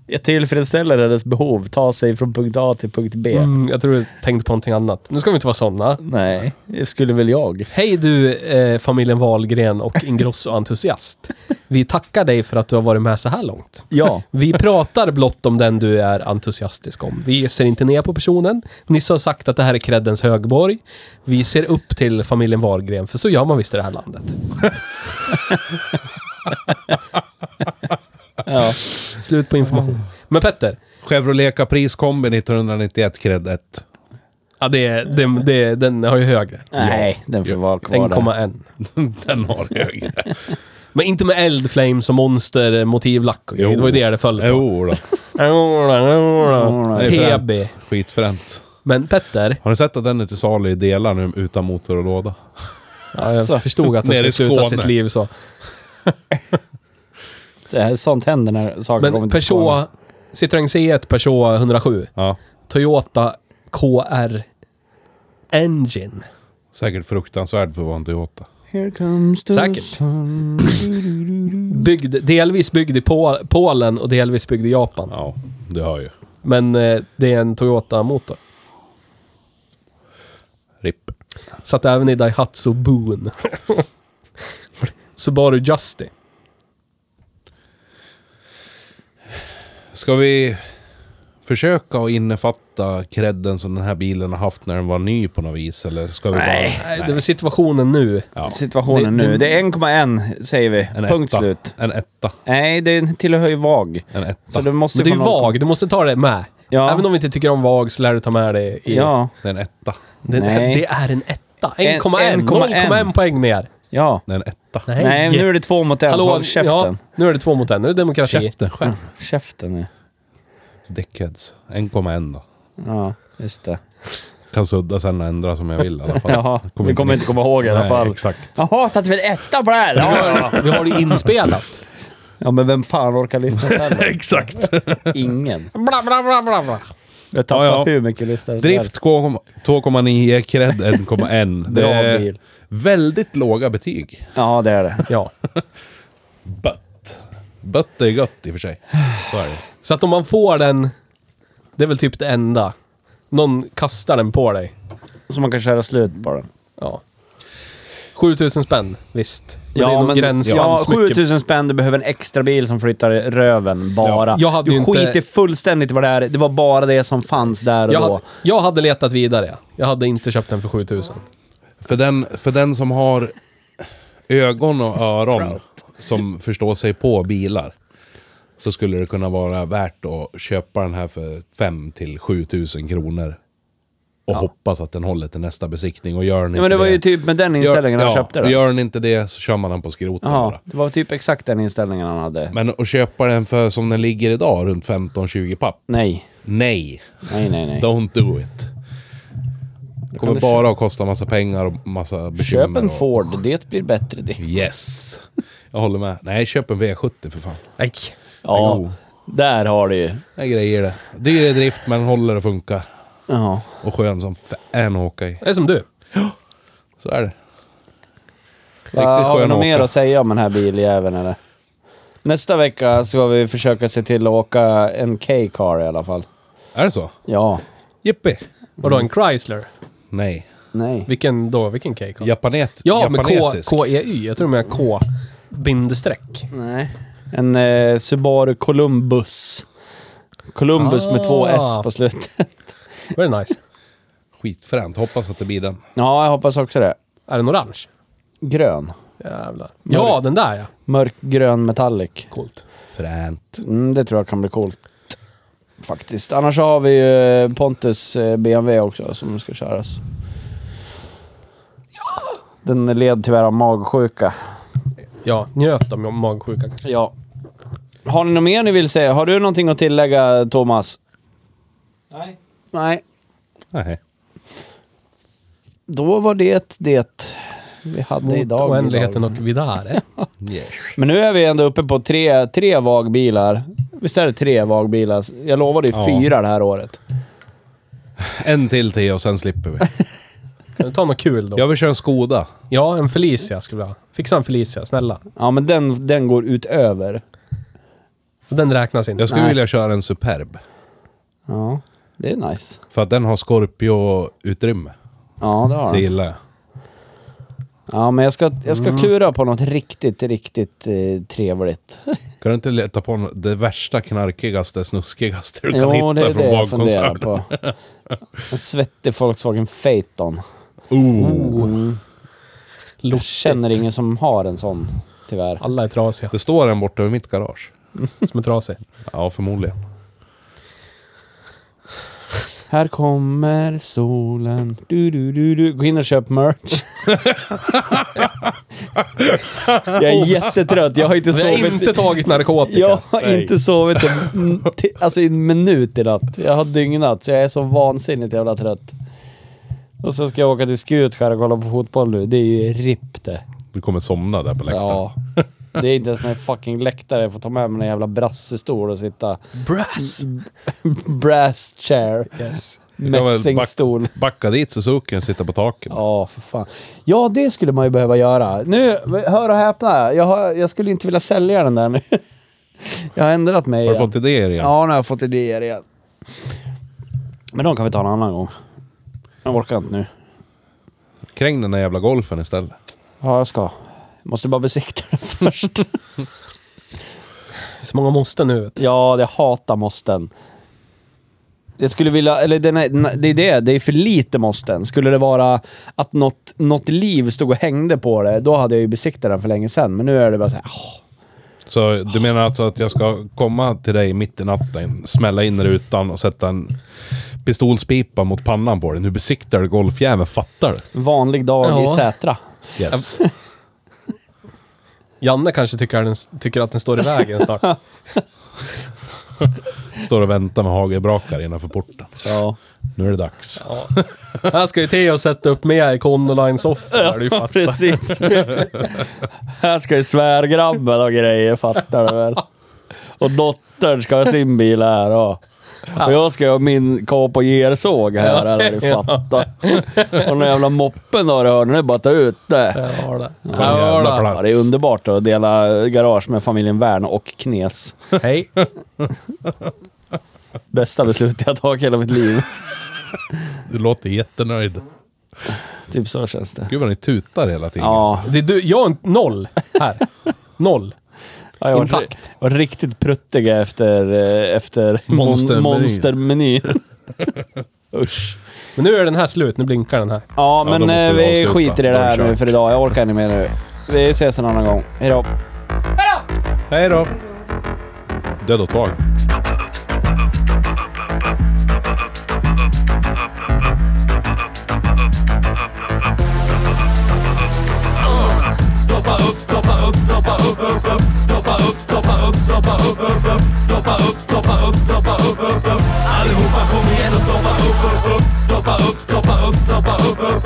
S2: Jag tillfredsställer hennes behov, ta sig från punkt A till punkt B.
S1: Mm, jag tror du tänkte på någonting annat. Nu ska vi inte vara såna.
S2: Nej, det skulle väl jag.
S1: Hej du eh, familjen Wahlgren och Ingrosso-entusiast. Vi tackar dig för att du har varit med så här långt. <laughs>
S2: Ja.
S1: Vi pratar blott om den du är entusiastisk om. Vi ser inte ner på personen. Nisse har sagt att det här är creddens högborg. Vi ser upp till familjen Wahlgren, för så gör man visst i det här landet.
S2: ja.
S1: Slut på information. Men Petter,
S4: Chevrolet Caprice Kombi 1991 cred 1.
S1: ja, det, det, det, den har ju högre.
S2: Nej, den får vara kvar där.
S1: 1,1.
S4: Den har <laughs> högre.
S1: Men inte med eldflame som monster motivlack och grejer. Det var ju det det föll på.
S2: <laughs>
S4: Jo, då. Det är
S1: TB.
S4: fränt. Skitfränt.
S1: Men Petter,
S4: Har ni sett att den är till salu i delar nu utan motor och låda?
S1: ja, jag förstod att han
S4: Nere
S1: skulle
S4: i
S1: sluta
S4: Skåne.
S1: sitt liv så.
S3: Det här- Sånt händer när saker
S1: Men
S3: kommer till Skåne.
S1: Peugeot, Citroën C1 Peugeot 107.
S4: Ja.
S1: Toyota KR Engine.
S4: Säkert fruktansvärd för att vara en Toyota.
S2: Here comes the
S1: Säkert.
S2: sun.
S1: Byggd, delvis byggd i Pol- Polen och delvis byggd i Japan.
S4: Ja, det hör ju.
S1: Men eh, det är en Toyota-motor.
S4: RIP.
S1: Satt även i Daihatsu Boon. Subaru Justy.
S4: Ska vi försöka att innefatta credden som den här bilen har haft när den var ny på något vis? Eller ska vi
S2: Nej.
S4: bara...
S1: Nej, det är väl situationen nu.
S4: Ja.
S2: Situationen
S1: Det-
S2: nu.
S1: det-
S2: Det är 1,1 säger vi.
S4: En
S2: Punkt
S4: etta.
S2: slut.
S4: En etta.
S2: Nej, det tillhör ju VAG.
S4: En etta.
S2: Så det måste
S1: Men det är
S2: få
S1: ju
S2: någon-
S1: VAG, du måste ta det med.
S2: Ja.
S1: Även om vi inte tycker om VAG så lär du ta med det i...
S2: Ja,
S4: Det är en etta.
S1: Det,
S2: Nej.
S1: det är en etta.
S2: En-
S1: 1,1.
S2: 1,1.
S1: 0,1 poäng mer.
S2: ja.
S4: Det är en etta.
S1: Nej,
S2: Nej, nu är det två mot en. så håll käften.
S1: Ja, nu är det två mot en. Nu är det demokrati.
S4: Käften själv.
S2: Käften nu.
S4: Dickheads. 1,1 då.
S2: Ja, just det.
S4: Kan sudda sen och ändra som jag vill i alla
S2: <laughs>
S4: fall.
S2: Jaha, vi kommer inte komma ihåg i alla
S4: Nej,
S2: fall. <laughs>
S4: exakt.
S2: Jaha, satte vi en etta på det här? Ja, ja.
S1: Vi har det inspelat.
S2: ja, men vem fan orkar lyssna själv?
S4: Exakt.
S2: Ingen.
S1: Bla, bla, bla, bla, bla.
S2: Jag tappar
S4: Ja, ja.
S2: hur mycket lyssnare som helst.
S4: Drift 2,9, cred
S2: <laughs>
S4: 1,1. Det
S2: Bra
S4: är
S2: bil.
S4: väldigt låga betyg.
S2: Ja, det är det.
S1: Ja.
S4: Bött. Bött är gött i och
S2: <sighs>
S4: för sig. Så är det.
S1: Så att om man får den, det är väl typ det enda. Någon kastar den på dig.
S2: Så man kan köra slut på den.
S1: Ja. 7000 spänn, visst. Men det är
S2: Ja,
S1: någon
S2: men ja,
S1: gränslands mycket.
S2: 7000 spänn, du behöver en extra bil som flyttar röven bara.
S1: Ja, jag hade
S2: du
S1: ju inte-
S2: skiter fullständigt i vad det är. Det var bara det som fanns där och
S1: Jag
S2: då.
S1: hade, jag hade letat vidare. Jag hade inte köpt den för 7000.
S4: För den, för den som har ögon och öron som förstår sig på bilar så skulle det kunna vara värt att köpa den här för 5 till 7 000 kronor. Och hoppas att den håller till nästa besiktning. Och gör den
S2: Ja,
S4: inte
S2: men det var
S4: det,
S2: ju typ med den inställningen han
S4: ja,
S2: köpte
S4: och
S2: den.
S4: Gör den inte det så kör man den på skroten
S2: Ja,
S4: bara.
S2: det var typ exakt den inställningen han hade.
S4: Men att köpa den för som den ligger idag, runt 15-20 papp.
S2: Nej,
S4: Nej,
S2: nej, nej, nej.
S4: don't do it. Det kommer
S2: du
S4: bara att kosta massa pengar och massa bekymmer.
S2: Köp en
S4: och-
S2: Ford, det blir bättre det.
S4: Yes. Jag håller med. Nej, köp en V70 för fan.
S1: Nej.
S2: Ja,
S4: Jo.
S2: där har du ju.
S4: Det är grejer det. Dyr i drift, men håller och funkar.
S2: Ja.
S4: Och skön som fan att åka i.
S1: Det är som du.
S4: Så är det.
S2: Va, har vi
S4: skön
S2: något
S4: att
S2: mer
S4: åka.
S2: att säga om den här biljäveln eller? Nästa vecka ska vi försöka se till att åka en K-car i alla fall.
S4: Är det så?
S2: Ja.
S4: Jippi!
S1: Vadå, en Chrysler?
S4: Nej.
S2: Nej.
S1: Vilken då? Vilken K-Con?
S4: Japanet,
S1: Ja, men K,
S4: japanesisk.
S1: K-E-Y. Jag tror de är K bindestreck.
S2: Nej. En eh, Subaru Columbus. Columbus med två
S1: Ah.
S2: S på slutet. <laughs>
S1: Very nice.
S4: Skitfränt. Hoppas att det blir den.
S2: Ja, jag hoppas också det.
S1: Är den orange?
S2: Grön.
S1: Jävlar. Ja, den där ja.
S2: Mörkgrön metallic.
S1: Coolt.
S4: Fränt.
S2: Mm, det tror jag kan bli coolt. Faktiskt. Annars så har vi ju Pontus eh, BMW också som ska köras. Den led tyvärr av magsjuka.
S1: Ja, njöt om magsjuka kanske.
S2: Ja. Har ni något mer ni vill säga? Har du någonting att tillägga, Thomas?
S3: Nej.
S2: Nej.
S4: Nej.
S2: Då var det det vi hade
S1: Mot
S2: idag.
S1: oändligheten och vidare.
S4: Yes.
S2: Men nu är vi ändå uppe på tre, tre vagbilar. Visst är det tre vagbilar? Jag lovade ju
S4: Ja.
S2: fyra det här året.
S4: En till till och sen
S2: <laughs>
S4: slipper vi.
S1: Kan du ta något kul då?
S4: Jag vill köra en Skoda.
S1: Ja, en Felicia skulle jag ha. Fixa en Felicia, snälla.
S2: Ja, men den, den går utöver.
S1: Den räknas inte.
S4: Jag skulle
S2: Nej.
S4: vilja köra en Superb.
S2: Ja, det är nice.
S4: För att den har Scorpio-utrymme.
S2: Ja, det har
S4: Det
S2: den.
S4: gillar jag.
S2: Ja, men jag ska, jag ska klura på något riktigt, riktigt eh, trevligt.
S4: Kan du inte leta på nå- det värsta, knarkigaste, snuskigaste du kan
S2: Jo, det
S4: hitta
S2: är
S4: från
S2: det jag funderar
S4: bagkoncernen?
S2: på. En svettig Volkswagen Phaeton. Mm.
S4: Oh.
S2: Jag känner ingen som har en sån, tyvärr.
S1: Alla är trasiga,
S4: Det står en borta vid mitt garage.
S1: som är
S4: <laughs>
S1: trasiga.
S4: Ja, förmodligen.
S2: Här kommer solen. Du, du, du, du. Gå in och köp merch. jag är jättetrött. Jag har inte
S1: Vi har
S2: sovit.
S1: inte tagit narkotika.
S2: jag har
S4: Nej.
S2: inte sovit
S4: <laughs>
S2: en, ti- alltså en minut i natt. Jag har dygnat, så jag är så vansinnigt jävla trött. Och så ska jag åka till Skutskär och kolla på fotboll nu. Det är ju RIP det.
S4: Du kommer somna där på läktaren.
S2: Ja. Det är inte ens en fucking läktare. Jag får ta med mig en jävla brassestol och sitta.
S1: Brass!
S2: <laughs> Brass chair.
S1: Yes.
S4: kan väl
S2: Mässingstol.
S4: Backa dit Suzuki och sitta på taket.
S2: Ja, för fan. Ja, det skulle man ju behöva göra. Nu, hör och häpna. Jag, har, jag skulle inte vilja sälja den där nu. <laughs> Jag har ändrat mig
S4: Har du
S2: igen.
S4: fått idéer igen?
S2: Ja, nu har jag fått idéer igen. Men de kan vi ta en annan gång. Jag orkar inte nu.
S4: Kräng den där jävla golfen istället.
S2: Ja, jag ska. Jag måste bara besikta den <laughs> först.
S1: Det är så många måste nu vet du.
S2: ja, jag hatar måsten. Jag skulle vilja, eller den är, det är det, det är för lite måsten. Skulle det vara att något, något liv stod och hängde på det, då hade jag ju besiktat den för länge sedan. Men nu är det bara såhär,
S4: Så du menar alltså att jag ska komma till dig mitt i natten, smälla in rutan och sätta en pistolspipa mot pannan på dig. Nu besiktar du golfjäveln, fattar du?
S2: Vanlig dag
S1: Ja.
S2: i Sätra.
S4: Yes.
S1: Janne kanske tycker, den, tycker att den står i vägen
S4: <laughs>
S1: snart.
S4: Står och väntar med hagelbrakar innanför porten.
S2: Ja.
S4: Nu är det dags.
S1: Här ska ju Theo sätta upp med i Condoline-soffan. där, du fattar.
S2: precis. Här ska ju svärgrabben och grejer, fattar du väl? Och dottern ska ha sin bil här och, och jag ska ha min K på gersåg här, eller du fattar. Och den jävla moppen då, du hör, den är bara att ta ut det.
S1: Jag har det. Jag
S4: jävla
S1: har
S4: plan.
S2: Ja, det är underbart att dela garage med familjen Wern och Knes.
S1: det. Hej.
S2: Bästa beslut jag har tagit i hela mitt liv.
S4: Du låter jättenöjd.
S2: Typ så känns det.
S4: Gud vad ni tutar hela tiden.
S2: Ja,
S1: Det är du, jag har en noll här. Noll.
S2: Ja, jag var,
S1: Intakt.
S2: var riktigt pruttiga efter, eh, efter
S4: Monstermenyn.
S2: monstermenyn.
S4: <laughs>
S2: monstermenyn. Usch.
S1: Men nu är den här slut, nu blinkar den här.
S2: Ja,
S4: Ja, då
S2: men
S4: måste
S2: eh,
S4: vi
S2: vi
S4: avsluta.
S2: skiter i det
S4: Då är
S2: här
S4: det
S2: nu
S4: kört.
S2: för idag. Jag orkar inte mer nu. Vi ses en annan gång. Hejdå.
S4: Hej då! Död åt vag.
S5: Stoppa upp, stoppa upp, stoppa upp, upp, upp. Stoppa upp, stoppa upp, stoppa upp, upp, upp. Stoppa upp, stoppa upp, stoppa upp, upp, upp. Stoppa upp, stoppa upp, stoppa upp, upp,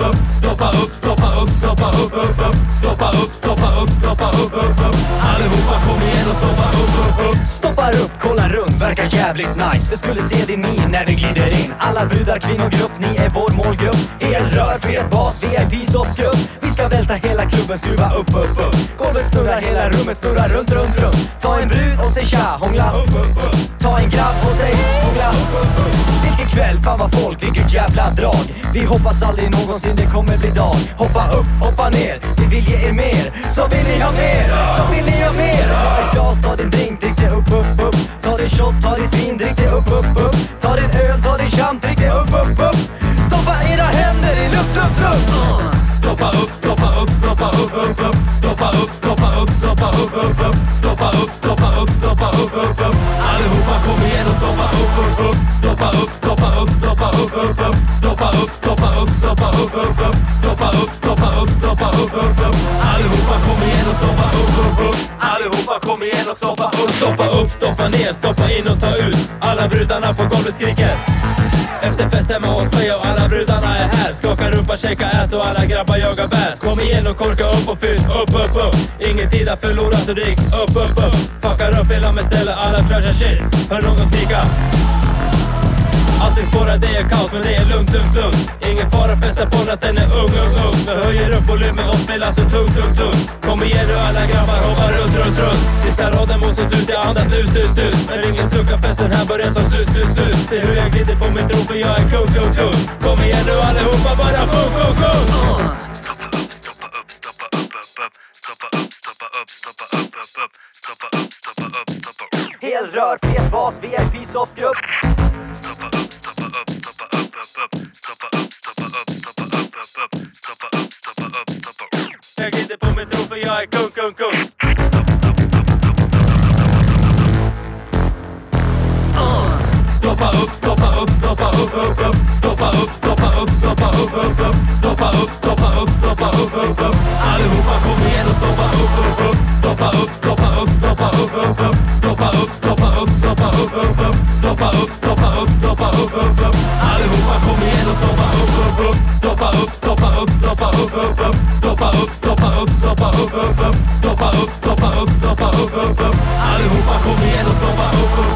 S5: upp. Stoppa upp, stoppa upp, stoppa upp, upp, upp. Stoppa upp, stoppa upp, stoppa upp, upp, upp. Stoppa upp, stoppa upp, stoppa upp, upp, upp. Allihopa kom igen och stoppa upp, upp, upp. Stoppa upp, stoppa upp, stoppa upp, upp, upp. Stoppa upp, stoppa upp, stoppa upp, upp, upp. Stoppa upp, stoppa upp, stoppa upp, upp, upp. Allihopa kom igen och stoppa upp, upp, upp. Stoppa
S6: Stoppar upp, kollar runt, verkar jävligt nice Jag skulle se din min när du glider in Alla brudar, kvinnogrupp, ni är vår målgrupp Elrör, fet bas, VIP, soffgrupp Vi ska välta hela klubben, skruva upp, upp, upp Golvet snurrar, hela rummet snurrar runt, runt, runt Ta en brud och säg tja, hångla upp, upp, upp Ta en grabb och säg hångla upp, upp, upp Vilken kväll, fan vad folk, vilket jävla drag Vi hoppas aldrig någonsin det kommer bli dag Hoppa upp, hoppa ner, vi vill ge er mer Så vill ni ha mer, så vill ni ha mer Ett glas, ta din drink, drick det upp, upp, upp Ta din shot, ta ditt vin, drick det upp, upp, upp Ta din öl, ta din champ, drick det upp, upp, upp Stoppa era händer i luft, luft, luft
S5: Stoppa upp, stoppa upp, stoppa upp, upp, upp. Stoppa upp, stoppa upp, stoppa upp, upp, upp. Stoppa upp, stoppa upp, stoppa upp, upp, upp. Allihopa kom igen och stoppa upp, upp, upp. Stoppa upp, stoppa upp, stoppa upp, upp, upp. Stoppa upp, stoppa upp, stoppa upp, upp, upp. Stoppa upp, stoppa upp, stoppa upp, upp, upp. Allihopa kom igen och stoppa upp, upp, upp. Allihopa kom igen och stoppa upp. Stoppa upp, stoppa ner, stoppa in och ta ut. Alla brudarna på golvet skriker. Efter festen med oss med och alla brudarna är här Skakar rumpa, shakar ass och alla grabbar jagar bärs Kom igen och korka upp och fyll upp, upp, upp Ingen tid att förlora så drick upp, upp, upp Fuckar upp hela med ställe, alla trashar shit Hör någon skrika Allting spårar, det är kaos men det är lugnt, lugnt, lugnt Ingen fara, festa på att den är ung, ung, ung Vi höjer upp volymen och spelar så tungt, tungt, tungt Kom igen nu alla grabbar, hoppa runt, runt, runt Sista raden måste slut, jag andas ut, ut, ut Men ingen suckar, festen här börjar ta slut, slut, slut Se hur jag glider på min tro för jag är kung, kung, kung Kom igen nu allihopa, bara kung, kung, kung
S6: Stoppa upp, stoppa upp, stoppa upp, upp, upp. Stoppa upp, stoppa upp, stoppa upp, upp, upp. Stoppa upp, stoppa upp, stoppa upp. Helrör, fet bas, VIP, soffgrupp. Stoppa upp, stoppa upp, stoppa upp, upp, upp. Stoppa upp, stoppa upp, stoppa upp, upp, upp. Stoppa upp, stoppa upp, stoppa upp.
S5: Jag glider på min tro för jag är kung, kung, kung Stoppa upp, stoppa upp, stoppa upp, upp, upp Stoppa upp, stoppa upp, stoppa upp, upp, upp Stoppa upp, stoppa upp, stoppa upp, upp, upp Allihopa kom igen och stoppa upp, upp, upp Stoppa upp, stoppa upp, stoppa upp, upp, upp Stoppa upp, stoppa upp, stoppa upp, upp, upp Stoppa upp, stoppa upp, stoppa upp, upp, upp Allihopa kom igen och stoppa upp, upp, upp Stoppa upp, stoppa upp, stoppa upp, upp, upp Stoppa upp, stoppa upp, stoppa upp, upp, upp Stoppa upp, stoppa upp, stoppa upp, upp, upp Allihopa kom igen och stoppa upp, upp, upp Stoppa upp, stoppa upp, stoppa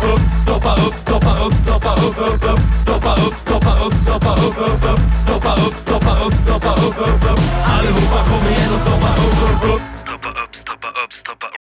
S5: upp, upp, upp Stoppa upp, stoppa upp, stoppa upp, upp, upp Stoppa upp, stoppa upp, stoppa upp, upp, upp Allihopa kom igen och stoppa upp, upp, upp
S6: Stoppa upp, stoppa upp, stoppa upp.